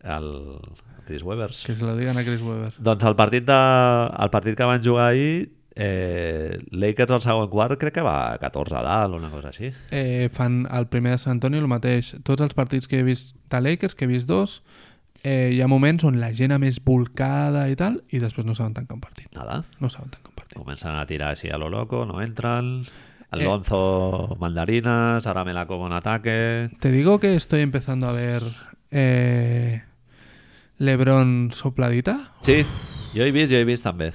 Speaker 1: el Chris Webers.
Speaker 2: Que se lo digan a Chris Webber.
Speaker 1: Doncs el partit, de, el partit que van jugar ahir, eh, Lakers al segon quart crec que va 14 a dalt o una cosa així.
Speaker 2: Eh, fan el primer de Sant Antonio el mateix. Tots els partits que he vist de Lakers, que he vist dos, eh, hi ha moments on la gent a més volcada i tal, i després no saben tancar un partit.
Speaker 1: Nada,
Speaker 2: No saben tancar un partit.
Speaker 1: comencen a tirar així a lo loco, no entren, el
Speaker 2: Eh.
Speaker 1: Lonzo mandarinas, ara me la como en ataque...
Speaker 2: Te digo que estoy empezando a ver eh, LeBron sopladita.
Speaker 1: Sí, jo he vist, jo he vist també.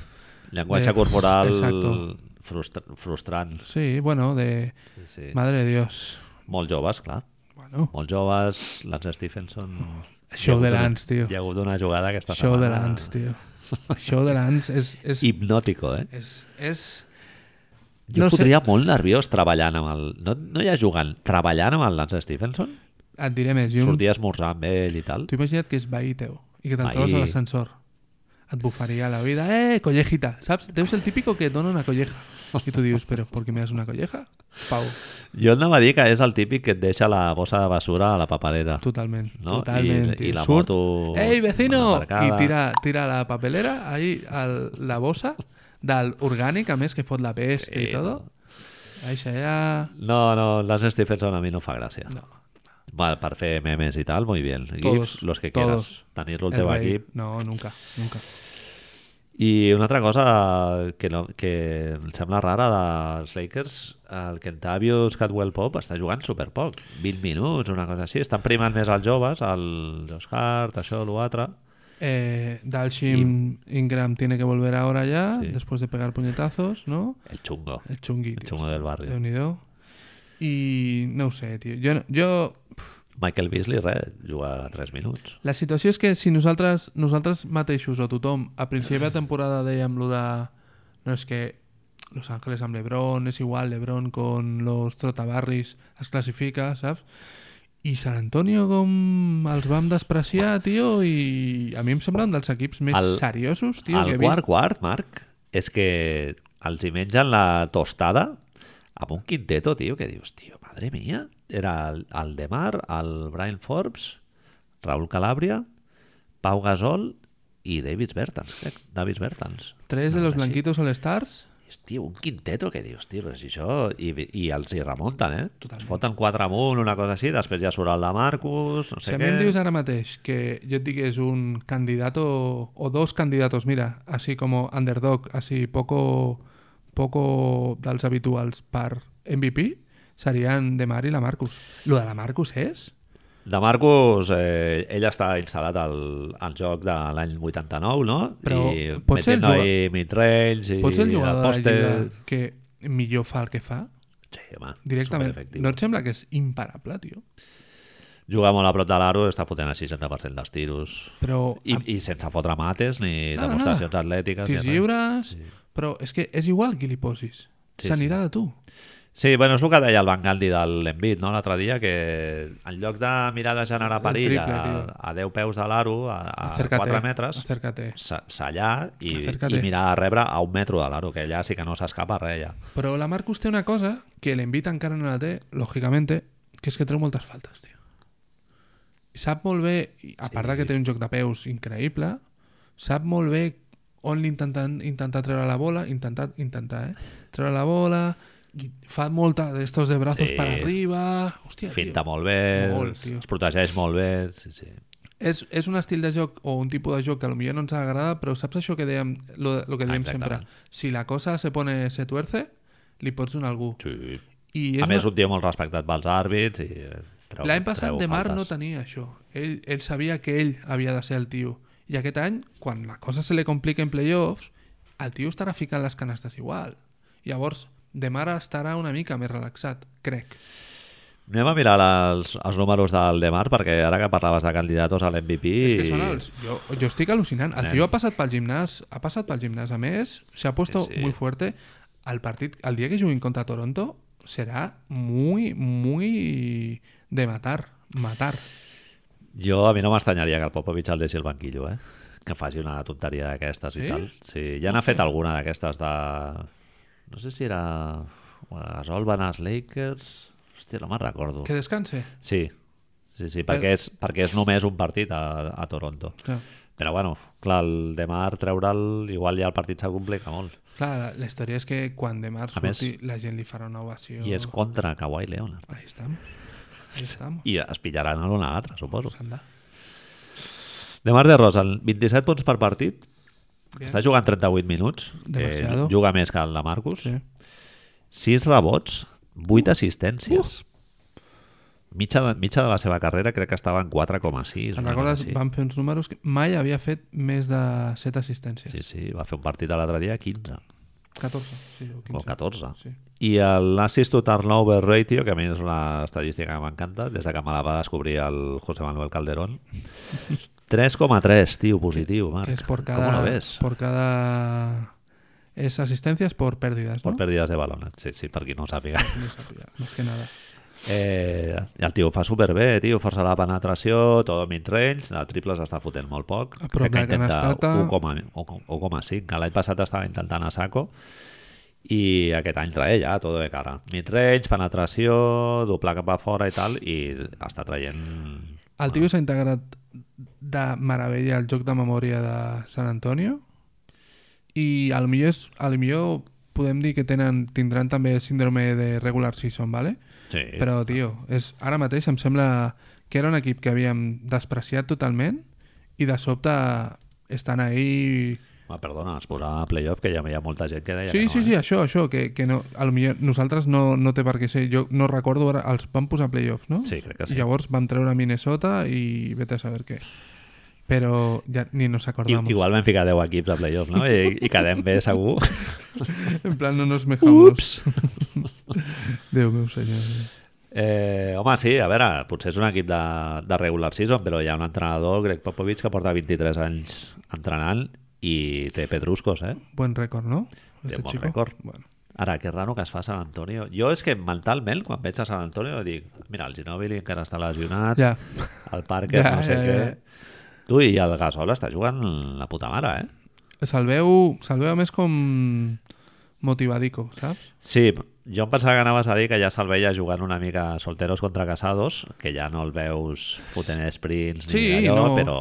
Speaker 1: Llenguatge
Speaker 2: Eh,
Speaker 1: corporal
Speaker 2: exacto.
Speaker 1: frustra frustrant.
Speaker 2: Sí, bueno, de...
Speaker 1: Sí, sí.
Speaker 2: Madre de Dios.
Speaker 1: Molt joves, clar.
Speaker 2: Bueno,
Speaker 1: Molt joves, Lance Stephenson...
Speaker 2: show de
Speaker 1: Hi ha hagut una-
Speaker 2: Lance, tio.
Speaker 1: Hi ha hagut una jugada aquesta
Speaker 2: Show de
Speaker 1: setmana.
Speaker 2: Lance, tio. Show de Lance és... és...
Speaker 1: Hipnòtico, eh?
Speaker 2: És, és...
Speaker 1: Jo no
Speaker 2: No
Speaker 1: em
Speaker 2: sé.
Speaker 1: fotria molt nerviós treballant amb el... No, no ja jugant, treballant amb el Lance Stephenson?
Speaker 2: Et diré més,
Speaker 1: Jo...
Speaker 2: jo...
Speaker 1: Sortir a esmorzar amb ell i tal?
Speaker 2: T'ho imagina't que és veí teu i que te'n
Speaker 1: Veí.
Speaker 2: trobes a l'ascensor. Et bufaria la vida. Eh, collejita, saps? Deu ser el típico que et dona una colleja. I tu dius, però per què me das una colleja? Pau,
Speaker 1: Jo anava a dir que és el típic que et deixa la bossa de basura a la paperera.
Speaker 2: totalment.
Speaker 1: No?
Speaker 2: totalment
Speaker 1: I- i
Speaker 2: tio.
Speaker 1: la
Speaker 2: Surt,
Speaker 1: moto
Speaker 2: Ei,
Speaker 1: mal
Speaker 2: vecino!
Speaker 1: aparcada.
Speaker 2: I tira, tira la papelera, ahí, al, la bossa del orgànic, a més, que fot la peste
Speaker 1: Sí,
Speaker 2: i tot.
Speaker 1: no.
Speaker 2: Deixa ja...
Speaker 1: No, no, Lance Stephenson a mi no em fa gràcia.
Speaker 2: No.
Speaker 1: Va, per fer memes i tal, muy bien. GIFs,
Speaker 2: Todos,
Speaker 1: los que
Speaker 2: todos.
Speaker 1: quieras. Tenir-lo al
Speaker 2: El
Speaker 1: teu
Speaker 2: rei.
Speaker 1: equip.
Speaker 2: No, nunca, nunca.
Speaker 1: I una altra cosa que, no, que em sembla rara dels Lakers, el Kentavius Catwell Pop està jugant super poc, 20 minuts, una cosa així. Estan primant més els joves, el Josh Hart, això, l'altre.
Speaker 2: Eh, Dalshim Ingram tiene que volver ahora ya,
Speaker 1: Sí.
Speaker 2: después de pegar puñetazos, ¿no?
Speaker 1: El xungo,
Speaker 2: El chungui,
Speaker 1: el
Speaker 2: tío.
Speaker 1: xungo del barri.
Speaker 2: Déu-n'hi-do. I no ho sé, tio. Jo, no- jo...
Speaker 1: Michael Beasley, res, juga 3 minuts.
Speaker 2: La situació és que si nosaltres, nosaltres mateixos o tothom a principi de temporada dèiem lo de... No, és que Los Ángeles amb LeBron, és igual, LeBron con los trotabarris es classifica, saps? I San Antonio com els vam despreciar, tio, i a mi em sembla un dels equips més
Speaker 1: El-
Speaker 2: seriosos, tio, que
Speaker 1: el
Speaker 2: he
Speaker 1: quart
Speaker 2: vist.
Speaker 1: quart, Marc, és que els hi mengen la tostada amb un quinteto, tio, que dius, tio, madre mía, era el, el Demar, el Brian Forbes, Raúl Calabria, Pau Gasol i Davis Bertans, crec, Davis Bertans.
Speaker 2: Tres de
Speaker 1: Una
Speaker 2: los
Speaker 1: cosa així.
Speaker 2: blanquitos all-stars.
Speaker 1: És, tio, un quinteto que dius, tio, però si això... I, I els hi remunten, eh? Es foten quatre amunt, una cosa així, després ja surt el de Marcus, no
Speaker 2: Si
Speaker 1: sé
Speaker 2: a mi
Speaker 1: què...
Speaker 2: em dius ara mateix que jo et dic que és un candidato o dos candidatos, mira, así como underdog, así poco, poco dels habituals per MVP, serien de Mar i la Marcus. Lo de la Marcus és?
Speaker 1: De Marcus, eh, ell està instal·lat al, al joc de l'any 89, no?
Speaker 2: Però
Speaker 1: I
Speaker 2: pot ser
Speaker 1: metent
Speaker 2: el juga-
Speaker 1: ahí mid-range i
Speaker 2: Pot ser el
Speaker 1: al
Speaker 2: jugador de la
Speaker 1: poste...
Speaker 2: lliga que millor fa el que fa,
Speaker 1: Sí, home,
Speaker 2: directament.
Speaker 1: superefectiu.
Speaker 2: No et sembla que és imparable, tio?
Speaker 1: Juga molt a prop de l'aro, està fotent el 60% dels tiros.
Speaker 2: Però
Speaker 1: I, eh?
Speaker 2: amb
Speaker 1: I sense fotre mates ni
Speaker 2: Nada,
Speaker 1: demostracions
Speaker 2: nada.
Speaker 1: atlètiques. ni
Speaker 2: tirs
Speaker 1: res.
Speaker 2: lliures... Però és que és igual qui li posis.
Speaker 1: Sí,
Speaker 2: S'anirà de tu.
Speaker 1: Sí, bueno, és el que deia el Van Gandhi de l'Envit, no?, l'altre dia, que en lloc de mirar de generar
Speaker 2: El
Speaker 1: perill
Speaker 2: triple,
Speaker 1: a, a 10 peus de l'aro, a, a 4 metres,
Speaker 2: Acércate.
Speaker 1: s- s'allar i,
Speaker 2: Acércate.
Speaker 1: i mirar a rebre a un metro de l'aro, que allà sí que no s'escapa res, ja.
Speaker 2: Però la Marcus té una cosa que l'envita encara no la té, lògicamente, que és que treu moltes faltes, tio. Sap molt bé, i a part de que té un joc de peus increïble, sap molt bé on li intentant, intentar treure la bola, intentar, intentar, eh? Treure la bola, i fa molta d'estos de brazos
Speaker 1: Sí.
Speaker 2: per arriba... Hòstia,
Speaker 1: Finta
Speaker 2: tio.
Speaker 1: molt bé,
Speaker 2: Molt,
Speaker 1: es-
Speaker 2: tio.
Speaker 1: es protegeix molt bé, sí, sí.
Speaker 2: És, és un estil de joc o un tipus de joc que a lo millor no ens agrada, però saps això que dèiem, lo, lo que diem sempre?
Speaker 1: Exactament.
Speaker 2: Si la cosa se pone, se tuerce, li pots donar a algú.
Speaker 1: sí.
Speaker 2: I és
Speaker 1: A
Speaker 2: una-
Speaker 1: més, un tio molt respectat pels àrbits i eh, treu,
Speaker 2: L'any passat
Speaker 1: treu
Speaker 2: de Mar
Speaker 1: faltes.
Speaker 2: no tenia això. Ell, ell sabia que ell havia de ser el tio. I aquest any, quan la cosa se li complica en playoffs, el tio estarà ficant les canastes igual. Llavors, de Mar estarà una mica més relaxat, crec.
Speaker 1: Anem a mirar els, els números del Demar, perquè ara que parlaves de candidatos a l'MVP...
Speaker 2: I... És que són els... Jo, jo estic al·lucinant. El
Speaker 1: Nen.
Speaker 2: tio ha passat pel gimnàs, ha passat pel gimnàs a més, s'ha puesto
Speaker 1: Sí, sí.
Speaker 2: sí, muy fuerte. El partit, el dia que juguin contra Toronto, serà muy, muy de matar. Matar.
Speaker 1: Jo, a mi no m'estranyaria que el Popovich el deixi al banquillo, eh? Que faci una tonteria d'aquestes
Speaker 2: Sí?
Speaker 1: i tal. Sí, ja n'ha fet alguna d'aquestes de... No sé si era... Gasol van als Lakers... Hòstia, no me'n recordo.
Speaker 2: Que descanse.
Speaker 1: Sí, sí, sí,
Speaker 2: Però-
Speaker 1: perquè és, perquè és només un partit a, a Toronto.
Speaker 2: Clar.
Speaker 1: Però bueno, clar, el Demar treure'l, igual ja el partit se complica molt.
Speaker 2: Clar, la, la història és que quan de març
Speaker 1: A més-
Speaker 2: surti la gent li farà una ovació.
Speaker 1: I és contra Kawhi Leonard.
Speaker 2: Ahí estem. Ahí Pues estem.
Speaker 1: I es pillaran a l'un a l'altre, suposo.
Speaker 2: Sanda.
Speaker 1: Demar de Rosa, 27 punts per partit.
Speaker 2: Bien.
Speaker 1: Està jugant 38 minuts. Que
Speaker 2: Demasiado.
Speaker 1: juga més que el la Marcus.
Speaker 2: Sí. Uh.
Speaker 1: 6 rebots, 8 assistències. Mitja, de, mitja de la seva carrera crec que estava en 4,6.
Speaker 2: Te'n
Speaker 1: una
Speaker 2: recordes?
Speaker 1: cosa així.
Speaker 2: Van fer uns números que mai havia fet més de 7 assistències.
Speaker 1: Sí, sí, va fer un partit l'altre dia 15
Speaker 2: 14. Sí, o 15.
Speaker 1: o 14.
Speaker 2: Sí.
Speaker 1: I el assist to turnover ratio, que a mi és una estadística que m'encanta, des de que me la va descobrir el José Manuel Calderón, 3,3, tio, positiu, Marc.
Speaker 2: Que és por
Speaker 1: Com
Speaker 2: cada...
Speaker 1: ho ves?
Speaker 2: Por cada... És assistències por pèrdides,
Speaker 1: Por
Speaker 2: no?
Speaker 1: pèrdides de balón, eh? sí, sí, per qui no ho sàpiga.
Speaker 2: No sabia, més que nada.
Speaker 1: Eh, i el tio ho fa superbé, tio, força la penetració, tot mid-range, de triples està fotent molt poc.
Speaker 2: A prop
Speaker 1: Crec que
Speaker 2: de
Speaker 1: intenta
Speaker 2: canastata.
Speaker 1: 1,1, 1,5, que l'any passat estava intentant a saco, i aquest any trae ja, tot de cara. Mid-range, penetració, doblar cap a fora i tal, i està traient...
Speaker 2: El tio s'ha integrat de meravella al joc de memòria de San Antonio i al millor, és, al millor podem dir que tenen, tindran també síndrome de regular season, ¿vale?
Speaker 1: Sí,
Speaker 2: Però, tio, és, ara mateix em sembla que era un equip que havíem despreciat totalment i de sobte estan ahí...
Speaker 1: Ma, Ah, perdona, es posava a playoff, que ja hi ha molta gent que deia
Speaker 2: Sí,
Speaker 1: que no,
Speaker 2: sí, sí,
Speaker 1: eh?
Speaker 2: això, això, que, que no, a lo millor nosaltres no, no té per què ser. Jo no recordo, ara, els van posar a playoffs, no?
Speaker 1: Sí, crec que sí.
Speaker 2: I llavors vam treure Minnesota i vete a saber què. Però ja ni nos
Speaker 1: I,
Speaker 2: acordamos.
Speaker 1: igual vam ficar 10 equips a playoff, no? I, i quedem bé, segur.
Speaker 2: En plan, no nos mejamos. Ups! Déu meu senyor.
Speaker 1: Eh, home, sí, a veure, potser és un equip de, de regular season, però hi ha un entrenador, Greg Popovich, que porta 23 anys entrenant i té pedruscos, eh?
Speaker 2: Buen rècord, no?
Speaker 1: Té
Speaker 2: Este
Speaker 1: bon
Speaker 2: chico.
Speaker 1: rècord.
Speaker 2: Bueno,
Speaker 1: Ara, que raro que es fa a San Antonio. Jo és que mentalment, quan veig a San Antonio, dic, mira, el Ginobili encara està lesionat,
Speaker 2: ja.
Speaker 1: el Parker,
Speaker 2: Ja,
Speaker 1: no sé
Speaker 2: ja,
Speaker 1: què...
Speaker 2: ja.
Speaker 1: Tu, i el Gasol està jugant la puta mare, eh?
Speaker 2: Se'l veu, se'l veu a més com motivadico, saps?
Speaker 1: Sí, jo em pensava que anaves a dir que ja se'l veia jugant una mica solteros contra casados, que ja no el veus fotent sprints ni
Speaker 2: Sí,
Speaker 1: allò,
Speaker 2: no.
Speaker 1: però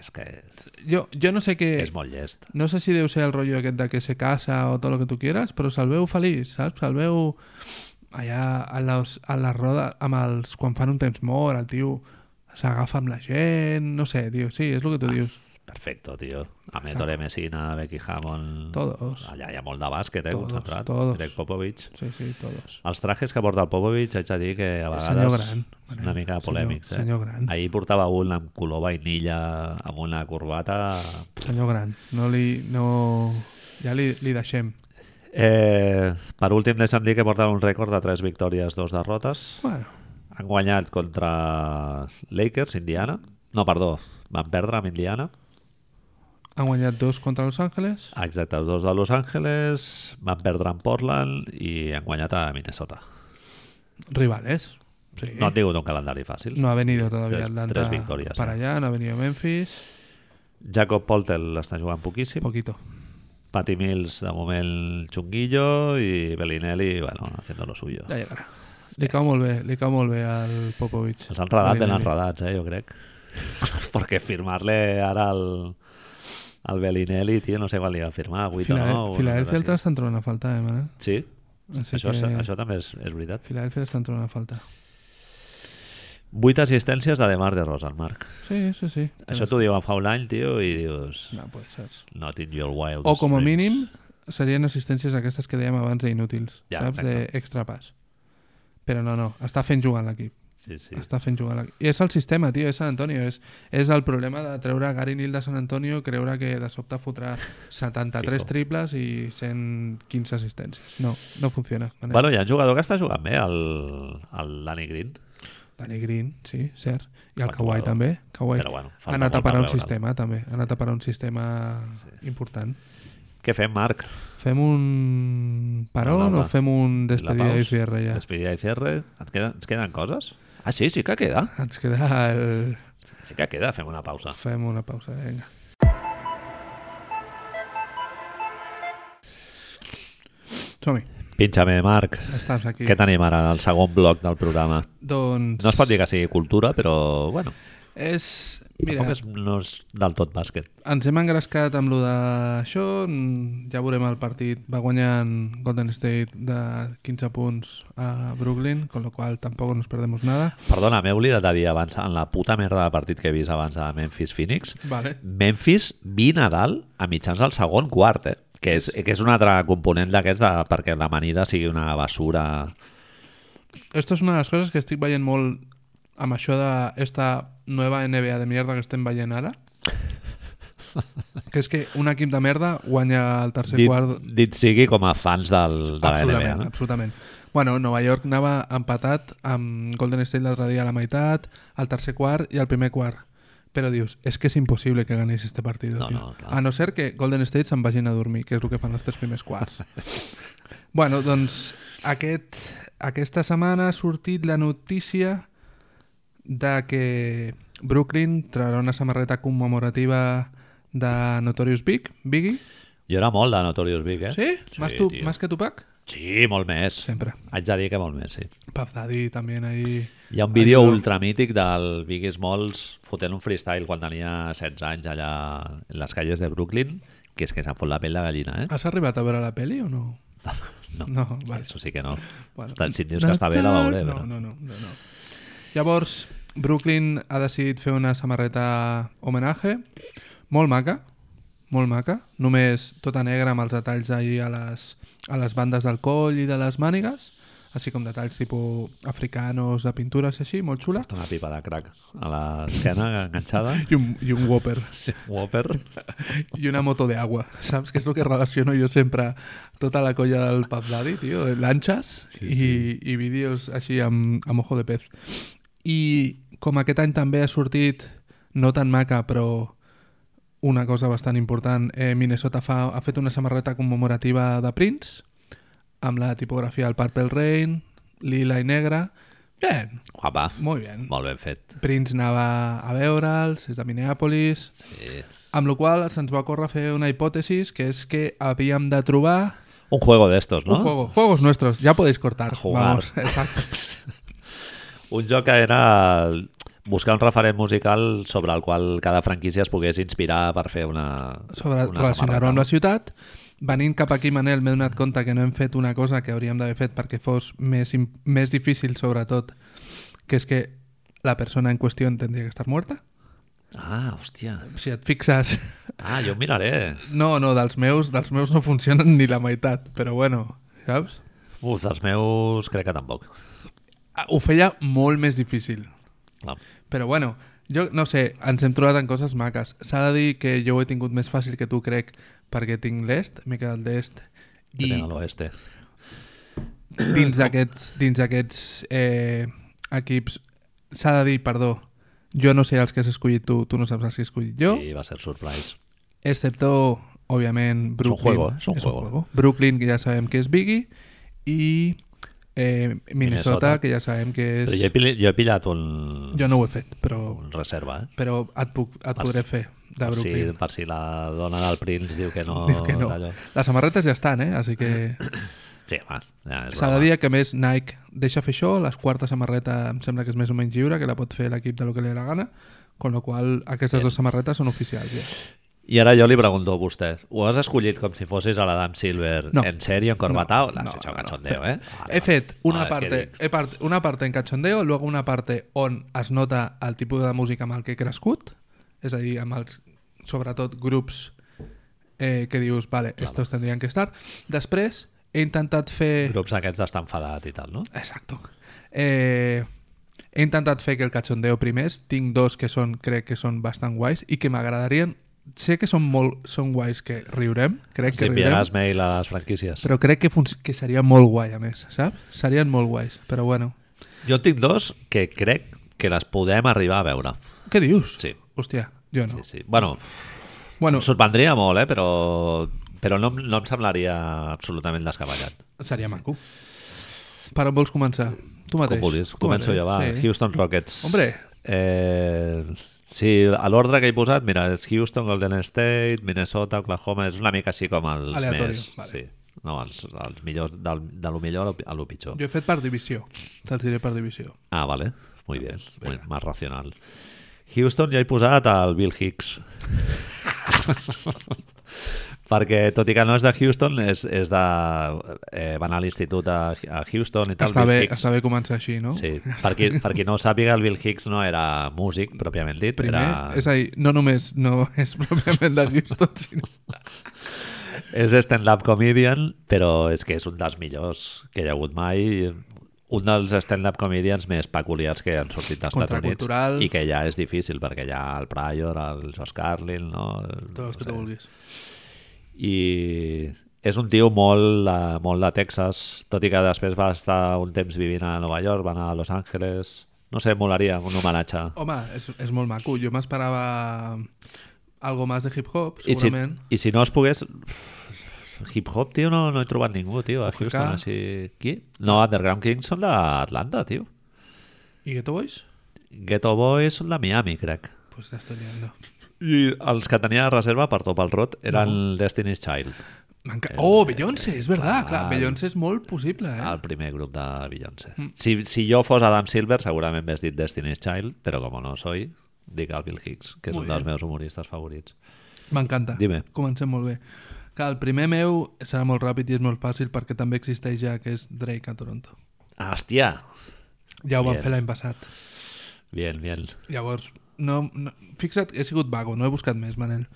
Speaker 1: és que és,
Speaker 2: Jo, jo no sé què...
Speaker 1: és molt llest.
Speaker 2: No sé si deu ser el rotllo aquest de que se casa o tot el que tu quieras, però se'l veu feliç, saps? Se'l veu allà a les, a les rodes, amb els, quan fan un temps mort, el tio s'agafa amb la gent, no sé, tio, sí, és el que tu dius.
Speaker 1: Perfecto, tio. A Metore Messina, Becky Hammond...
Speaker 2: Todos.
Speaker 1: Allà hi ha molt de bàsquet, eh,
Speaker 2: Todos,
Speaker 1: concentrat.
Speaker 2: todos.
Speaker 1: Greg Popovich.
Speaker 2: Sí, sí, todos.
Speaker 1: Els trajes que porta el Popovich, haig de dir que a
Speaker 2: El
Speaker 1: vegades...
Speaker 2: senyor gran, Manel.
Speaker 1: Una mica
Speaker 2: Senyor-
Speaker 1: polèmics, eh?
Speaker 2: senyor gran.
Speaker 1: Ahir portava un amb color vainilla, amb
Speaker 2: Eh.
Speaker 1: una corbata...
Speaker 2: Senyor gran, no li... No... Ja li, li deixem.
Speaker 1: Eh, per últim, deixa'm dir que porten un rècord de 3 victòries, 2 derrotes.
Speaker 2: Bueno,
Speaker 1: Han guanyat contra Lakers, Indiana. No, perdó, van perdre amb Indiana.
Speaker 2: han guanyat dos contra Los Ángeles.
Speaker 1: Exacte, els dos de Los Angeles, van perdre en Portland i han guanyat a Minnesota.
Speaker 2: Rivales. Sí.
Speaker 1: No han tingut un calendari fàcil.
Speaker 2: No ha venido todavía
Speaker 1: Tres-
Speaker 2: Atlanta
Speaker 1: tres victorias,
Speaker 2: para
Speaker 1: eh.
Speaker 2: allá, no ha venido Memphis.
Speaker 1: Jacob Poltel està jugant poquíssim.
Speaker 2: Poquito.
Speaker 1: Patty Mills, de moment, xunguillo. I Bellinelli, bueno, haciendo lo suyo.
Speaker 2: Ja llegarà. Li cau molt bé, li cau molt bé al Popovic.
Speaker 1: Els han enredat ben
Speaker 2: Bellinelli.
Speaker 1: enredats, eh, jo crec. Perquè firmar-le ara al, al Bellinelli, tio, no sé quan li va firmar, 8
Speaker 2: Filade-
Speaker 1: o 9.
Speaker 2: Filadèlfia el t'estan trobant a falta, eh, Manel?
Speaker 1: Sí,
Speaker 2: Així
Speaker 1: això,
Speaker 2: que...
Speaker 1: és- això també és, és veritat.
Speaker 2: Filadèlfia l'estan trobant a falta.
Speaker 1: 8 assistències de Demar de Rosa, Marc.
Speaker 2: Sí, sí, sí.
Speaker 1: Això t'ho diuen fa un any, tio, i dius...
Speaker 2: No, pues, saps?
Speaker 1: Not in your wild
Speaker 2: O com a mínim serien assistències aquestes que dèiem abans d'inútils,
Speaker 1: Ja,
Speaker 2: saps?
Speaker 1: exacte.
Speaker 2: D'extra pas. Però no, no, està fent jugar l'equip.
Speaker 1: Sí, sí.
Speaker 2: Sí. Està fent jugar l'equip. I és el sistema, tio, és San Antonio. És, és el problema de treure Gary Neal de San Antonio, creure que de sobte fotrà 73
Speaker 1: Fico.
Speaker 2: triples i 115 assistències. No, no funciona. Manel.
Speaker 1: Bueno, hi ha un jugador que està jugant bé, el, el Danny Green.
Speaker 2: Danny Green, sí, cert. I el
Speaker 1: Bon
Speaker 2: Kawhi
Speaker 1: jugador.
Speaker 2: també. Kawhi
Speaker 1: Però bueno,
Speaker 2: ha
Speaker 1: falta molt
Speaker 2: anat a
Speaker 1: per
Speaker 2: parar un
Speaker 1: veure'l.
Speaker 2: sistema, també. Ha anat a parar un sistema important.
Speaker 1: Què fem, Marc?
Speaker 2: Fem un
Speaker 1: No,
Speaker 2: parón
Speaker 1: no,
Speaker 2: o
Speaker 1: va.
Speaker 2: fem un
Speaker 1: La
Speaker 2: despedida
Speaker 1: pausa,
Speaker 2: i cierre ja?
Speaker 1: Despedida i cierre. Et queden, ens queden coses? Ah, sí, sí que queda.
Speaker 2: Ens queda el...
Speaker 1: Sí que queda, fem una pausa.
Speaker 2: Fem una pausa, vinga. Som-hi,
Speaker 1: Pinxa-me, Marc.
Speaker 2: estàs aquí.
Speaker 1: Què tenim ara en el segon bloc del programa?
Speaker 2: Doncs...
Speaker 1: No es pot dir que sigui cultura, però bueno,
Speaker 2: És... Mira,
Speaker 1: tampoc és, no és del tot bàsquet.
Speaker 2: ens hem engrescat amb lo d'això, mm, ja veurem el partit. Va guanyant Golden State de 15 punts a Brooklyn, con lo cual tampoco nos perdemos nada.
Speaker 1: Perdona, m'he oblidat de dir abans, en la puta merda de partit que he vist abans de Memphis-Phoenix,
Speaker 2: Vale.
Speaker 1: Memphis 20 a dalt a mitjans del segon quart, eh? que, és, que és un altre component d'aquests de, perquè l'amanida sigui una basura.
Speaker 2: Esto es una de las cosas que estoy veient molt amb això de esta nueva NBA de mierda que estem veient ara. que és que un equip de merda guanya el tercer
Speaker 1: Dit,
Speaker 2: quart
Speaker 1: dit sigui com a fans del, de la NBA.
Speaker 2: absolutament,
Speaker 1: No?
Speaker 2: absolutament. Bueno, Nova York anava empatat amb Golden State l'altre dia a la meitat, al tercer quart i al primer quart. Però dius, és que és impossible que ganéis este partit.
Speaker 1: No,
Speaker 2: tio.
Speaker 1: no, clar.
Speaker 2: a no ser que Golden State se'n vagin a dormir, que és el que fan els tres primers quarts. bueno, doncs aquest, aquesta setmana ha sortit la notícia de que Brooklyn traurà una samarreta commemorativa de Notorious Big, Biggie.
Speaker 1: Jo era molt de Notorious Big, eh?
Speaker 2: Sí?
Speaker 1: Sí,
Speaker 2: Más, tu,
Speaker 1: tio.
Speaker 2: más que Tupac?
Speaker 1: Sí, molt més.
Speaker 2: Sempre.
Speaker 1: Haig de dir que molt més, sí.
Speaker 2: Puff Daddy también ahí.
Speaker 1: Hi ha un vídeo
Speaker 2: Allò-
Speaker 1: ultramític del Big Smalls fotent un freestyle quan tenia 16 anys allà en les calles de Brooklyn, que és que s'ha fot la pell de gallina, eh?
Speaker 2: ¿Has arribado a ver a la peli o no?
Speaker 1: No,
Speaker 2: No, Ah. vale.
Speaker 1: Això sí que no.
Speaker 2: Bueno.
Speaker 1: Està, si em dius que està bé, la veuré.
Speaker 2: No,
Speaker 1: però-
Speaker 2: no, no, no, no. Llavors, Brooklyn ha decidit fer una samarreta homenatge, molt maca, molt maca, només tota negra amb els detalls ahí a les, a les bandes del coll i de les mànigues, així com detalls tipus africanos, de pintures i així, molt xula.
Speaker 1: Porta una Tota pipa de crack a l'esquena enganxada.
Speaker 2: I un, i un Whopper.
Speaker 1: Sí, Whopper.
Speaker 2: i una moto de agua, saps? Que és el que relaciono jo sempre tota la colla del Puff Daddy, tio, lanxes sí, i, i vídeos així amb, amb ojo de pez. I com aquest any també ha sortit, no tan maca, però una cosa bastant important, eh, Minnesota fa, ha fet una samarreta commemorativa de Prince, amb la tipografia del Purple Rain, lila i negra. Bien,
Speaker 1: Guapa.
Speaker 2: molt bien.
Speaker 1: Molt ben fet.
Speaker 2: Prince anava a veure'ls, és de Minneapolis,
Speaker 1: Sí.
Speaker 2: amb la qual cosa se'ns va córrer fer una hipòtesi que és que havíem de trobar
Speaker 1: Un juego d'estos, no?
Speaker 2: un juego, juegos nuestros, ja podéis cortar.
Speaker 1: A jugar.
Speaker 2: Vamos, exacte.
Speaker 1: Un joc que era buscar un referent musical sobre el qual cada franquícia es pogués inspirar per fer una,
Speaker 2: Sobre
Speaker 1: una
Speaker 2: relacionar-ho amb
Speaker 1: samarreta.
Speaker 2: la ciutat. Venint cap aquí, Manel, m'he donat compte que no hem fet una cosa que hauríem d'haver fet perquè fos més, im- més difícil, sobretot, que és que la persona en qüestió tindria que estar muerta.
Speaker 1: Ah, hòstia.
Speaker 2: Si et fixes...
Speaker 1: Ah, jo ho miraré.
Speaker 2: No, no, dels meus, dels meus no funcionen ni la meitat, però bueno, saps?
Speaker 1: Uf, dels meus crec que tampoc.
Speaker 2: Ah, Ho feia molt més difícil.
Speaker 1: Clar.
Speaker 2: Però bueno, jo no sé, ens hem trobat en coses maques. S'ha de dir que jo ho he tingut més fàcil que tu, crec, perquè tinc l'est, m'he quedat l'est,
Speaker 1: que
Speaker 2: I-
Speaker 1: tenen a l'oeste.
Speaker 2: dins d'aquests dins d'aquests eh, equips s'ha de dir, perdó, jo no sé els que has escollit tu, tu no saps els que he escollit jo,
Speaker 1: I va ser surprise.
Speaker 2: excepto, òbviament, Brooklyn.
Speaker 1: juego, eh? és un juego.
Speaker 2: Brooklyn, que ja sabem que és Biggie, i eh, Minnesota,
Speaker 1: Minnesota.
Speaker 2: que ja sabem que és...
Speaker 1: Però jo he, pil- jo he pillat un,
Speaker 2: Jo no ho he fet, però,
Speaker 1: un reserva, eh?
Speaker 2: però et, puc, et podré fer de
Speaker 1: Per si,
Speaker 2: Brooklyn.
Speaker 1: per si la dona del Prince diu que no...
Speaker 2: Diu que no.
Speaker 1: d'allò.
Speaker 2: Les samarretes ja estan, eh? Així que
Speaker 1: Sí, home, ja, és
Speaker 2: s'ha de
Speaker 1: broma.
Speaker 2: dir que a més Nike deixa fer això, les quarta samarreta em sembla que és més o menys lliure, que la pot fer l'equip de lo que li dé la gana, con lo qual aquestes dues samarretes són oficials ja.
Speaker 1: I ara jo li pregunto a vostè, ho has escollit com si fossis a l'Adam Silver
Speaker 2: No.
Speaker 1: en sèrie, en corbatà? No,
Speaker 2: No,
Speaker 1: L'has
Speaker 2: no,
Speaker 1: hecho
Speaker 2: no.
Speaker 1: cachondeo, eh? Vale,
Speaker 2: He fet una,
Speaker 1: Vale, és que
Speaker 2: parte,
Speaker 1: dic,
Speaker 2: he part, una parte en cachondeo, luego una parte on es nota el tipus de música amb el que he crescut, és a dir, amb els, sobretot grups eh, que dius, vale, claro. estos tendrien que estar. Després he intentat fer...
Speaker 1: Grups aquests d'estar enfadat i tal, no?
Speaker 2: Exacto. Eh, he intentat fer que el cachondeo primers. Tinc dos que són, crec que són bastant guais i que m'agradarien... Sé que són molt són guais que riurem, crec
Speaker 1: Si
Speaker 2: que riurem,
Speaker 1: enviaràs mail a les franquícies.
Speaker 2: però crec que, func- que seria molt guai, a més, saps? Serien molt guais, però bueno.
Speaker 1: Jo en tinc dos que crec que les podem arribar a veure.
Speaker 2: Què dius?
Speaker 1: Sí.
Speaker 2: Hòstia, jo no.
Speaker 1: Sí, sí. Bueno,
Speaker 2: Bueno,
Speaker 1: em sorprendria molt, eh? Però, però no, em- no em semblaria absolutament descabellat.
Speaker 2: seria maco. Per on vols començar? Tu mateix.
Speaker 1: Com vulguis.
Speaker 2: Tu
Speaker 1: Començo
Speaker 2: mateix,
Speaker 1: jo, va.
Speaker 2: sí.
Speaker 1: Houston Rockets.
Speaker 2: Hombre.
Speaker 1: Eh, sí, a l'ordre que he posat, mira, és Houston, Golden State, Minnesota, Oklahoma, és una mica així com els
Speaker 2: Aleatori,
Speaker 1: més...
Speaker 2: vale.
Speaker 1: Sí. No, els, els millors, del, de lo millor a lo pi- a lo pitjor.
Speaker 2: Jo he fet per divisió. Te'ls diré per divisió.
Speaker 1: Ah, vale. Muy bien. Muy, más racional. Houston, ja he posat el Bill Hicks. Perquè, tot i que no és de Houston, és, és de... Eh, va anar a l'institut a, a Houston i tal.
Speaker 2: Està
Speaker 1: Bill
Speaker 2: bé,
Speaker 1: Hicks.
Speaker 2: està bé començar així, no?
Speaker 1: Sí, per qui, per qui no ho sàpiga, el Bill Hicks no era músic, pròpiament dit.
Speaker 2: Primer,
Speaker 1: era...
Speaker 2: és a dir, no només no és pròpiament de Houston, sinó...
Speaker 1: És stand-up comedian, però és que és un dels millors que hi ha hagut mai. Un dels stand-up comedians més peculiars que han sortit dels Estats
Speaker 2: Contracultural.
Speaker 1: Units i que ja és difícil, perquè hi ha el Pryor, el Josh Carlin... No?
Speaker 2: Tots els que tu vulguis.
Speaker 1: I és un tio molt, de- molt de Texas, tot i que després va estar un temps vivint a Nova York, va anar a Los Angeles... No sé, molaria un homenatge.
Speaker 2: Home, és, és molt maco. Jo m'esperava algo més de hip-hop,
Speaker 1: I si,
Speaker 2: segurament.
Speaker 1: I si no es pogués... Hip-hop, tio, no, no he trobat ningú, tio, a
Speaker 2: Ojo,
Speaker 1: Houston.
Speaker 2: que-
Speaker 1: Així... Qui? No, Underground Kings són d'Atlanta, tio.
Speaker 2: I Ghetto Boys?
Speaker 1: Ghetto Boys són de Miami, crec.
Speaker 2: Pues ja estoy liando.
Speaker 1: I els que tenia de reserva per top al rot eren no. Destiny's Child,
Speaker 2: Manca... Oh, Beyoncé, és verdad, clar.
Speaker 1: clar.
Speaker 2: Beyoncé és molt possible, eh? Mm.
Speaker 1: el primer grup de Beyoncé. Si, si jo fos Adam Silver, segurament m'has dit Destiny's Child, però com no soy, dic el Bill Hicks, que és
Speaker 2: Muy
Speaker 1: un dels
Speaker 2: bien.
Speaker 1: meus humoristes favorits.
Speaker 2: M'encanta.
Speaker 1: Dime.
Speaker 2: Comencem molt bé. Que el primer meu serà molt ràpid i és molt fàcil perquè també existeix ja, que és Drake a Toronto.
Speaker 1: Ah, Hòstia!
Speaker 2: Ja ho van
Speaker 1: Bien.
Speaker 2: fer l'any passat.
Speaker 1: Bien, bien.
Speaker 2: Llavors, no, no... Fixa't, he sigut vago, no he buscat més, Manel.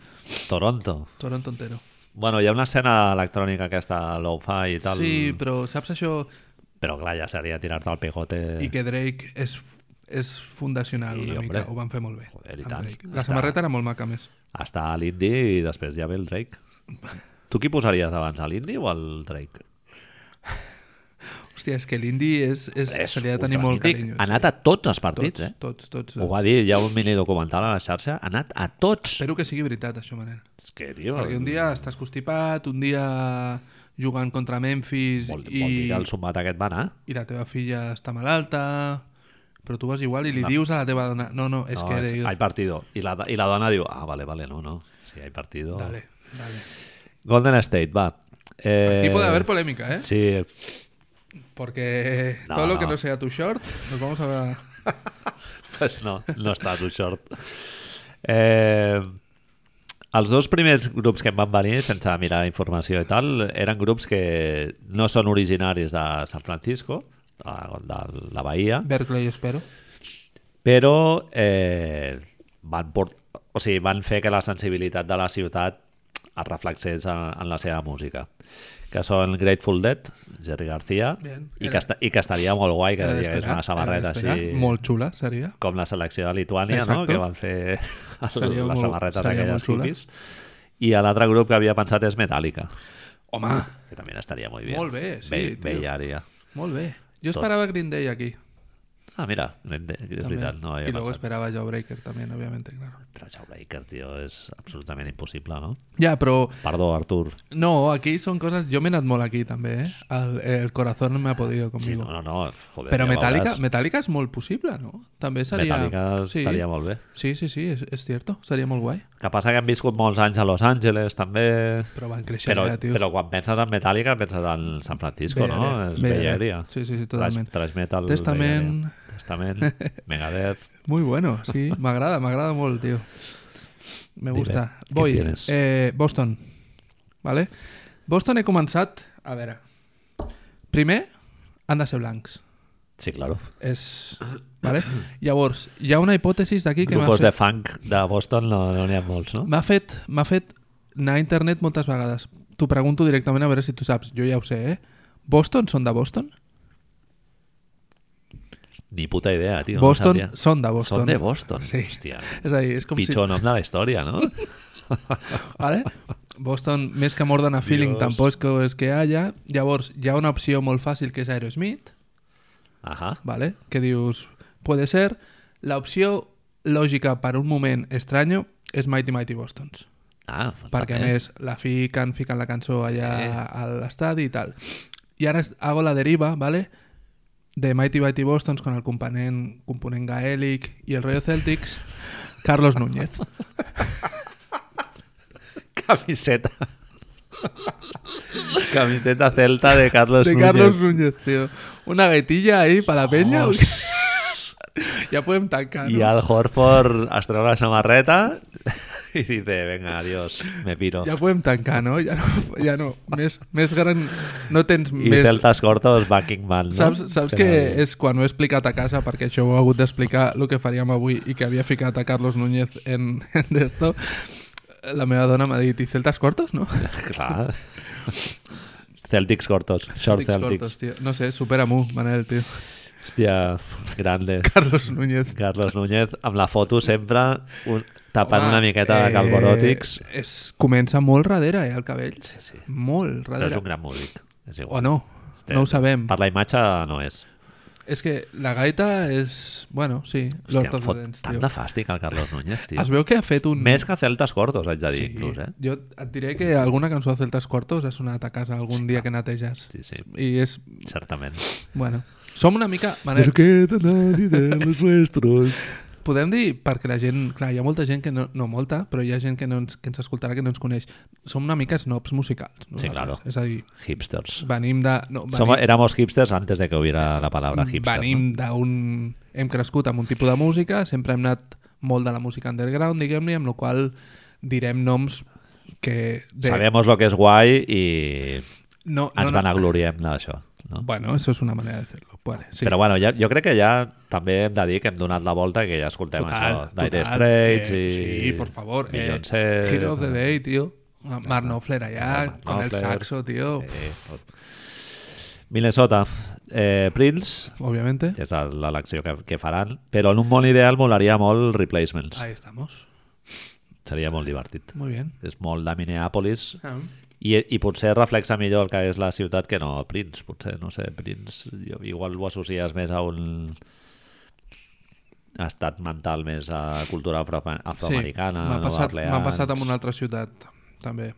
Speaker 1: Toronto.
Speaker 2: Toronto entero.
Speaker 1: Bueno, hi ha una escena electrònica aquesta low-fi i tal.
Speaker 2: Sí, però saps això...
Speaker 1: Però clar, ja seria tirar-te al pegote...
Speaker 2: i que Drake és, és fundacional
Speaker 1: Eh. Sí,
Speaker 2: una
Speaker 1: hombre.
Speaker 2: mica, ho van fer molt bé
Speaker 1: Joder, i
Speaker 2: amb
Speaker 1: tant.
Speaker 2: Drake. la
Speaker 1: Està-
Speaker 2: samarreta era molt maca a més
Speaker 1: Està a l'indi i després ja ve el Drake. Tu qui posaries abans, a l'indi o al Drake?
Speaker 2: hòstia, és que l'indi és, és, se li ha de tenir molt carinyo
Speaker 1: ultramític. Ha anat a tots els partits,
Speaker 2: tots,
Speaker 1: eh?
Speaker 2: tots, tots,
Speaker 1: Ho
Speaker 2: tots.
Speaker 1: va dir, hi ha un mini documental a la xarxa, ha anat a tots.
Speaker 2: espero que sigui veritat això Manel
Speaker 1: És que, tio,
Speaker 2: perquè un dia estàs constipat un dia jugant contra Memphis
Speaker 1: vol, vol
Speaker 2: i,
Speaker 1: dir que el sumat aquest va anar.
Speaker 2: i la teva filla està malalta però tu vas igual i li dius a la teva dona no, no, és
Speaker 1: no,
Speaker 2: que
Speaker 1: és, hay partido. I la, I la dona diu, ah, vale, vale, no, no. Sí, hay partido.
Speaker 2: dale, dale.
Speaker 1: Golden State, va. Eh,
Speaker 2: aquí puede haber polémica, eh?
Speaker 1: Sí,
Speaker 2: porque
Speaker 1: No,
Speaker 2: todo lo
Speaker 1: no.
Speaker 2: que no sea tu short nos vamos a ver
Speaker 1: pues no, no està tu short. Eh, els dos primers grups que em van venir, sense mirar informació i tal, eren grups que no són originaris de San Francisco, de, de la Bahia,
Speaker 2: Berkeley espero
Speaker 1: però eh, van, port... o sigui, van fer que la sensibilitat de la ciutat es reflexés en, en la seva música que són Grateful Dead, Jerry Garcia,
Speaker 2: Bien.
Speaker 1: i que,
Speaker 2: Era-
Speaker 1: esta, i que estaria molt guai que
Speaker 2: Era
Speaker 1: hi hagués
Speaker 2: d'esperar,
Speaker 1: una samarreta
Speaker 2: era d'esperar.
Speaker 1: així...
Speaker 2: Molt xula, seria.
Speaker 1: com la selecció de Lituània, no?
Speaker 2: Exacto.
Speaker 1: que van fer el,
Speaker 2: Seria
Speaker 1: les
Speaker 2: molt-
Speaker 1: samarretes
Speaker 2: seria
Speaker 1: aquelles
Speaker 2: molt xula.
Speaker 1: hippies. I l'altre grup que havia pensat és Metallica.
Speaker 2: Home,
Speaker 1: que també estaria molt bé.
Speaker 2: Molt bé, sí,
Speaker 1: Ve,
Speaker 2: tio.
Speaker 1: Bella àrea.
Speaker 2: molt bé. Jo
Speaker 1: Tot.
Speaker 2: esperava Green Day aquí.
Speaker 1: Ah, mira, Green Day, és
Speaker 2: també.
Speaker 1: veritat, no ho
Speaker 2: y
Speaker 1: havia
Speaker 2: luego
Speaker 1: pensat.
Speaker 2: esperaba Jawbreaker también, obviamente, claro.
Speaker 1: Però Jawbreaker, tio, és absolutament impossible, no?
Speaker 2: Ya, pero
Speaker 1: Perdó, Artur.
Speaker 2: no, aquí son cosas... Yo me enamoro aquí también, eh? El, el corazón no me ha podido
Speaker 1: Sí,
Speaker 2: conmigo.
Speaker 1: no, no, no, joder.
Speaker 2: Però
Speaker 1: ja
Speaker 2: Metallica,
Speaker 1: veuràs.
Speaker 2: Metallica és molt possible, no? També seria...
Speaker 1: Metallica estaria molt bé.
Speaker 2: Sí, sí, sí, és, és cierto. Seria molt guai.
Speaker 1: Que passa que hem viscut molts anys a Los Angeles, també...
Speaker 2: Però van créixer
Speaker 1: Però,
Speaker 2: allà, tio.
Speaker 1: però quan penses en Metallica penses en San Francisco,
Speaker 2: Bay
Speaker 1: no?
Speaker 2: Area.
Speaker 1: És
Speaker 2: Bay
Speaker 1: Bay
Speaker 2: Area.
Speaker 1: Area.
Speaker 2: Sí, sí, sí,
Speaker 1: Thrash-
Speaker 2: totalment.
Speaker 1: thrash metal,
Speaker 2: Testament.
Speaker 1: Bay Area. Testament, Megadeth...
Speaker 2: Muy bueno, sí. M'agrada, m'agrada molt, tio. Me
Speaker 1: Dime,
Speaker 2: gusta.
Speaker 1: ¿qué
Speaker 2: Voy.
Speaker 1: tienes?
Speaker 2: Eh, Boston. Vale? Boston he començat... A veure... Primer, han de ser blancs.
Speaker 1: Sí, claro.
Speaker 2: És... Vale? Llavors, hi ha una hipòtesi d'aquí que m'ha
Speaker 1: Grupos de
Speaker 2: fet,
Speaker 1: funk de Boston no no n'hi ha molts, no?
Speaker 2: m'ha fet, m'ha fet anar a internet moltes vegades. T'ho pregunto directament a veure si tu saps. Jo ja ho sé, eh? Boston són de Boston?
Speaker 1: Ni puta idea, tio.
Speaker 2: Boston,
Speaker 1: no sabia.
Speaker 2: són de Boston.
Speaker 1: Són de Boston.
Speaker 2: Sí.
Speaker 1: Hòstia.
Speaker 2: És a dir, és com
Speaker 1: Pitjor nom de la història, no?
Speaker 2: si... Vale? Boston, més que More Than a Feeling,
Speaker 1: Dios.
Speaker 2: tampoc és que, és que haya. Llavors, hi ha una opció molt fàcil, que és Aerosmith,
Speaker 1: Ahà.
Speaker 2: vale? que dius, puede ser. L'opció lògica per un moment estranyo és Mighty Mighty Bostons.
Speaker 1: Ah,
Speaker 2: Perquè, a
Speaker 1: també.
Speaker 2: més, la fiquen, fiquen la cançó allà
Speaker 1: Eh.
Speaker 2: a l'estadi i tal. I ara es- hago la deriva, ¿vale? de Mighty Mighty Bostons con el component, component gaèlic i el Rayo Celtics, Carlos Núñez.
Speaker 1: Camiseta. Camiseta celta de Carlos
Speaker 2: de
Speaker 1: Núñez.
Speaker 2: Carlos Núñez, tío. Una gaitilla ahí para la peña. ya pueden tancar.
Speaker 1: Y al Horford has traído la samarreta y dice, venga, adiós, me piro.
Speaker 2: Ya pueden tancar, ¿no? Ya no. Ya no. Més, més gran... No tens
Speaker 1: Y
Speaker 2: més...
Speaker 1: celtas cortos, Bucking Man. ¿no?
Speaker 2: Saps, saps que
Speaker 1: Pero
Speaker 2: és quan ho he explicat a casa, perquè això ho he hagut d'explicar el que faríem avui i que havia ficat a Carlos Núñez en, en d'esto, la meva dona m'ha dit, i celtes cortos, no?
Speaker 1: Clar. Celtics cortos, short
Speaker 2: Celtics
Speaker 1: Celtics.
Speaker 2: cortos, tio. No sé, supera-m'ho, Manel, tio.
Speaker 1: Hòstia, grande.
Speaker 2: Carlos Núñez.
Speaker 1: Carlos Núñez, amb la foto sempre un, tapant
Speaker 2: Home,
Speaker 1: una miqueta de calboròtics.
Speaker 2: Eh, és, comença molt darrere, eh, el cabell. Sí,
Speaker 1: sí.
Speaker 2: Molt
Speaker 1: Però és
Speaker 2: darrere.
Speaker 1: un gran músic. És
Speaker 2: O
Speaker 1: igual.
Speaker 2: no, no ho sabem.
Speaker 1: Per la imatge no és.
Speaker 2: És que la gaita és... Bueno, sí,
Speaker 1: Hòstia,
Speaker 2: Lord
Speaker 1: em
Speaker 2: of the
Speaker 1: fot
Speaker 2: Dance,
Speaker 1: tant
Speaker 2: tio.
Speaker 1: de fàstic el Carlos Núñez, tio.
Speaker 2: Es veu que ha fet un...
Speaker 1: Més que celtes cortos, haig de dir,
Speaker 2: Sí.
Speaker 1: sí. inclús, eh?
Speaker 2: Jo et diré que alguna cançó de Celtas Cortos ha sonat a casa algun dia que neteges.
Speaker 1: Sí, sí,
Speaker 2: I és...
Speaker 1: certament.
Speaker 2: Bueno, som una mica... Manel,
Speaker 1: qué tan nadie de los nuestros?
Speaker 2: podem dir, perquè la gent... Clar, hi ha molta gent que no... No molta, però hi ha gent que, no ens, que ens escoltarà que no ens coneix. Som una mica snobs musicals.
Speaker 1: Sí,
Speaker 2: nosaltres.
Speaker 1: claro.
Speaker 2: És a dir,
Speaker 1: Hipsters.
Speaker 2: venim de... No, venim,
Speaker 1: Som, éramos hipsters antes de que hubiera la palabra hipster.
Speaker 2: Mm, venim d'un... Hem crescut amb un tipus de música, sempre hem anat molt de la música underground, diguem-ne, amb la qual direm noms que...
Speaker 1: No? Sabemos lo que es guay y
Speaker 2: no,
Speaker 1: ens
Speaker 2: no, no.
Speaker 1: vanagloriem d'això. No?
Speaker 2: Bueno, eso es una manera de hacerlo. Vale, sí.
Speaker 1: Però bueno, ja, jo crec que ja també hem de dir que hem donat la volta i que ja escoltem això d'Aire Straits
Speaker 2: eh,
Speaker 1: i...
Speaker 2: Sí, por favor. Eh,
Speaker 1: Beyoncé...
Speaker 2: Hero of the Day, tío. Ah, Mark Knopfler allá,
Speaker 1: Mark
Speaker 2: con el
Speaker 1: Knopfler.
Speaker 2: saxo, tío.
Speaker 1: Eh, tot. Minnesota, eh, Prince,
Speaker 2: Obviamente.
Speaker 1: que és el- l'elecció que, que faran, però en un món ideal molaria molt Replacements.
Speaker 2: Ahí estamos.
Speaker 1: Seria molt divertit.
Speaker 2: Muy bien.
Speaker 1: És molt de Minneapolis
Speaker 2: Ah,
Speaker 1: i, i potser reflexa millor el que és la ciutat que no Prince, potser, no sé, Prince jo, igual ho associes més a un estat mental més a cultura afroamer- afroamericana,
Speaker 2: m'ha
Speaker 1: Nova
Speaker 2: passat, m'ha
Speaker 1: Orleans.
Speaker 2: passat amb una altra ciutat, també.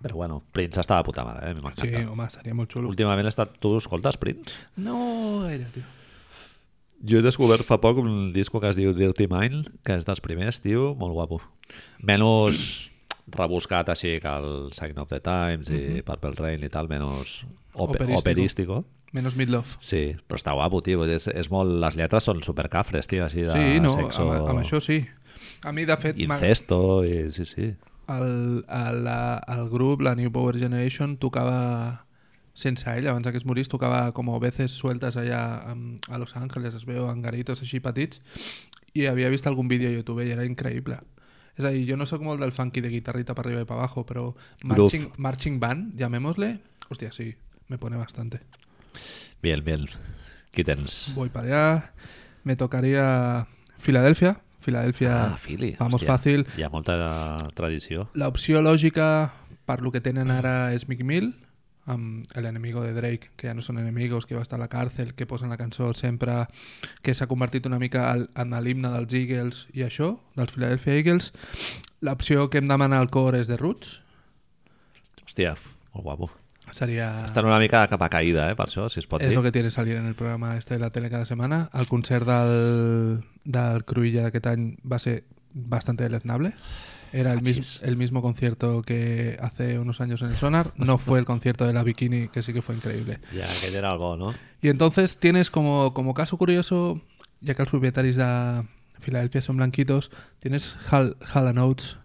Speaker 1: Però bueno, Prince està de puta mare, eh? a mi
Speaker 2: Sí,
Speaker 1: m'encanta.
Speaker 2: home, seria molt xulo.
Speaker 1: Últimament he estat... Tu escoltes Prince?
Speaker 2: No gaire, tio.
Speaker 1: Jo he descobert fa poc un disco que es diu Dirty Mind, que és dels primers, tio, molt guapo. Menys rebuscat així que el Sign of the Times i Purple Rain i tal, menys ope
Speaker 2: Mhm. Operístico.
Speaker 1: operístico.
Speaker 2: Menys Midlove.
Speaker 1: Sí, però està guapo, tio. vull dir, És, és molt, les lletres són supercafres, tio, així de
Speaker 2: Sí, no,
Speaker 1: sexo,
Speaker 2: amb, amb això sí. A mi, de fet, m'ha-
Speaker 1: incesto, i, sí, sí.
Speaker 2: el, el, el grup, la New Power Generation, tocava sense ell, abans que es morís, tocava com a veces sueltes allà amb- a Los Angeles, es veu en garitos així petits, i havia vist algun vídeo a YouTube i era increïble. És a dir, jo no sóc molt del funky de guitarrita per arriba i per abajo, però marching, marching band, llamémosle, hòstia, sí, me pone bastante.
Speaker 1: Bien, bien. Qui tens?
Speaker 2: Voy para allá, me tocaría Filadelfia, Filadelfia,
Speaker 1: Ah, Philly.
Speaker 2: vamos
Speaker 1: hòstia.
Speaker 2: fácil.
Speaker 1: Hi ha molta tradició.
Speaker 2: L'opció lògica per lo que tenen ara és Mick Mill, amb l'enemigo de Drake, que ja no són enemigos, que va estar a la càrcel, que posen la cançó sempre, que s'ha convertit una mica al, en l'himne dels Eagles i això, dels Philadelphia Eagles. L'opció que em demana el cor és de Roots.
Speaker 1: Hòstia, molt guapo.
Speaker 2: Seria...
Speaker 1: Estan una mica de capa caïda, eh, per això, si es pot
Speaker 2: Es
Speaker 1: dir.
Speaker 2: Ah. lo que tiene salir en el programa este de la tele cada semana. Al concert del, del Cruïlla d'aquest any va ser bastante deleznable. Era el, mis,
Speaker 1: Achis.
Speaker 2: el mismo concierto que hace unos años en el Sonar. No fue el concierto de la Bikini, que sí que Oh. fue increíble.
Speaker 1: Ja, aquest era el bo, no?
Speaker 2: Y entonces tienes como, como caso curioso, ya que los propietarios de Filadelfia son blanquitos, tienes Hall, Hall Oates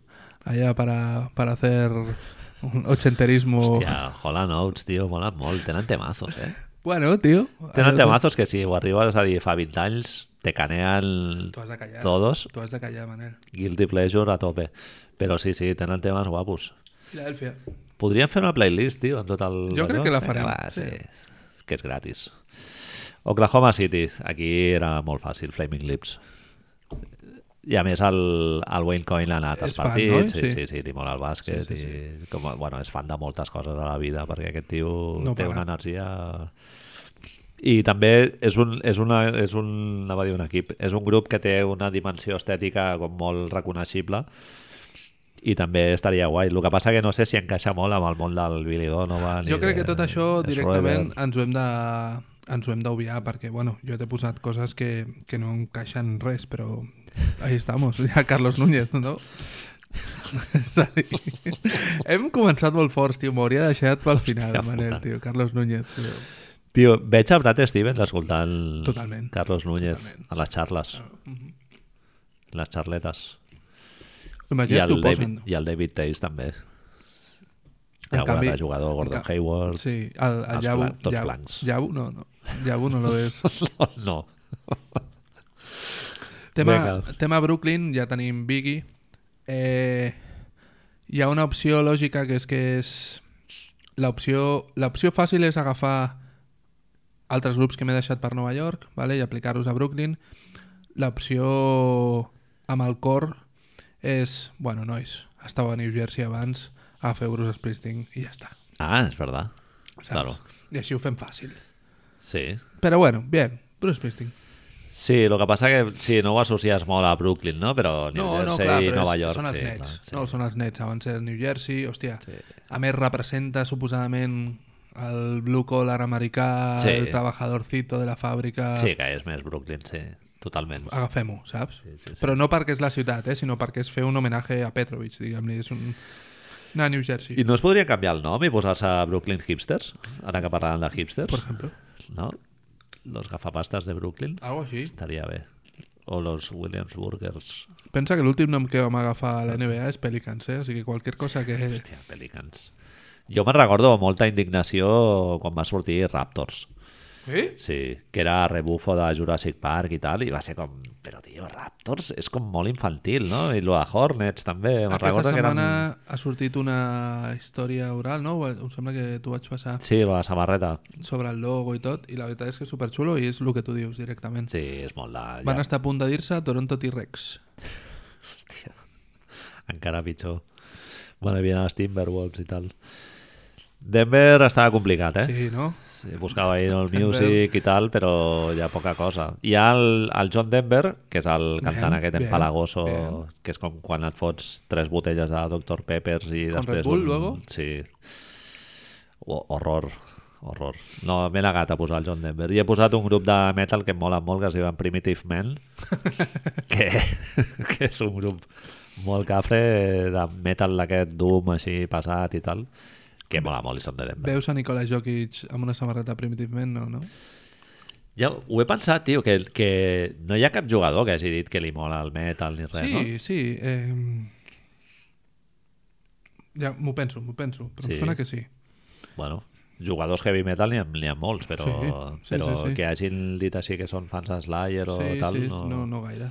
Speaker 2: allá para, para hacer un ochenterismo.
Speaker 1: Hòstia, Holland Oates, tio, mola molt. Tenen temazos, eh?
Speaker 2: Bueno, tío.
Speaker 1: Tenen temazos que si ho arribes a dir fa 20 anys, te caneen
Speaker 2: Tú has de callar.
Speaker 1: todos.
Speaker 2: Tú has de callar, Manel.
Speaker 1: Guilty pleasure a tope. Però sí, sí, tenen temes guapos.
Speaker 2: Filadelfia.
Speaker 1: Podríem fer una playlist, tio, amb tot el...
Speaker 2: Jo crec
Speaker 1: allò.
Speaker 2: que la
Speaker 1: Vinga,
Speaker 2: farem,
Speaker 1: Va,
Speaker 2: sí.
Speaker 1: sí. sí. Que és gratis. Oklahoma City. Aquí era molt fàcil, Flaming Lips. I a més el, el Wayne Coyne ha anat als
Speaker 2: És fan,
Speaker 1: partits.
Speaker 2: no?
Speaker 1: sí, sí,
Speaker 2: Sí.
Speaker 1: sí, li mola el bàsquet.
Speaker 2: Sí,
Speaker 1: Sí,
Speaker 2: sí,
Speaker 1: sí, I, com, a- bueno, és fan de moltes coses a la vida, perquè aquest tio
Speaker 2: No
Speaker 1: no té
Speaker 2: para.
Speaker 1: una energia... I també és un, és una, és un, anava a dir un equip, és un grup que té una dimensió estètica com molt reconeixible i també estaria guai. El que passa que no sé si encaixa molt amb el món del Billy Donovan.
Speaker 2: Jo
Speaker 1: i
Speaker 2: crec
Speaker 1: de-
Speaker 2: que tot això
Speaker 1: de
Speaker 2: directament
Speaker 1: Schroeder.
Speaker 2: ens ho hem de ens ho hem d'obviar perquè, bueno, jo t'he posat coses que, que no encaixen res, però ahí estamos, ja Carlos Núñez, no? És a dir, hem començat molt forts, tio, m'hauria deixat pel final,
Speaker 1: Hòstia
Speaker 2: Manel,
Speaker 1: puta.
Speaker 2: tio, Carlos Núñez, tio.
Speaker 1: Tio, veig a Brad Stevens escoltant
Speaker 2: Totalment.
Speaker 1: Carlos Núñez
Speaker 2: Totalment. Ah, mhm.
Speaker 1: a les xarles. Les xarletes. I
Speaker 2: Imagina't
Speaker 1: el,
Speaker 2: t'ho posen.
Speaker 1: David, I el David Tays també.
Speaker 2: En
Speaker 1: Hi ha algun
Speaker 2: canvi-
Speaker 1: altre jugador, Gordon
Speaker 2: en ca-
Speaker 1: Hayward...
Speaker 2: Sí, el, el
Speaker 1: Els
Speaker 2: Yabu,
Speaker 1: blan- tots
Speaker 2: Yabu,
Speaker 1: blancs.
Speaker 2: Yabu, no, no, Yabu no lo és.
Speaker 1: No, no.
Speaker 2: Tema,
Speaker 1: Vinga.
Speaker 2: tema Brooklyn, ja tenim Biggie. Eh, hi ha una opció lògica que és que és... L'opció l'opció fàcil és agafar altres grups que m'he deixat per Nova York vale? i aplicar-los a Brooklyn. L'opció amb el cor és... Bueno, nois, estava a New Jersey abans, agafeu Bruce Springsteen i ja està.
Speaker 1: Ah, és verdad.
Speaker 2: Saps?
Speaker 1: Claro.
Speaker 2: I així ho fem fàcil.
Speaker 1: Sí.
Speaker 2: Però bueno, bien, Bruce Springsteen.
Speaker 1: Sí, el que passa que sí, no ho associes molt a Brooklyn, no? Però New Jersey i
Speaker 2: però
Speaker 1: Nova
Speaker 2: és-
Speaker 1: York...
Speaker 2: Són els
Speaker 1: sí,
Speaker 2: Nets.
Speaker 1: clar, sí.
Speaker 2: No, són els Nets. Abans era New Jersey, hòstia.
Speaker 1: Sí.
Speaker 2: A més, representa suposadament el blue collar americà,
Speaker 1: Sí.
Speaker 2: el trabajadorcito de la fàbrica...
Speaker 1: sí, que és més Brooklyn, sí. Totalment.
Speaker 2: Agafem-ho, saps?
Speaker 1: Sí, sí, sí.
Speaker 2: Però no perquè és la ciutat, eh, sinó perquè és fer un homenatge a Petrovic, diguem-li. És un... anar a New Jersey,
Speaker 1: I no es podria canviar el nom i posar-se Brooklyn Hipsters? Ara que parlàvem de
Speaker 2: per
Speaker 1: hipsters,
Speaker 2: exemple.
Speaker 1: no? Los gafapastes de Brooklyn?
Speaker 2: Algo així.
Speaker 1: Estaria bé. O los Williams Burgers.
Speaker 2: Pensa que l'últim nom que vam agafar a la NBA és Pelicans, eh? O sigui, qualser cosa que...
Speaker 1: Hòstia, Pelicans. Jo me'n recordo molta indignació quan va sortir Raptors.
Speaker 2: Eh?
Speaker 1: Sí, que era rebufo de Jurassic Park i tal, i va ser com... Però, tio, Raptors és com molt infantil, no? I lo de Hornets també. Me'n
Speaker 2: Aquesta
Speaker 1: recordo que
Speaker 2: setmana
Speaker 1: eren...
Speaker 2: ha sortit una història oral, no? Ho- Em sembla que t'ho vaig passar.
Speaker 1: Sí, lo de la samarreta.
Speaker 2: sobre el logo i tot, i la veritat és que és superxulo i és el que tu dius directament.
Speaker 1: Sí, és molt de...
Speaker 2: Van estar a punt de dir-se Toronto T-Rex.
Speaker 1: Hòstia, encara pitjor. Bueno, hi havia els Timberwolves i tal. Denver estava complicat, eh?
Speaker 2: Sí, no?
Speaker 1: Sí. Buscava ahir el
Speaker 2: Denver.
Speaker 1: music i tal, però hi ha poca cosa. Hi ha el, el John Denver, que és el cantant
Speaker 2: Bien,
Speaker 1: aquest
Speaker 2: bien,
Speaker 1: empalagoso,
Speaker 2: bien.
Speaker 1: que és com quan et fots tres botelles de Dr. Peppers i
Speaker 2: Con
Speaker 1: després...
Speaker 2: Red Bull,
Speaker 1: un...
Speaker 2: luego?
Speaker 1: Sí. O, horror. Horror. No, m'he negat a posar el John Denver. I he posat un grup de metal que em mola molt, que es diuen Primitive Men, que, que és un grup molt cafre de metal d'aquest doom així passat i tal, que mola molt i són de Denver.
Speaker 2: Veus a Nikola Jokic amb una samarreta primitivament, no, no?
Speaker 1: Ja ho he pensat, tio, que, que no hi ha cap jugador que hagi dit que li mola el metal ni res,
Speaker 2: sí,
Speaker 1: no?
Speaker 2: sí. Eh... Ja m'ho penso, m'ho penso, però sí.
Speaker 1: Sí.
Speaker 2: em sona que sí.
Speaker 1: Bueno, jugadors heavy metal n'hi ha, n'hi ha molts, però,
Speaker 2: Sí, sí,
Speaker 1: però
Speaker 2: sí, sí.
Speaker 1: que hagin dit així que són fans de Slayer o
Speaker 2: sí,
Speaker 1: tal,
Speaker 2: sí,
Speaker 1: no...
Speaker 2: no, no gaire.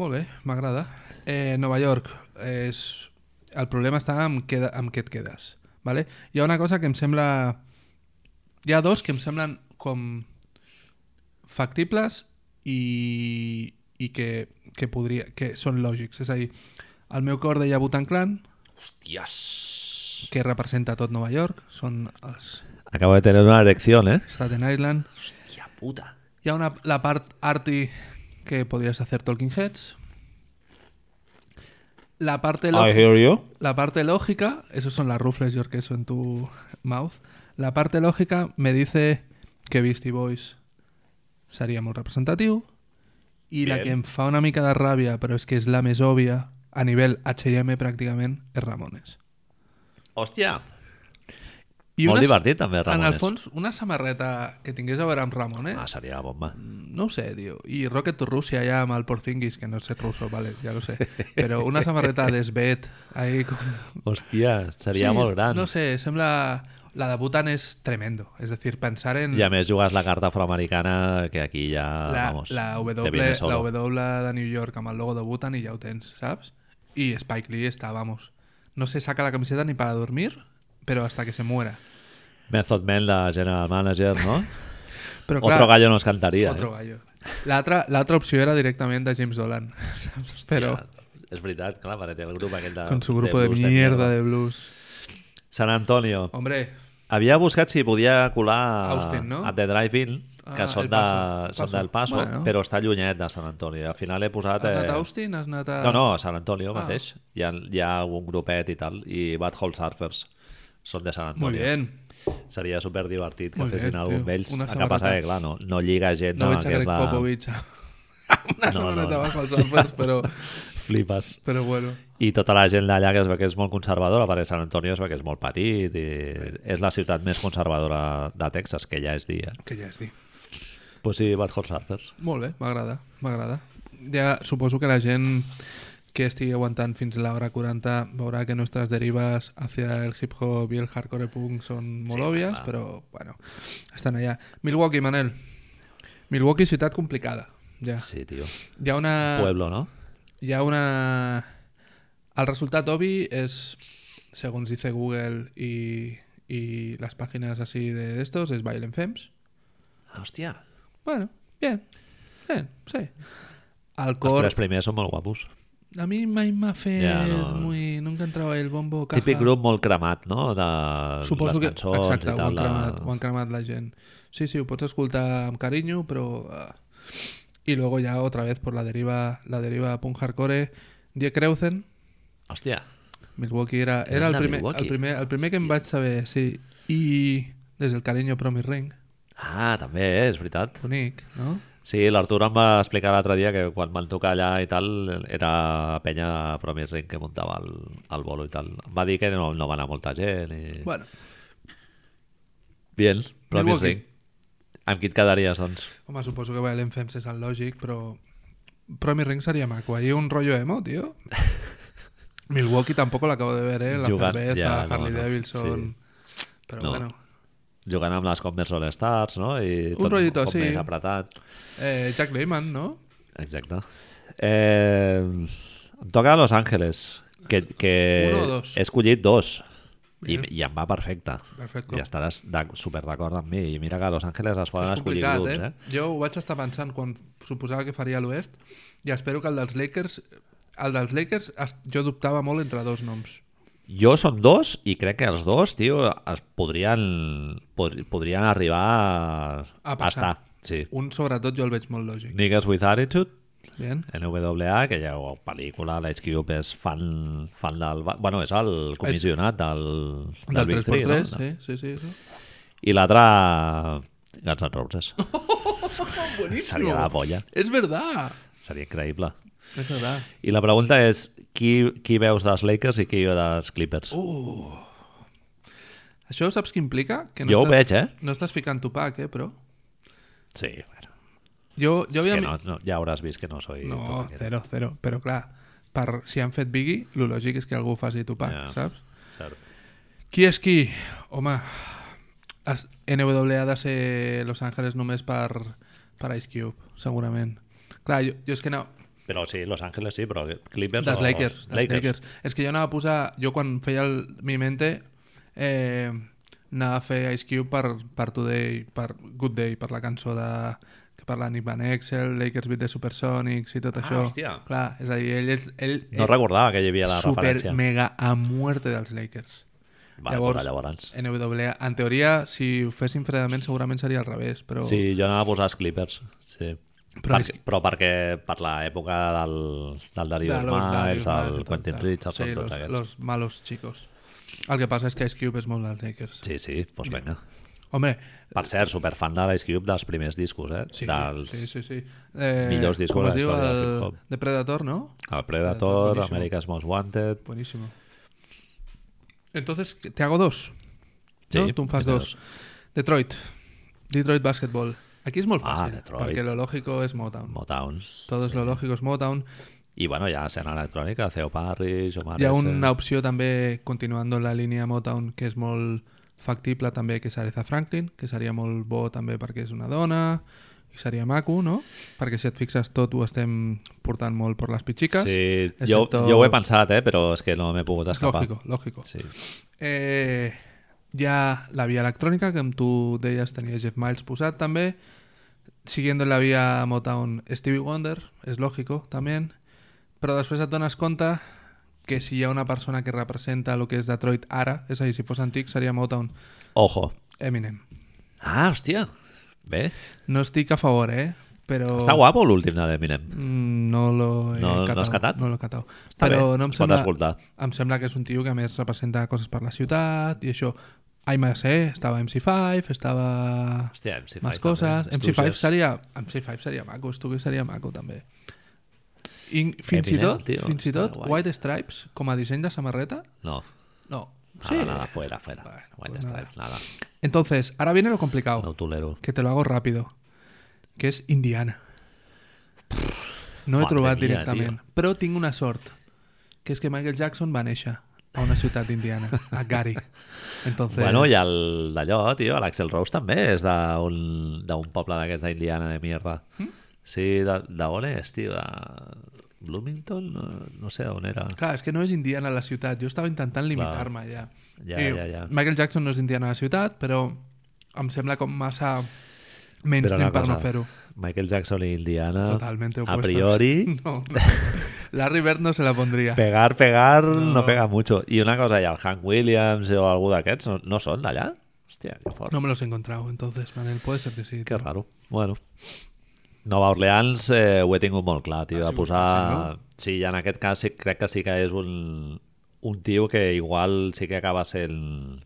Speaker 2: Molt bé, m'agrada. Eh, Nova York, és... el problema està amb, queda, amb què et quedes. Vale? Hi ha una cosa que em sembla... Hi ha dos que em semblen com factibles i, i que, que, podria, que són lògics. És a dir, el meu cor deia Butan Clan,
Speaker 1: Hòsties!
Speaker 2: que representa tot Nova York, són els
Speaker 1: Acabo de tener una erección, ¿eh?
Speaker 2: Staten Island.
Speaker 1: Hostia puta.
Speaker 2: Hi ha una, la part arty que podries hacer Talking Heads. La parte, lo-
Speaker 1: I hear you.
Speaker 2: la parte lógica, esos son las rufles y orqueso en tu mouth. La parte lógica me dice que Beastie Boys seria molt representatiu i la
Speaker 1: Bien.
Speaker 2: que em fa una mica de ràbia, però és que és la més òbvia a nivell H&M pràcticament, és Ramones.
Speaker 1: Hòstia.
Speaker 2: I
Speaker 1: Molt
Speaker 2: una-
Speaker 1: divertit, també,
Speaker 2: En el
Speaker 1: Ramones.
Speaker 2: fons, eh? una samarreta que tingués a veure amb Ramones,
Speaker 1: Ah, seria la bomba.
Speaker 2: No ho sé, tio. I Rocket to Russia ja amb el Porzingis, que no sé ruso, vale, ja lo sé. Però una samarreta d'esbet, ahí... Com...
Speaker 1: Hòstia, seria
Speaker 2: Sí,
Speaker 1: molt gran.
Speaker 2: No sé, sembla... La de Bhutan és tremendo. És a dir, pensar en
Speaker 1: I a més jugues la carta afroamericana que aquí ja,
Speaker 2: la,
Speaker 1: ah, vamos,
Speaker 2: la, w,
Speaker 1: te viene solo.
Speaker 2: la W de New York amb el logo de Bhutan i ja ho tens, saps? I Spike Lee està, vamos. No se saca la camiseta ni para dormir, però hasta que se muera.
Speaker 1: Method Man, la general manager, no?
Speaker 2: Però, clar,
Speaker 1: Otro gallo nos ¿eh? cantaria.
Speaker 2: Otro gallo. L'altra l'altra opció era directament de James Dolan, saps? Però...
Speaker 1: Ja, és veritat, clar, perquè té el grup aquest de...
Speaker 2: Con su grupo de,
Speaker 1: blues
Speaker 2: mierda de blues.
Speaker 1: San Antonio.
Speaker 2: Hombre,
Speaker 1: Havia buscat si podia colar a,
Speaker 2: Austin, no?
Speaker 1: a The Drive-In, que
Speaker 2: Ah,
Speaker 1: són,
Speaker 2: El
Speaker 1: de,
Speaker 2: Paso.
Speaker 1: són
Speaker 2: Paso.
Speaker 1: del Paso,
Speaker 2: Bueno.
Speaker 1: però està llunyet de Sant Antonio. Al final he posat... eh,
Speaker 2: has anat a Austin? Has anat a...
Speaker 1: No, no, a Sant Antonio
Speaker 2: Ah.
Speaker 1: mateix. Hi ha, hi ha un grupet i tal, i Bad Hole Surfers són de Sant
Speaker 2: Muy
Speaker 1: Antonio.
Speaker 2: bien.
Speaker 1: Seria superdivertit que
Speaker 2: Molt bé,
Speaker 1: fessin algun
Speaker 2: tio.
Speaker 1: d'ells.
Speaker 2: Una
Speaker 1: El que
Speaker 2: samarreta.
Speaker 1: passa que, clar, no, no lliga gens
Speaker 2: No
Speaker 1: amb el
Speaker 2: veig
Speaker 1: que
Speaker 2: a
Speaker 1: és
Speaker 2: Greg
Speaker 1: la...
Speaker 2: Popovich una
Speaker 1: No,
Speaker 2: setmaneta
Speaker 1: no, no.
Speaker 2: bajo els Alpers, però,
Speaker 1: Flipes.
Speaker 2: però bueno.
Speaker 1: I tota la gent d'allà que es veu que és molt conservadora, perquè Sant Antonio es veu que és molt petit i és la ciutat més conservadora de Texas, que ja és dia.
Speaker 2: Que ja es diu.
Speaker 1: Pues sí, Bad Hot Surfers.
Speaker 2: Molt bé, m'agrada, m'agrada. Ja suposo que la gent que estigui aguantant fins a l'hora 40 veurà que nostres derives hacia el hip-hop i el hardcore punk són molt
Speaker 1: Sí,
Speaker 2: sí, òbvies,
Speaker 1: va, va.
Speaker 2: però bueno, estan allà. Milwaukee, Manel. Milwaukee, ciutat complicada. Ja.
Speaker 1: Sí, tio.
Speaker 2: Hi ha una...
Speaker 1: Pueblo, no?
Speaker 2: hi ha una... El resultat obvi és, segons dice Google i, i les pàgines així de d'estos, és Violent Femmes.
Speaker 1: Hòstia.
Speaker 2: Bueno, bien. Bien, sí. El
Speaker 1: Els
Speaker 2: cor...
Speaker 1: tres primers són molt guapos.
Speaker 2: A mi mai m'ha fet...
Speaker 1: Ja,
Speaker 2: Yeah,
Speaker 1: no.
Speaker 2: no. muy... Nunca entrava el bombo caja.
Speaker 1: Típic grup molt cremat, no? De
Speaker 2: Suposo
Speaker 1: les
Speaker 2: que...
Speaker 1: cançons
Speaker 2: Exacte,
Speaker 1: i
Speaker 2: ho han,
Speaker 1: tal. de-
Speaker 2: cremat, ho han cremat la gent. Sí, sí, ho pots escoltar amb carinyo, però... Uh... Y luego ya otra vez por la deriva, la deriva punk hardcore, Die Kreuzen,
Speaker 1: Hòstia.
Speaker 2: Milwaukee era,
Speaker 1: Era
Speaker 2: era el,
Speaker 1: de
Speaker 2: primer,
Speaker 1: Milwaukee.
Speaker 2: el primer, el primer que em vaig saber, sí. I des del carinyo Promis Ring,
Speaker 1: Ah, també, eh? és veritat.
Speaker 2: bonic, no?
Speaker 1: Sí, l'Artur em va explicar l'altre dia que quan van tocar allà i tal, era penya Promise Ring que muntava el, el bolo i tal. Em va dir que no, no va anar molta gent. I...
Speaker 2: Bueno,
Speaker 1: Bien, Promise
Speaker 2: Milwaukee.
Speaker 1: Ring. Amb qui et quedaries, doncs?
Speaker 2: home, suposo que Violent Femmes és el lògic, però Promis Ring seria maco. Ahir un rollo emo, tio. Milwaukee tampoc l'acabo de ver, eh? La
Speaker 1: Jugant-
Speaker 2: cerveza,
Speaker 1: ja, no,
Speaker 2: Harley
Speaker 1: no,
Speaker 2: Davidson... Però
Speaker 1: No.
Speaker 2: bueno.
Speaker 1: Jugant amb les Commerce All Stars, no? I
Speaker 2: Un rollito,
Speaker 1: com
Speaker 2: sí.
Speaker 1: més apretat.
Speaker 2: Eh, Jack Lehman, no?
Speaker 1: Exacte. Eh, em toca Los Ángeles, que, que
Speaker 2: Uno o dos?
Speaker 1: he escollit dos. I, I em va perfecte.
Speaker 2: Perfecte.
Speaker 1: I estaràs de, super d'acord amb mi. I mira que a Los Ángeles es poden
Speaker 2: és
Speaker 1: escollir
Speaker 2: complicat,
Speaker 1: grups,
Speaker 2: eh?
Speaker 1: eh?
Speaker 2: Jo ho vaig estar pensant quan suposava que faria l'Oest i espero que el dels Lakers... El dels Lakers es- jo dubtava molt entre dos noms.
Speaker 1: Jo són dos i crec que els dos, tio, es podrien, pod podrien arribar a,
Speaker 2: A passar.
Speaker 1: estar. Sí.
Speaker 2: Un, sobretot, jo el veig molt lògic.
Speaker 1: Niggas with Attitude,
Speaker 2: Bien.
Speaker 1: NWA, que ja ho pel·lícula, l'Ice Cube és fan, fan del... ba- Bueno, és el comissionat del,
Speaker 2: Del
Speaker 1: Big Three,
Speaker 2: 3x3,
Speaker 1: no?
Speaker 2: sí, sí, sí. sí.
Speaker 1: I l'altre, Guns N' Roses. Seria la polla.
Speaker 2: És verdad.
Speaker 1: Seria increïble.
Speaker 2: És verdad.
Speaker 1: I la pregunta és, qui, qui veus dels Lakers i qui dels Clippers?
Speaker 2: Oh,
Speaker 1: Uh,
Speaker 2: Això saps què implica? Que
Speaker 1: jo ho veig, eh?
Speaker 2: No estàs ficant Tupac, eh, però...
Speaker 1: Sí, bueno.
Speaker 2: Jo, jo
Speaker 1: És
Speaker 2: havia...
Speaker 1: que no, no, ja hauràs vist que no soy...
Speaker 2: no
Speaker 1: Tupac, eh?
Speaker 2: zero, zero. Però clar, per, si han fet Biggie, lo lògic és que algú faci Tupac,
Speaker 1: Ja.
Speaker 2: saps?
Speaker 1: Cert.
Speaker 2: Qui és qui? Home, es, NWA ha de ser Los Angeles només per, per Ice Cube, segurament. Clar, jo, jo és que no...
Speaker 1: Però sí, Los Angeles sí, però Clippers
Speaker 2: Dels
Speaker 1: o...
Speaker 2: Lakers, dels Lakers. Lakers. És que jo anava a posar... Jo quan feia el, mi mente eh, anava a fer Ice Cube per, per Today, per Good Day, per la cançó de que parla Nick Van Exel, Lakers Beat the Supersonics i tot
Speaker 1: Ah,
Speaker 2: això.
Speaker 1: hòstia.
Speaker 2: Clar, és a dir, ell és, ell
Speaker 1: No
Speaker 2: és
Speaker 1: recordava que hi havia la
Speaker 2: super
Speaker 1: referència.
Speaker 2: mega a muerte dels Lakers.
Speaker 1: Va, llavors, pues llavors.
Speaker 2: NWA, en teoria, si ho fessin fredament segurament seria al revés, però...
Speaker 1: Sí, jo anava a posar els Clippers. Sí.
Speaker 2: Però
Speaker 1: Però, per,
Speaker 2: és-
Speaker 1: però perquè per l'època del, del Dario
Speaker 2: de
Speaker 1: de
Speaker 2: los Darius
Speaker 1: Miles,
Speaker 2: Miles
Speaker 1: del
Speaker 2: i tal,
Speaker 1: Quentin
Speaker 2: tal.
Speaker 1: Richards,
Speaker 2: sí,
Speaker 1: sí, tots
Speaker 2: los,
Speaker 1: aquests.
Speaker 2: los malos chicos. El que passa és que Ice Cube és molt dels Lakers.
Speaker 1: Sí, sí, doncs pues vinga.
Speaker 2: Home,
Speaker 1: Per cert, superfan de l'Ice Cube dels primers discos, eh?
Speaker 2: sí,
Speaker 1: dels,
Speaker 2: sí, sí, sí. Eh,
Speaker 1: millors discos
Speaker 2: com
Speaker 1: de
Speaker 2: es
Speaker 1: la
Speaker 2: diu,
Speaker 1: història del
Speaker 2: el
Speaker 1: hip-hop.
Speaker 2: The Predator, no?
Speaker 1: El
Speaker 2: Predator,
Speaker 1: Predator,
Speaker 2: boníssim.
Speaker 1: America's Most Wanted...
Speaker 2: Buenísimo. Entonces, ¿qué- te hago dos.
Speaker 1: Sí,
Speaker 2: ¿no? Tú me fas
Speaker 1: te hago
Speaker 2: dos. Detroit. Detroit Basketball. Aquí es muy
Speaker 1: Ah,
Speaker 2: fácil,
Speaker 1: Detroit.
Speaker 2: porque lo lógico es Motown.
Speaker 1: Motown.
Speaker 2: Todo es lo lógico es Motown.
Speaker 1: I bueno, hi ha escena electrònica, Theo Parrish, Omar
Speaker 2: Hi ha
Speaker 1: Essen.
Speaker 2: una opció també, continuant en la línia Motown, que és molt factible també, que és Aretha Franklin, que seria molt bo també perquè és una dona, i seria maco, no? Perquè si et fixes tot ho estem portant molt per les pitxiques.
Speaker 1: Sí, jo, jo ho he pensat, eh? però és que no m'he pogut
Speaker 2: És
Speaker 1: escapar.
Speaker 2: lògico, lògico.
Speaker 1: Sí.
Speaker 2: Eh, hi ha la via electrònica, que amb tu deies tenia Jeff Miles posat també. Siguiendo la via Motown, Stevie Wonder, és lògico també. Però després et dones compte que si hi ha una persona que representa el que és Detroit ara, és a dir, si fos antic seria Motown,
Speaker 1: Ojo.
Speaker 2: Eminem.
Speaker 1: Ah, hòstia. Bé,
Speaker 2: No estic a favor, eh? Però...
Speaker 1: està guapo l'últim de l'Eminem.
Speaker 2: Mm, No l'ho he
Speaker 1: No- no has
Speaker 2: catau,
Speaker 1: catat?
Speaker 2: No l'he catau.
Speaker 1: Està
Speaker 2: Però
Speaker 1: bé,
Speaker 2: no em
Speaker 1: es pot
Speaker 2: sembla...
Speaker 1: escoltar.
Speaker 2: Em sembla que és un tio que a més representa coses per la ciutat i això. Ai, més, eh? Estava a MC5, estava...
Speaker 1: Hòstia, MC5
Speaker 2: Més
Speaker 1: també,
Speaker 2: coses. MC5
Speaker 1: Stooges.
Speaker 2: seria... MC5 seria maco, Stooges seria maco també. I fins i
Speaker 1: Eminem,
Speaker 2: tot,
Speaker 1: tio,
Speaker 2: fins i
Speaker 1: està
Speaker 2: tot
Speaker 1: guai.
Speaker 2: White Stripes com a disseny de samarreta,
Speaker 1: No,
Speaker 2: no.
Speaker 1: nada,
Speaker 2: Sí.
Speaker 1: nada, fuera, fuera.
Speaker 2: Bueno,
Speaker 1: White
Speaker 2: pues Oh.
Speaker 1: Stripes, nada.
Speaker 2: Entonces, ahora viene lo complicado,
Speaker 1: No ho tolero.
Speaker 2: que te lo hago rápido, que es Indiana. No he
Speaker 1: Madre
Speaker 2: trobat
Speaker 1: mía,
Speaker 2: directament, però tinc una sort, que és que Michael Jackson va néixer a una ciutat d'Indiana, a Gary. Entonces,
Speaker 1: Bueno, i el d'allò, tio, l'Axel Rose també és d'un d'un poble d'aquests d'Indiana de mierda.
Speaker 2: Mm?
Speaker 1: Sí, de- d'on és, tio? De Bloomington? No, no sé on era.
Speaker 2: Clar, és que no és indiana la ciutat. Jo estava intentant limitar-me ja.
Speaker 1: Ja,
Speaker 2: I
Speaker 1: ja, ja.
Speaker 2: Michael Jackson no és indiana la ciutat, però em sembla com massa
Speaker 1: Però
Speaker 2: mainstream
Speaker 1: una
Speaker 2: per
Speaker 1: cosa,
Speaker 2: no fer-ho.
Speaker 1: Michael Jackson i Indiana,
Speaker 2: Totalmente
Speaker 1: a
Speaker 2: opuestos.
Speaker 1: priori,
Speaker 2: No, no. Larry Bird no se la pondria.
Speaker 1: pegar, pegar, no.
Speaker 2: No.
Speaker 1: pega mucho. I una cosa, i el Hank Williams o algú d'aquests no, no són d'allà? Hòstia, que fort.
Speaker 2: No me los he encontrado, entonces, Manel, puede ser que sí.
Speaker 1: Que
Speaker 2: tío.
Speaker 1: raro. Bueno. Nova Orleans eh, ho he tingut molt clar, tio, de
Speaker 2: sigut
Speaker 1: posar...
Speaker 2: fàcil,
Speaker 1: Sí, en aquest cas sí, crec que sí que és un, un tio que igual sí que acaba sent...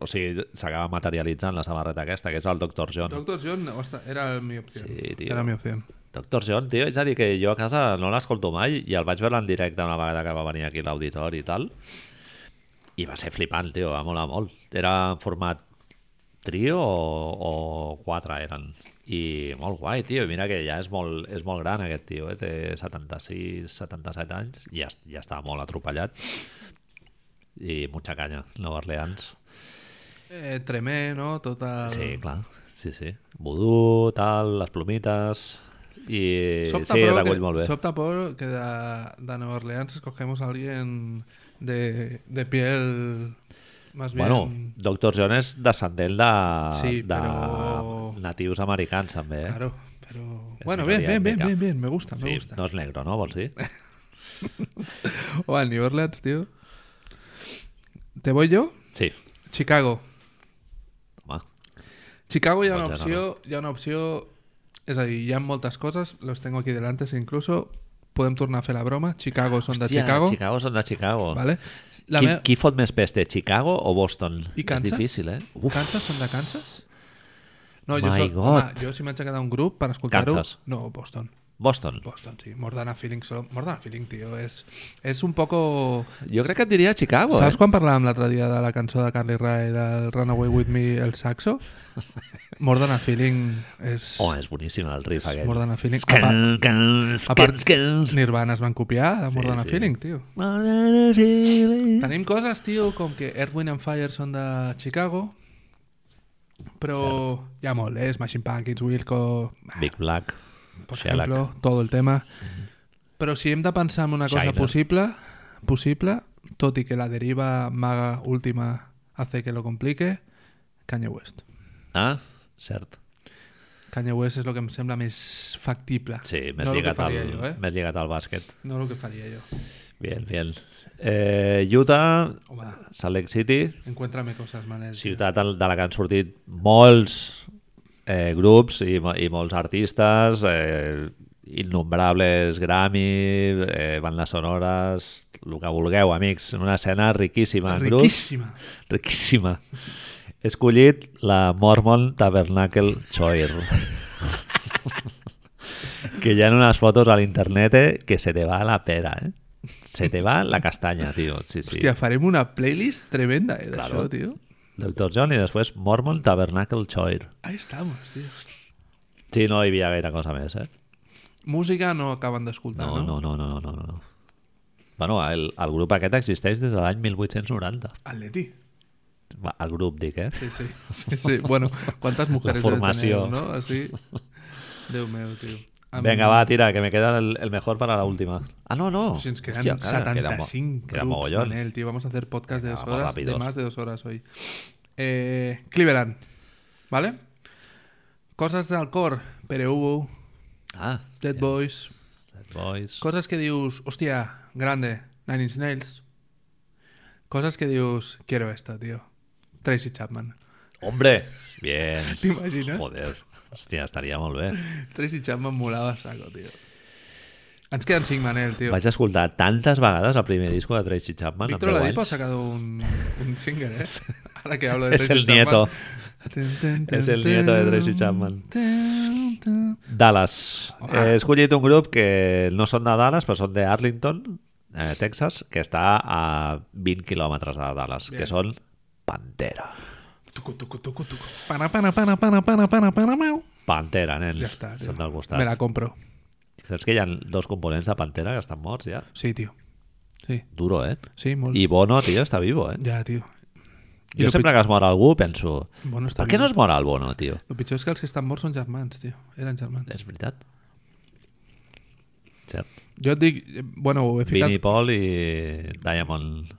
Speaker 1: O sigui, s'acaba materialitzant la samarreta aquesta, que és el Dr. John.
Speaker 2: Doctor John o esta- era mi opción.
Speaker 1: Sí, tío.
Speaker 2: Era mi opción.
Speaker 1: Dr. John, tio, és a dir, que jo a casa no l'escolto mai i el vaig veure en directe una vegada que va venir aquí a l'auditori i tal. I va ser flipant, tio, va molar molt. Era en format trio o, o quatre eren. I molt guai, tio. I mira que ja és molt, és molt gran aquest tio, eh? té 76, 77 anys i ja, ja està molt atropellat. I mucha canya, Nova Orleans.
Speaker 2: Eh, tremé, ¿no? Total.
Speaker 1: Sí, clar, sí, sí. Vudú, tal, les plomites... I
Speaker 2: Sopta
Speaker 1: sí,
Speaker 2: por
Speaker 1: recull
Speaker 2: que,
Speaker 1: molt bé.
Speaker 2: sopta por que de, de Nueva Orleans escogemos a alguien de, de piel más bien...
Speaker 1: Bueno, Doctor John és descendent de,
Speaker 2: Doncs Sí,
Speaker 1: de
Speaker 2: però-
Speaker 1: natius americans, també. Eh?
Speaker 2: Claro, pero...
Speaker 1: Es
Speaker 2: Bueno,
Speaker 1: minoría
Speaker 2: bien, bien, bien,
Speaker 1: étnica.
Speaker 2: bien, bien, me gusta, me
Speaker 1: sí,
Speaker 2: gusta.
Speaker 1: no és negro, no? Vols dir?
Speaker 2: O a New Orleans, tío. ¿Te voy yo?
Speaker 1: Sí.
Speaker 2: Chicago.
Speaker 1: Home,
Speaker 2: Chicago hi ha
Speaker 1: Bon
Speaker 2: una opció, hi ha una opció, és a dir, hi ha moltes coses, los tengo aquí delante, si incluso podem tornar a fer la broma. Chicago són de
Speaker 1: Hòstia,
Speaker 2: Chicago,
Speaker 1: Chicago són de Chicago.
Speaker 2: vale? La
Speaker 1: La qui,
Speaker 2: meva-
Speaker 1: qui fot més peste, Chicago o Boston?
Speaker 2: I Kansas?
Speaker 1: És difícil, eh? Uf,
Speaker 2: Kansas són de Kansas? No,
Speaker 1: My
Speaker 2: jo, soc,
Speaker 1: God.
Speaker 2: home, jo si m'haig de quedar un grup per escoltar-ho...
Speaker 1: Kansas.
Speaker 2: No, Boston.
Speaker 1: Boston.
Speaker 2: Boston, sí. Mordana Feeling, solo... Mordana Feeling, tio, és, és un poco...
Speaker 1: Jo crec que et diria Chicago,
Speaker 2: Saps
Speaker 1: Saps eh?
Speaker 2: quan parlàvem l'altre dia de la cançó de Carly Rae del Runaway With Me, el saxo? More Than a Feeling és...
Speaker 1: Oh, és boníssim el riff aquest.
Speaker 2: More Than a Feeling. A part-
Speaker 1: Scan, scan,
Speaker 2: A part,
Speaker 1: scan, scan.
Speaker 2: Nirvana es van copiar de More
Speaker 1: Sí,
Speaker 2: Than a
Speaker 1: sí.
Speaker 2: Feeling, tio.
Speaker 1: More than a feeling.
Speaker 2: Tenim coses, tio, com que Earth, Wind and Fire són de Chicago, però hi ha molt, eh? Smashing Pumpkins, Wilco,
Speaker 1: Big Black.
Speaker 2: por
Speaker 1: Shellac.
Speaker 2: ejemplo, todo el tema. Però si hem de pensar en una cosa
Speaker 1: Shiner.
Speaker 2: possible, possible, tot i que la deriva maga última hace que lo complique, Kanye West.
Speaker 1: Ah, cert.
Speaker 2: Kanye West és el que em sembla més factible.
Speaker 1: Sí, més,
Speaker 2: no el que
Speaker 1: lligat,
Speaker 2: faria
Speaker 1: al,
Speaker 2: jo, eh?
Speaker 1: més lligat al bàsquet.
Speaker 2: No el que faria jo.
Speaker 1: Bien, bien. Eh, Utah,
Speaker 2: Home,
Speaker 1: Salt Lake City,
Speaker 2: encuéntrame coses, Manel. tio.
Speaker 1: ciutat al- de la que han sortit molts eh, grups i, mo- i molts artistes, eh, innombrables Grammy, eh, bandes sonores, el que vulgueu, amics, una escena riquíssima. en grups.
Speaker 2: Riquíssima.
Speaker 1: Riquíssima. He escollit la Mormon Tabernacle Choir. que hi ha unes fotos a l'internet eh, que se te va la pera, eh? Se te va la castanya, tio. Sí, sí.
Speaker 2: Hòstia, farem una playlist tremenda, eh, d'això,
Speaker 1: Claro.
Speaker 2: tio.
Speaker 1: Doctor John i després Mormon Tabernacle Choir.
Speaker 2: Ahí estamos, tio.
Speaker 1: Sí, no hi havia gaire cosa més, eh?
Speaker 2: Música no acaben d'escoltar,
Speaker 1: No,
Speaker 2: Ah, no?
Speaker 1: no, no, no, no, no. no. Bueno, el, el grup aquest existeix des de l'any 1890.
Speaker 2: Atleti.
Speaker 1: Va, El grup, dic, eh?
Speaker 2: Sí, sí. sí, sí. Bueno, quantes mujeres
Speaker 1: La
Speaker 2: debe
Speaker 1: formació.
Speaker 2: tener, no? Así. Déu meu, tio. A mi-
Speaker 1: Venga, va, tira, que me queda el, el mejor para la última. Ah, no, no.
Speaker 2: Si nos quedan
Speaker 1: Hòstia, cara, queda mo-
Speaker 2: 75
Speaker 1: Queda,
Speaker 2: groups,
Speaker 1: mogollón.
Speaker 2: Manel, tío. Vamos a hacer podcast de
Speaker 1: Venga,
Speaker 2: dos
Speaker 1: vamos
Speaker 2: horas,
Speaker 1: rápidos.
Speaker 2: de más de dos horas hoy. Eh, Cleveland, ¿vale? Cosas de Alcor, Pereubo,
Speaker 1: Ah,
Speaker 2: Dead Boys,
Speaker 1: Dead Boys.
Speaker 2: cosas que dius, hostia, grande, Nine Inch Nails. Cosas que dius, quiero esta, tío. Tracy Chapman.
Speaker 1: Hombre, bien.
Speaker 2: T'imagines?
Speaker 1: Joder, hòstia, estaria molt bé.
Speaker 2: Tracy Chapman molava a saco, tío. Ens quedan cinc, Manel, tío.
Speaker 1: Vaig escoltar tantes vegades el primer disco de Tracy Chapman
Speaker 2: Víctor
Speaker 1: amb 10
Speaker 2: Oladipo ha
Speaker 1: anys.
Speaker 2: sacado un, un single, ¿eh? Ahora que hablo de
Speaker 1: Es
Speaker 2: Tracy
Speaker 1: el
Speaker 2: Chapman.
Speaker 1: nieto.
Speaker 2: Tun, tun, tun,
Speaker 1: Es el nieto de Tracy
Speaker 2: tun,
Speaker 1: Chapman.
Speaker 2: tun, tun.
Speaker 1: Dallas.
Speaker 2: Home.
Speaker 1: He escollit un grup que no són de Dallas, però són de Arlington, eh, Texas, que està a 20 quilòmetres de Dallas,
Speaker 2: Bien.
Speaker 1: que són Pantera.
Speaker 2: Tucu, tucu, tucu, tucu. Pana, pana, pana, pana, pana, pana, pana, meu.
Speaker 1: Pantera, nen.
Speaker 2: Ya está, tío.
Speaker 1: Són del costat.
Speaker 2: Me la compro.
Speaker 1: Saps que hi ha dos components de Pantera que estan morts ja?
Speaker 2: Sí, tío. Sí,
Speaker 1: Duro, eh?
Speaker 2: sí, molt.
Speaker 1: I Bono, tio, està vivo, eh?
Speaker 2: Ja, tio. I
Speaker 1: Jo
Speaker 2: lo
Speaker 1: sempre que es mor algú penso...
Speaker 2: pitjor- Bueno, està
Speaker 1: Per què
Speaker 2: viu.
Speaker 1: no es mor el Bono, tio?
Speaker 2: Lo pitjor és que els que estan morts són germans, tio. Eren germans.
Speaker 1: És veritat. Cert.
Speaker 2: Jo et dic... eh, Bueno, ho he ficat...
Speaker 1: Vinnie Paul i Diamond.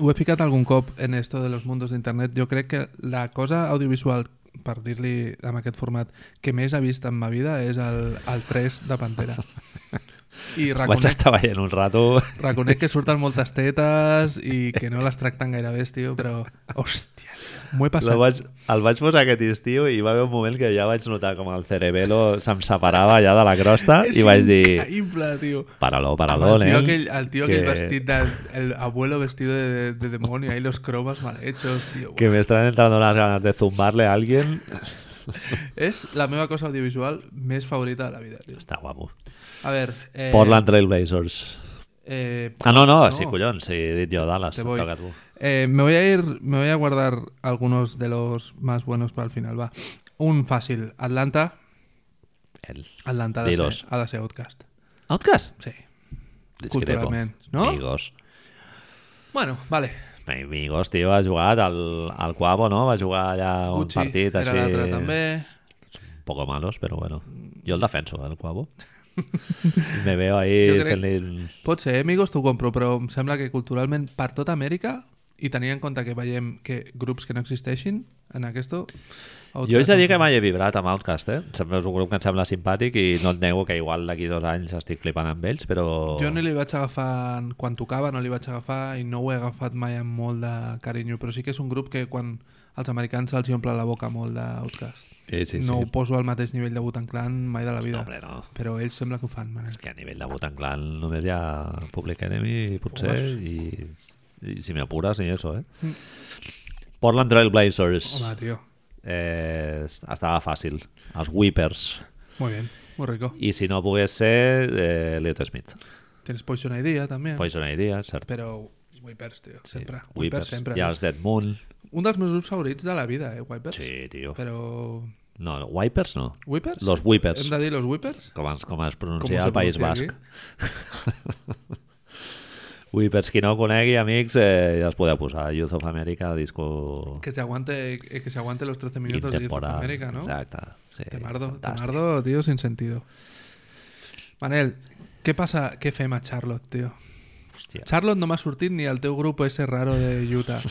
Speaker 2: Ho he ficat algun cop en esto de los mundos d'internet. Jo crec que la cosa audiovisual, per dir-li amb aquest format, que més he vist en ma vida és el, el 3 de Pantera. I
Speaker 1: Vaig
Speaker 2: reconec,
Speaker 1: estar veient un rato...
Speaker 2: reconec que surten moltes tetes i que no les tracten gaire bé, tio, però... Hòstia, tio, m'ho he
Speaker 1: Lo
Speaker 2: passat.
Speaker 1: vaig, el vaig posar aquest estiu i hi va haver un moment que ja vaig notar com el cerebelo se'm separava ja de la crosta
Speaker 2: És
Speaker 1: i vaig dir,
Speaker 2: Increïble, tio.
Speaker 1: paralo, paralo,
Speaker 2: Amb el
Speaker 1: nen.
Speaker 2: tío aquell, el tío
Speaker 1: que,
Speaker 2: aquell vestit de, el abuelo vestido de, de demonio, ahí los cromas mal hechos, tío.
Speaker 1: Que me están entrando unas ganas de zumbarle a alguien.
Speaker 2: Eh. És la meva cosa audiovisual més favorita de la vida, tio.
Speaker 1: Està guapo.
Speaker 2: A ver... Eh,
Speaker 1: Portland Trail Blazers.
Speaker 2: Eh,
Speaker 1: Ah, no, no, sí,
Speaker 2: no.
Speaker 1: collons, sí, he dit jo, Dallas,
Speaker 2: Te
Speaker 1: et
Speaker 2: voy.
Speaker 1: toca a tu.
Speaker 2: eh, me voy a ir, me voy a guardar algunos de los más buenos para el final, va. Un fácil, Atlanta,
Speaker 1: El
Speaker 2: Atlanta ha de,
Speaker 1: Dilos.
Speaker 2: ser, ha de ser Outcast.
Speaker 1: Outcast?
Speaker 2: Sí.
Speaker 1: Discrepo.
Speaker 2: Culturalment, no?
Speaker 1: Amigos.
Speaker 2: Bueno, vale.
Speaker 1: Amigos, tio, ha jugat al, al Quavo, no? Va jugar allà un
Speaker 2: Gucci
Speaker 1: partit
Speaker 2: era
Speaker 1: així...
Speaker 2: l'altre també.
Speaker 1: Un poco malos, però bueno. Jo el defenso, eh, el Quavo. Me veo ahí
Speaker 2: Jo crec-
Speaker 1: fent-li...
Speaker 2: Pot ser, eh, amigos, t'ho compro, però em sembla que culturalment per tota Amèrica i tenint en compte que veiem que grups que no existeixin en aquesto...
Speaker 1: Jo he de dir que mai he vibrat amb Outcast, eh? Sempre és un grup que em sembla simpàtic i no et nego que igual d'aquí dos anys estic flipant amb ells, però...
Speaker 2: Jo no li vaig agafar, quan tocava no li vaig agafar i no ho he agafat mai amb molt de carinyo, però sí que és un grup que quan als americans els hi omple la boca molt d'Outcast.
Speaker 1: Sí, sí, sí.
Speaker 2: no ho poso al mateix nivell de Butan Clan mai de la vida,
Speaker 1: No, hombre, no.
Speaker 2: però ells sembla que ho fan, man.
Speaker 1: És que a nivell de Butan Clan només hi ha Public Enemy, potser, i, i si m'apures ni això, eh? Portland Trail Blazers.
Speaker 2: Mm. Home, tio,
Speaker 1: Eh, estava fàcil. Els Whippers.
Speaker 2: muy bien, muy rico.
Speaker 1: I si no pogués ser, eh, Leo Smith.
Speaker 2: Tienes Poison Idea també,
Speaker 1: Poison Idea, cert.
Speaker 2: però Wipers, tio, Eh? sempre.
Speaker 1: Sí,
Speaker 2: Wipers, sempre.
Speaker 1: I els Dead Moon.
Speaker 2: Un dels meus grups favorits de la vida, eh, Wipers.
Speaker 1: Sí, tio.
Speaker 2: Però...
Speaker 1: No, no, Wipers no.
Speaker 2: Wipers?
Speaker 1: Los Whippers.
Speaker 2: Hem de dir los Wipers?
Speaker 1: Com es, com es
Speaker 2: Com
Speaker 1: pronuncia
Speaker 2: se
Speaker 1: al País
Speaker 2: pronuncia
Speaker 1: Basc.
Speaker 2: aquí?
Speaker 1: Whippers, qui no ho conegui, amics, eh, ja els podeu posar. Youth of America, disco
Speaker 2: Que se aguante, que se aguante los 13 minutos de Youth of
Speaker 1: intemporal.
Speaker 2: América, ¿no?
Speaker 1: Exacte. Sí,
Speaker 2: Temardo,
Speaker 1: fantàstic.
Speaker 2: Temardo, tío, sin sentido. Manel, ¿qué pasa? ¿Qué fema Charlotte, tío?
Speaker 1: Hòstia.
Speaker 2: Charlotte no m'ha sortit ni al teu grup ese raro de Utah.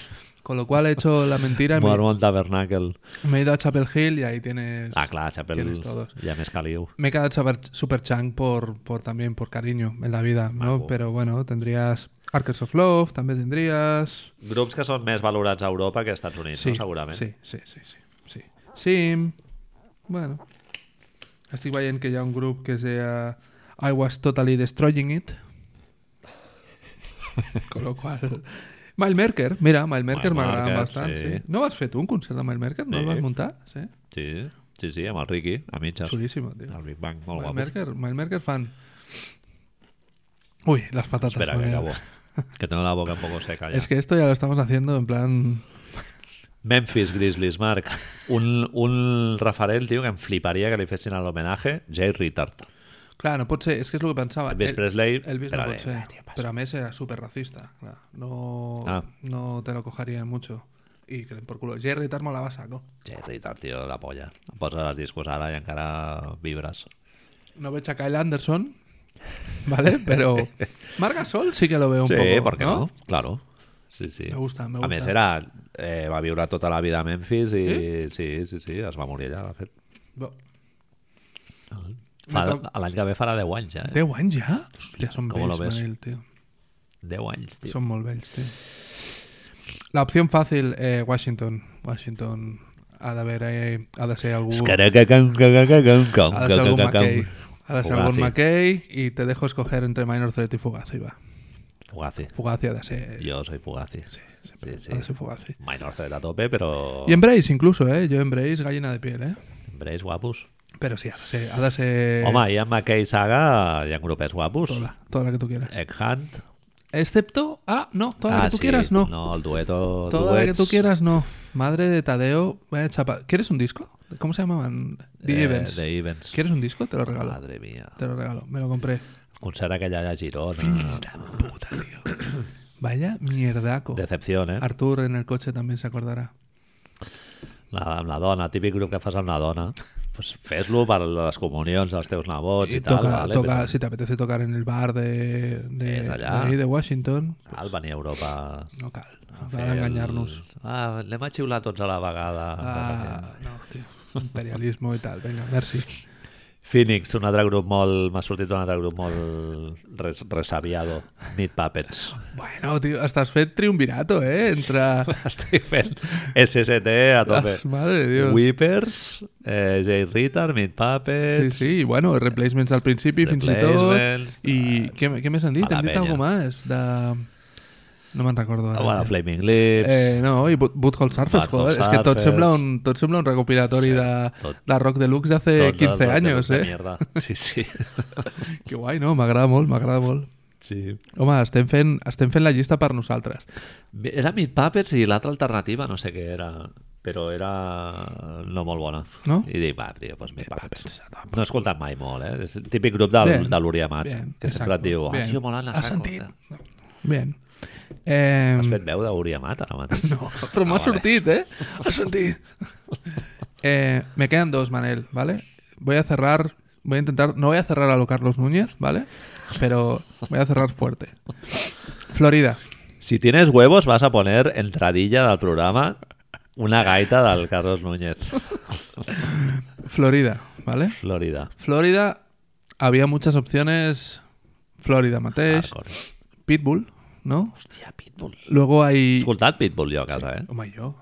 Speaker 2: Con lo cual he hecho la mentira, me,
Speaker 1: Mormon Tabernacle.
Speaker 2: me he ido a Chapel Hill y ahí tienes...
Speaker 1: Ah, clar, Chapel
Speaker 2: Tienes todos.
Speaker 1: ja més caliu.
Speaker 2: Me he quedado super, super chunk por, por también por cariño en la vida, ¿no?
Speaker 1: Maco.
Speaker 2: Pero bueno, tendrías Arcades of Love, también tendrías...
Speaker 1: Grups que són més valorats a Europa que a Estats Units, no? segurament.
Speaker 2: Sí, sí, sí, sí, sí. Sim, bueno. Estic veient que hi ha un grup que es deia I was totally destroying it. Con lo qual... Mile Merker, mira, Mile Merker
Speaker 1: Mile
Speaker 2: m'agrada
Speaker 1: Merker,
Speaker 2: bastant, sí.
Speaker 1: sí.
Speaker 2: sí. No vas fer tu un concert de Mile Merker? No
Speaker 1: Sí.
Speaker 2: el vas muntar? Sí.
Speaker 1: sí. Sí, sí, amb el Ricky, a mitges.
Speaker 2: Xulíssimo, tio.
Speaker 1: El Big Bang, molt
Speaker 2: Mile
Speaker 1: guapo.
Speaker 2: Merker, Mile Merker fan... Uy, las patatas.
Speaker 1: Espera, que
Speaker 2: Manuel.
Speaker 1: acabo. Que tengo la boca un poco seca ya.
Speaker 2: Es que esto ya lo estamos haciendo en plan...
Speaker 1: Memphis Grizzlies, Marc. Un, un referent, tio, que em fliparia que li fessin l'homenatge, Jay Rittard.
Speaker 2: Claro, no pot ser, és que és el que pensava.
Speaker 1: Elvis Presley,
Speaker 2: Elvis
Speaker 1: però
Speaker 2: no
Speaker 1: de-
Speaker 2: pot ser,
Speaker 1: ah, tio, passa.
Speaker 2: però a més era super racista. Clar. No,
Speaker 1: Ah.
Speaker 2: no te lo cogerían mucho. I que por culo. Jerry Tarmo la va a saco.
Speaker 1: Jay Rittard, tio, la polla. Em posa els discos ara i encara vibres.
Speaker 2: No veig a Kyle Anderson, ¿vale? Però Marc Gasol sí que lo veo un
Speaker 1: sí,
Speaker 2: poco.
Speaker 1: per què no? Claro. Sí, sí.
Speaker 2: Me gusta, me
Speaker 1: A més,
Speaker 2: gusta.
Speaker 1: era, eh, va viure tota la vida a Memphis i sí, sí, sí, sí es va morir allà, de fet.
Speaker 2: Bo,
Speaker 1: Fa-
Speaker 2: Ah. Me toc-
Speaker 1: L'any que ve farà 10 anys, ja. Eh?
Speaker 2: 10 anys ja? Hòstia, són
Speaker 1: com
Speaker 2: vells,
Speaker 1: lo ves?
Speaker 2: Manel, tio.
Speaker 1: 10 anys, tio.
Speaker 2: Són molt vells, tio. La opció fàcil, eh, Washington. Washington ha d'haver... Eh, ha de ser algú... Ha de ser algún McKay. Ha de ser algún
Speaker 1: Fugazi.
Speaker 2: McKay y te dejo escoger entre Minor Threat y Fugazi, va.
Speaker 1: Fugazi.
Speaker 2: Fugazi ha de ser...
Speaker 1: Jo soy Fugazi. Sí,
Speaker 2: siempre
Speaker 1: sí. Oh.
Speaker 2: Ha de ser Fugazi.
Speaker 1: Minor Threat a tope, però...
Speaker 2: Y Embrace incluso, ¿eh? Yo Embrace, gallina de piel, ¿eh?
Speaker 1: Hombres guapos.
Speaker 2: Pero sí, ha de ser... Ha de ser
Speaker 1: Home, hi ha McKay Saga, hi ha grupers guapos.
Speaker 2: toda, toda la que tú quieras.
Speaker 1: Egg Hunt.
Speaker 2: Excepto... Ah, no, toda la
Speaker 1: Eh. Ah,
Speaker 2: que tú
Speaker 1: sí,
Speaker 2: quieras, no.
Speaker 1: No, el dueto...
Speaker 2: toda la que
Speaker 1: duets.
Speaker 2: tú quieras, no. Madre de Tadeo, vaya chapa. ¿Quieres un disco? ¿Cómo se llamaban? DJ
Speaker 1: Eh,
Speaker 2: Benz.
Speaker 1: The Events.
Speaker 2: ¿Quieres un disco? Te lo regalo.
Speaker 1: Madre Ah. mía.
Speaker 2: Te lo regalo, me lo compré.
Speaker 1: Concert aquell allà a Girona.
Speaker 2: Puta, tío. Vaya mierdaco.
Speaker 1: Decepció, eh?
Speaker 2: Artur en el coche también se acordará.
Speaker 1: La, amb la dona, típic grup que fas amb la dona. Pues Fes-lo per les comunions dels teus nebots i,
Speaker 2: Y
Speaker 1: tal.
Speaker 2: toca,
Speaker 1: vale?
Speaker 2: toca-
Speaker 1: Però-
Speaker 2: si te apetece tocar en el bar de, de,
Speaker 1: Es
Speaker 2: de,
Speaker 1: allá.
Speaker 2: ahí, de Washington,
Speaker 1: Cal venir a Europa
Speaker 2: no cal.
Speaker 1: fer
Speaker 2: Habrá de engañarnos.
Speaker 1: El... Ah, anem a xiular tots a la vegada. Ah.
Speaker 2: Ah, no, tío. Imperialismo y tal. Venga, merci.
Speaker 1: Phoenix, un altre grup molt... M'ha sortit un altre grup molt res, resabiado. Need Puppets.
Speaker 2: Bueno, tío, hasta has fet triunvirato, eh? Entra...
Speaker 1: Estic fent SST a tope.
Speaker 2: Las- madre de Dios.
Speaker 1: Whippers, eh, Jay Ritter, Meat
Speaker 2: Sí,
Speaker 1: Puppets...
Speaker 2: sí, i bueno, replacements al principi, fins i tot.
Speaker 1: Replacements,
Speaker 2: I què, què més han dit?
Speaker 1: a la
Speaker 2: Han dit
Speaker 1: penya.
Speaker 2: alguna més de... No me'n recordo.
Speaker 1: Ah,
Speaker 2: Ara,
Speaker 1: Bueno,
Speaker 2: tio.
Speaker 1: Flaming Lips...
Speaker 2: Eh, no, i Boot- Butthole Surfers,
Speaker 1: Butthole
Speaker 2: joder, és que tot
Speaker 1: Surfers.
Speaker 2: sembla un, tot sembla un recopilatori
Speaker 1: Sí,
Speaker 2: de,
Speaker 1: tot.
Speaker 2: de rock deluxe de hace
Speaker 1: Tot
Speaker 2: 15
Speaker 1: el- tot
Speaker 2: eh, años,
Speaker 1: de
Speaker 2: eh?
Speaker 1: Mierda. Sí, sí.
Speaker 2: Que guai, no? M'agrada molt, m'agrada molt.
Speaker 1: sí.
Speaker 2: Home, estem fent, estem fent la llista per nosaltres.
Speaker 1: Era Meat Puppets i l'altra alternativa, no sé què era, però era no molt bona.
Speaker 2: No?
Speaker 1: I dic, va, tio, doncs Meat Puppets. No he escoltat mai molt, eh? És el típic grup del,
Speaker 2: Bien.
Speaker 1: de l'Uriamat,
Speaker 2: Bien,
Speaker 1: que sempre et diu, ah,
Speaker 2: bien.
Speaker 1: tio, mola la
Speaker 2: Has
Speaker 1: saco.
Speaker 2: sentit? Bien. Eh,
Speaker 1: Has fet veu d'Uriamat ara mateix?
Speaker 2: No, però m'ha
Speaker 1: Ah, vale.
Speaker 2: sortit, eh? M'ha sortit. Eh, me quedan dos, Manel, ¿vale? Voy a cerrar, voy a intentar, no voy a cerrar a lo Carlos Núñez, ¿vale? Pero voy a cerrar fuerte. Florida.
Speaker 1: Si tienes huevos vas a poner entradilla del programa una gaita del Carlos Núñez.
Speaker 2: Florida, ¿vale?
Speaker 1: Florida.
Speaker 2: Florida, había muchas opciones. Florida Mateix,
Speaker 1: Hardcore.
Speaker 2: Pitbull, ¿no?
Speaker 1: Hòstia, Pitbull.
Speaker 2: Luego
Speaker 1: He
Speaker 2: hay...
Speaker 1: escoltat Pitbull jo a casa, eh?
Speaker 2: Home, jo.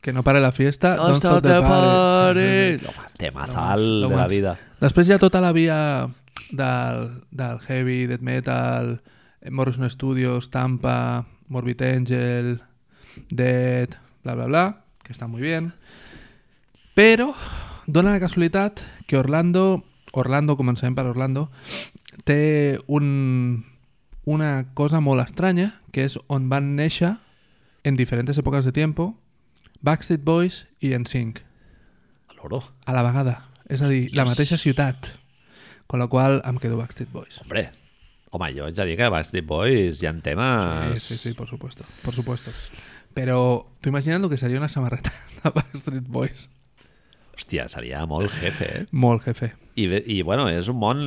Speaker 2: Que no pare la fiesta, don't, stop, the party.
Speaker 1: pare!
Speaker 2: Sí, sí, sí.
Speaker 1: Home,
Speaker 2: Lo
Speaker 1: temazal
Speaker 2: más,
Speaker 1: de
Speaker 2: lo
Speaker 1: la
Speaker 2: más.
Speaker 1: vida.
Speaker 2: Després hi ha tota la via del, del heavy, death metal, eh, Morrison Studios, Tampa, Morbid Angel, Dead, bla, bla, bla, que està molt bé. Però dona la casualitat que Orlando, Orlando, comencem per Orlando, té un, una cosa molt estranya, que és on van néixer en diferents èpoques de tiempo Backstreet Boys i NSYNC
Speaker 1: A l'oro.
Speaker 2: a la vegada. És a dir, la mateixa ciutat. Con la qual em quedo Backstreet Boys.
Speaker 1: Hombre, home, jo haig de dir que Backstreet Boys hi ha temes...
Speaker 2: Sí, sí, sí, por supuesto. Por supuesto. Pero tú imaginas lo que sería una samarreta de Backstreet Boys.
Speaker 1: Hòstia, seria molt jefe, eh?
Speaker 2: Molt, jefe.
Speaker 1: I, bé- I, bueno, és un món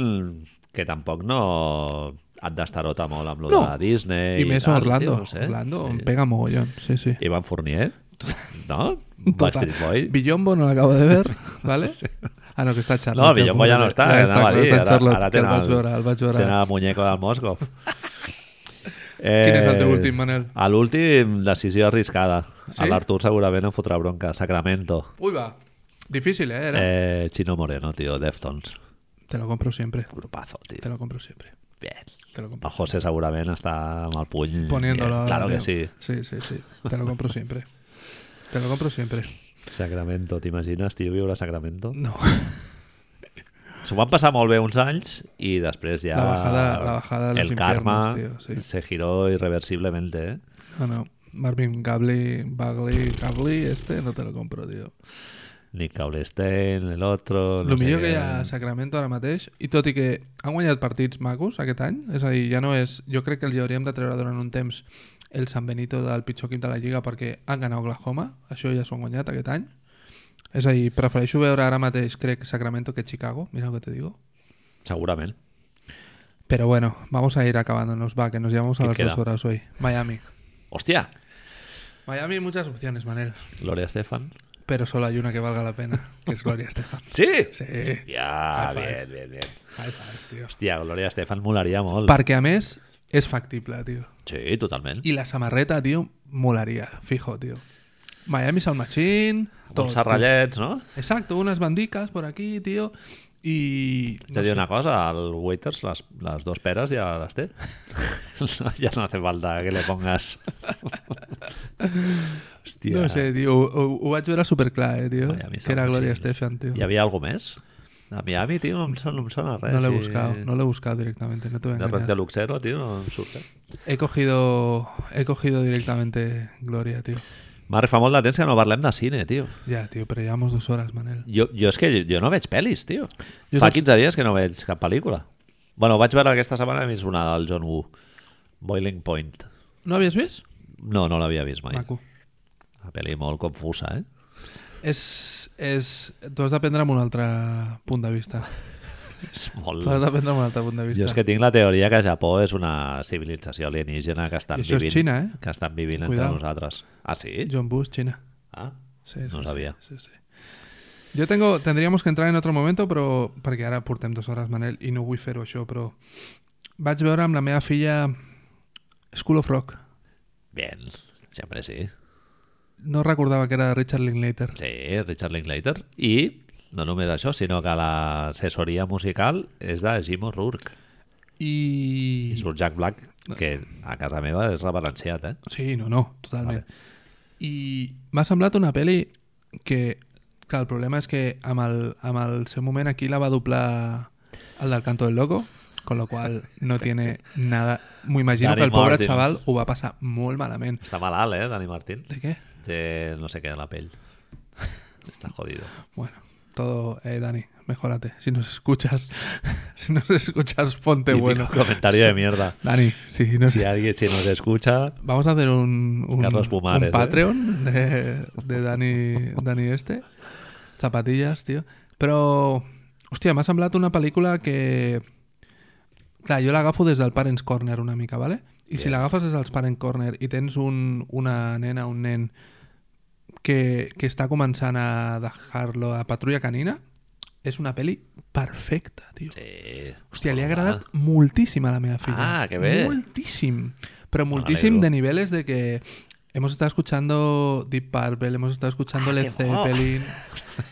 Speaker 1: que tampoc no... et destarota molt amb lo
Speaker 2: No.
Speaker 1: de Disney
Speaker 2: I més
Speaker 1: tal,
Speaker 2: a Orlando.
Speaker 1: tio, no sé.
Speaker 2: Orlando
Speaker 1: eh? Sí.
Speaker 2: em pega mogollón. Sí, sí.
Speaker 1: Evan Fournier, no?
Speaker 2: Total.
Speaker 1: Backstreet Boy.
Speaker 2: Villombo no l'acabo de ver, ¿vale? Ah, no, que està a Charlotte.
Speaker 1: No, Villombo ja no està, eh, anava
Speaker 2: Ja està,
Speaker 1: a
Speaker 2: clar,
Speaker 1: dir,
Speaker 2: està a
Speaker 1: ara-
Speaker 2: Charlotte,
Speaker 1: ara
Speaker 2: que el
Speaker 1: tenen
Speaker 2: vaig
Speaker 1: el-
Speaker 2: veure, el vaig veure.
Speaker 1: Tenen el muñeco del Moscov. Eh,
Speaker 2: Quin és el teu últim, Manel?
Speaker 1: A l'últim, decisió arriscada.
Speaker 2: Sí?
Speaker 1: A l'Artur segurament em fotrà bronca. Sacramento.
Speaker 2: Ui, va. Difícil, eh, era.
Speaker 1: Eh, Chino Moreno, tío. Deftones.
Speaker 2: Te lo compro siempre.
Speaker 1: Grupazo, tío.
Speaker 2: Te lo compro siempre.
Speaker 1: Bien.
Speaker 2: Te lo compro.
Speaker 1: El José segurament està amb el puny...
Speaker 2: Poniéndolo.
Speaker 1: bien.
Speaker 2: ahora,
Speaker 1: Claro que sí.
Speaker 2: tío. Sí, sí, sí. Te lo compro siempre. Te lo compro siempre.
Speaker 1: Sacramento, t'imagines, tio, viure a Sacramento?
Speaker 2: No.
Speaker 1: S'ho van passar molt bé uns anys i després ja...
Speaker 2: La bajada- la bajada de los
Speaker 1: El karma
Speaker 2: infiernos, tío, sí.
Speaker 1: se giró irreversiblemente, eh?
Speaker 2: No, no. Marvin Gabli, Bagley, Gabli, este no te lo compro, tío.
Speaker 1: Nick Caulestein, el otro... Pues No
Speaker 2: el
Speaker 1: sé
Speaker 2: millor
Speaker 1: què.
Speaker 2: que hi ha a Sacramento ara mateix, i tot i que han guanyat partits macos aquest any, és a dir, ja no és... Jo crec que els hi hauríem de treure durant un temps el San Benito del pitjor equip de la Lliga perquè han ganat Oklahoma, això ja s'ho han guanyat aquest any. És a dir, prefereixo veure ara mateix, crec, Sacramento que Chicago, mira el que te digo.
Speaker 1: Segurament.
Speaker 2: Pero bueno, vamos a ir acabándonos, va, que nos llevamos a
Speaker 1: ¿Quién
Speaker 2: las
Speaker 1: queda?
Speaker 2: dos horas hoy. Miami.
Speaker 1: Hòstia!
Speaker 2: Miami, muchas opciones, Manel,
Speaker 1: Gloria Estefan.
Speaker 2: pero solo hay una que valga la pena, que es Gloria Estefan.
Speaker 1: Sí!
Speaker 2: Sí,
Speaker 1: Ja,
Speaker 2: High five.
Speaker 1: bien, bien, bien.
Speaker 2: high fives, tío.
Speaker 1: Hòstia, Gloria Estefan molaria molt.
Speaker 2: Perquè a més, és factible, tio.
Speaker 1: Sí, totalment.
Speaker 2: Y la samarreta, tío, molaría, fijo, tío. Miami Sound Machine. todo,
Speaker 1: Uns serrallets, no?
Speaker 2: tío. Exacto, unas bandicas por aquí, tío. Y.
Speaker 1: Te
Speaker 2: no
Speaker 1: diré
Speaker 2: sé,
Speaker 1: una cosa, al Waiters las, las dos peras ya las té. ya no hace falta que le pongas... Hòstia.
Speaker 2: No sé, tío. Ho, ho vaig veure superclar, eh, tío.
Speaker 1: Miami
Speaker 2: que
Speaker 1: Sound
Speaker 2: era Gloria
Speaker 1: Machine.
Speaker 2: Estefan, tío.
Speaker 1: Hi havia algú més? A Miami, tio, no em sona, no em sona res.
Speaker 2: No lo he
Speaker 1: sí.
Speaker 2: buscado, no lo he buscado directamente, no te voy a
Speaker 1: De repente
Speaker 2: engañar.
Speaker 1: Luxero, tío, no em surt. eh?
Speaker 2: He cogido, he cogido directamente Gloria, tío.
Speaker 1: Marc, fa molt de temps que no parlem de cine, tio.
Speaker 2: Ya, tío, pero llevamos dos horas, Manel.
Speaker 1: Jo, jo és que jo no veig pel·lis, tio.
Speaker 2: Jo
Speaker 1: Jo fa
Speaker 2: saps-
Speaker 1: 15 dies que no veig cap pel·lícula. Bueno, vaig veure aquesta setmana he vist una del John Woo, Boiling Point.
Speaker 2: ¿No habías visto?
Speaker 1: No, no l'havia vist mai.
Speaker 2: Maco.
Speaker 1: Una pel·li molt confusa, eh?
Speaker 2: És, és... Tu has d'aprendre amb un altre punt de vista.
Speaker 1: És molt...
Speaker 2: Tu has d'aprendre amb un altre punt de vista.
Speaker 1: Jo és que tinc la teoria que Japó és una civilització alienígena que estan
Speaker 2: I això és
Speaker 1: vivint,
Speaker 2: Xina, eh?
Speaker 1: que estan vivint
Speaker 2: Cuidao.
Speaker 1: entre nosaltres. Ah, sí?
Speaker 2: John Bush, China.
Speaker 1: Ah,
Speaker 2: Sí, sí,
Speaker 1: No
Speaker 2: sí,
Speaker 1: sabía.
Speaker 2: sí, sí. Yo tengo, tendríamos que entrar en otro momento, pero perquè ara portem dues hores, Manel, i no vull fer-ho això, però vaig veure amb la meva filla School of Rock.
Speaker 1: bien. Sempre sí.
Speaker 2: No recordava que era de Richard Linklater.
Speaker 1: Sí, Richard Linklater. I no només això, sinó que l'assessoria musical és de Jim O'Rourke. I
Speaker 2: I...
Speaker 1: surt Jack Black, que a casa meva és reverenciat, eh?
Speaker 2: Sí, no, no, totalment. I m'ha semblat una pel·li que, que el problema és que amb el, amb el seu moment aquí la va doblar el del Canto del Loco, con lo cual no tiene nada... M'ho imagino
Speaker 1: Danny
Speaker 2: que el pobre
Speaker 1: Martin.
Speaker 2: xaval ho va passar molt malament.
Speaker 1: Està malalt, eh, Dani Martín?
Speaker 2: ¿De qué?
Speaker 1: Té no sé què a la pell. Està jodido.
Speaker 2: Bueno, todo, eh, Dani, mejórate. Si nos escuchas, si nos escuchas, ponte
Speaker 1: Típico
Speaker 2: bueno.
Speaker 1: comentario de mierda.
Speaker 2: Dani, si nos...
Speaker 1: Si alguien si nos escucha,
Speaker 2: Vamos a hacer un, un,
Speaker 1: Carlos Pumares,
Speaker 2: un
Speaker 1: ¿eh?
Speaker 2: Patreon de, de Dani, Dani este. Zapatillas, tío. Pero, hostia, m'ha semblat una pel·lícula que... Clar, jo l'agafo des del Parents Corner una mica, ¿vale? I si l'agafes des dels Parents Corner i tens un, una nena, un nen que, que està començant a dejar-lo a Patrulla Canina, és una pel·li perfecta, tio.
Speaker 1: Sí.
Speaker 2: Hòstia, li
Speaker 1: Ah.
Speaker 2: ha agradat moltíssim a la meva filla.
Speaker 1: Ah, que bé.
Speaker 2: Moltíssim. Però moltíssim
Speaker 1: M'alegro.
Speaker 2: de niveles de que hemos estado escuchando Deep Purple, hemos estado escuchando Led
Speaker 1: Ah, que bo.
Speaker 2: Zeppelin...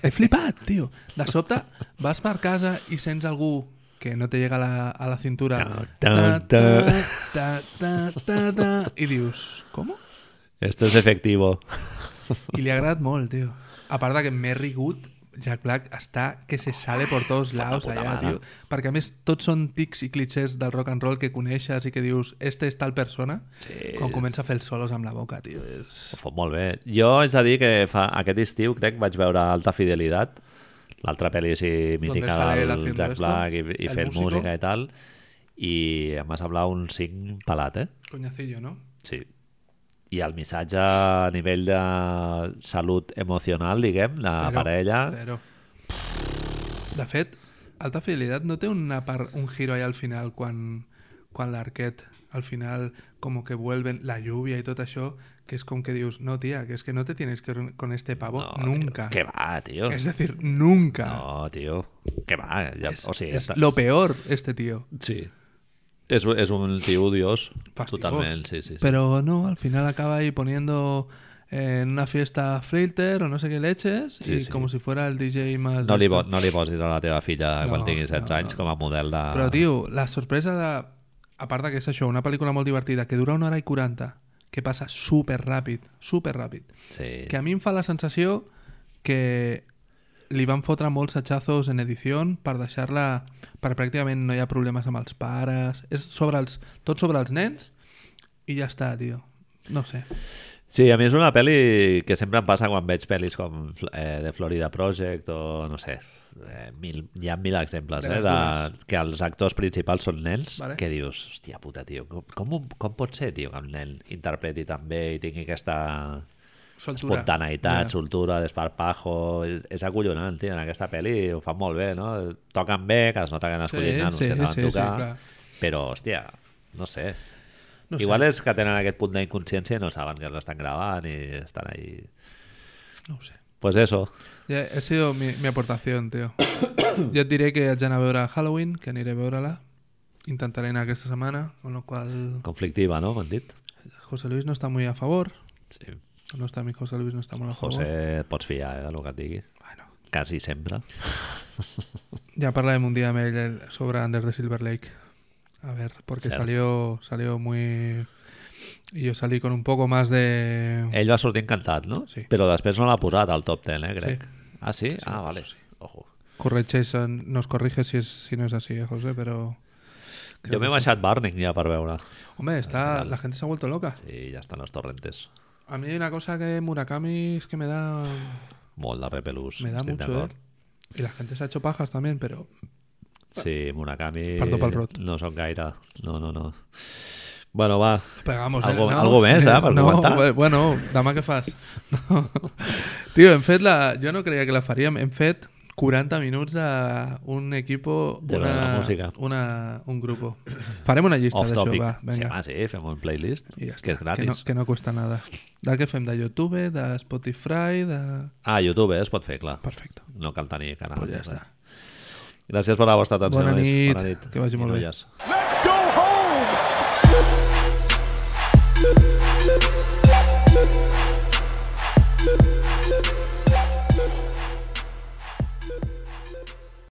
Speaker 2: He flipat, tio. De sobte vas per casa i sents algú que no te llega a la, a la cintura
Speaker 1: Ta, ta, ta.
Speaker 2: ta, ta, ta, ta, i dius, com?
Speaker 1: Esto es efectivo.
Speaker 2: I li ha agradat molt, tio. A part de que m'he rigut, Jack Black està que se sale por todos laos
Speaker 1: puta
Speaker 2: allà,
Speaker 1: mare.
Speaker 2: tio. Perquè a més tots són tics i clichés del rock and roll que coneixes i que dius, este és tal persona,
Speaker 1: Sí.
Speaker 2: quan comença a fer els solos amb la boca, tio. És...
Speaker 1: Ho fot molt bé. Jo és a dir que fa, aquest estiu crec vaig veure Alta Fidelitat, l'altra pel·li així mítica
Speaker 2: sale él
Speaker 1: del
Speaker 2: haciendo
Speaker 1: Jack
Speaker 2: esto,
Speaker 1: Black i, i
Speaker 2: el
Speaker 1: fent
Speaker 2: músico.
Speaker 1: música i tal, i em va semblar un 5 pelat, eh?
Speaker 2: Conyacillo, no?
Speaker 1: Sí. I el missatge a nivell de salut emocional, diguem, de
Speaker 2: Zero,
Speaker 1: parella...
Speaker 2: Zero. De fet, Alta Fidelitat no té una part, un giro allà al final quan, quan l'arquet al final com que vuelven la lluvia i tot això, que és com que dius, no tia, que és que no te tienes que reunir con este pavo
Speaker 1: No,
Speaker 2: nunca.
Speaker 1: Tío, ¿Qué va, tío?
Speaker 2: Es decir, nunca.
Speaker 1: No, oh, tío. ¿Qué va? Ya-
Speaker 2: es,
Speaker 1: o sea,
Speaker 2: es
Speaker 1: estás-
Speaker 2: lo peor, este tío.
Speaker 1: Sí. Es, es un tío dios.
Speaker 2: Fastigoso.
Speaker 1: Totalmente, sí, sí. sí.
Speaker 2: Pero no, al final acaba ahí poniendo eh, en una fiesta filter o no sé qué leches
Speaker 1: Sí,
Speaker 2: y
Speaker 1: sí.
Speaker 2: como si fuera el DJ más...
Speaker 1: No li,
Speaker 2: esto.
Speaker 1: po- no li posis a la teva filla
Speaker 2: No,
Speaker 1: quan tingui 16
Speaker 2: no,
Speaker 1: anys
Speaker 2: no.
Speaker 1: com a model de...
Speaker 2: Però, tio, la sorpresa de... A part de que és això, una pel·lícula molt divertida que dura una hora i 40, que passa super ràpid, super ràpid.
Speaker 1: Sí.
Speaker 2: Que a mi em fa la sensació que li van fotre molts atxazos en edició per deixar-la... per pràcticament no hi ha problemes amb els pares... És sobre els... tot sobre els nens i ja està, tio. No ho sé.
Speaker 1: sí, a mi és una pel·li que sempre em passa quan veig pel·lis com eh, The Florida Project o no sé, eh, mil, hi ha mil exemples
Speaker 2: De
Speaker 1: eh,
Speaker 2: les dures.
Speaker 1: de, que els actors principals són nens
Speaker 2: Vale.
Speaker 1: que dius, hòstia puta, tio, com, com, com pot ser tio, que un nen interpreti tan bé i tingui aquesta
Speaker 2: Soltura.
Speaker 1: espontaneïtat,
Speaker 2: Ja.
Speaker 1: soltura, desparpajo... És, és acollonant, tio, en aquesta pel·li ho fan molt bé, no? Toquen bé, que es nota que han escollit
Speaker 2: Sí,
Speaker 1: nanos
Speaker 2: sí,
Speaker 1: que saben
Speaker 2: sí, sí,
Speaker 1: tocar,
Speaker 2: clar.
Speaker 1: però, hòstia, no sé.
Speaker 2: No
Speaker 1: No
Speaker 2: sé.
Speaker 1: Igual és que tenen aquest punt d'inconsciència i no saben que l'estan gravant i estan ahí...
Speaker 2: No ho sé.
Speaker 1: Pues eso.
Speaker 2: Ya, ha sido mi, mi aportación, tío. Yo et diré que haig d'anar a veure Halloween, que aniré a veure-la. Intentaré anar aquesta setmana, con lo cual
Speaker 1: Conflictiva, no? M'han dit.
Speaker 2: José Luis no está muy a favor.
Speaker 1: Sí.
Speaker 2: No está mi José Luis, no está muy a favor.
Speaker 1: José, et pots fiar, eh, del que et digui.
Speaker 2: Bueno,
Speaker 1: Quasi sempre.
Speaker 2: ya parlarem un día amb ell el- sobre Under the Silver Lake. A ver, porque
Speaker 1: Cert.
Speaker 2: salió, salió muy... Y yo salí con un poco más de...
Speaker 1: Ell va sortir encantat, no?
Speaker 2: Sí.
Speaker 1: Però després no l'ha posat al top 10, eh, crec.
Speaker 2: Sí.
Speaker 1: Ah, sí? ah, vale. Ojo.
Speaker 2: Correchez, nos corrige si, es, si no es así, eh, José, pero...
Speaker 1: Jo m'he baixat Burning ja per veure.
Speaker 2: Hombre, está, la gente se ha vuelto loca.
Speaker 1: Sí, ja estan els torrentes.
Speaker 2: A mí hay una cosa que Murakami es que me da.
Speaker 1: Molt de repelús.
Speaker 2: Me da
Speaker 1: estic
Speaker 2: mucho, ¿eh?
Speaker 1: d'acord.
Speaker 2: Y la gente se ha hecho pajas también, pero. eh?
Speaker 1: Sí, Murakami...
Speaker 2: Perdó pel rot.
Speaker 1: No són gaire. No, no, no. Bueno, va.
Speaker 2: Pegamos,
Speaker 1: Algo- algo més, eh, per
Speaker 2: no,
Speaker 1: comentar.
Speaker 2: bé, Bueno, demà què fas? No. Tio, hem fet la... Jo no creia que la faríem. Hem fet 40 minuts d'un equip...
Speaker 1: De la- la música.
Speaker 2: Una, un grupo. Farem una llista
Speaker 1: Off
Speaker 2: d'això,
Speaker 1: topic.
Speaker 2: va.
Speaker 1: sí,
Speaker 2: Vinga.
Speaker 1: home, sí, fem un playlist,
Speaker 2: I ja
Speaker 1: que és
Speaker 2: està, que, no,
Speaker 1: gratis.
Speaker 2: que no cuesta nada. De què fem? De YouTube, de Spotify, de...
Speaker 1: Ah, YouTube eh, es pot fer, clar.
Speaker 2: Perfecte.
Speaker 1: No cal tenir canal.
Speaker 2: Pues ja està.
Speaker 1: Gràcies per la vostra atenció.
Speaker 2: Bona
Speaker 1: nois.
Speaker 2: nit.
Speaker 1: Bona nit.
Speaker 2: Que vagi
Speaker 1: I
Speaker 2: molt bé.
Speaker 1: noies.
Speaker 3: Let's go home!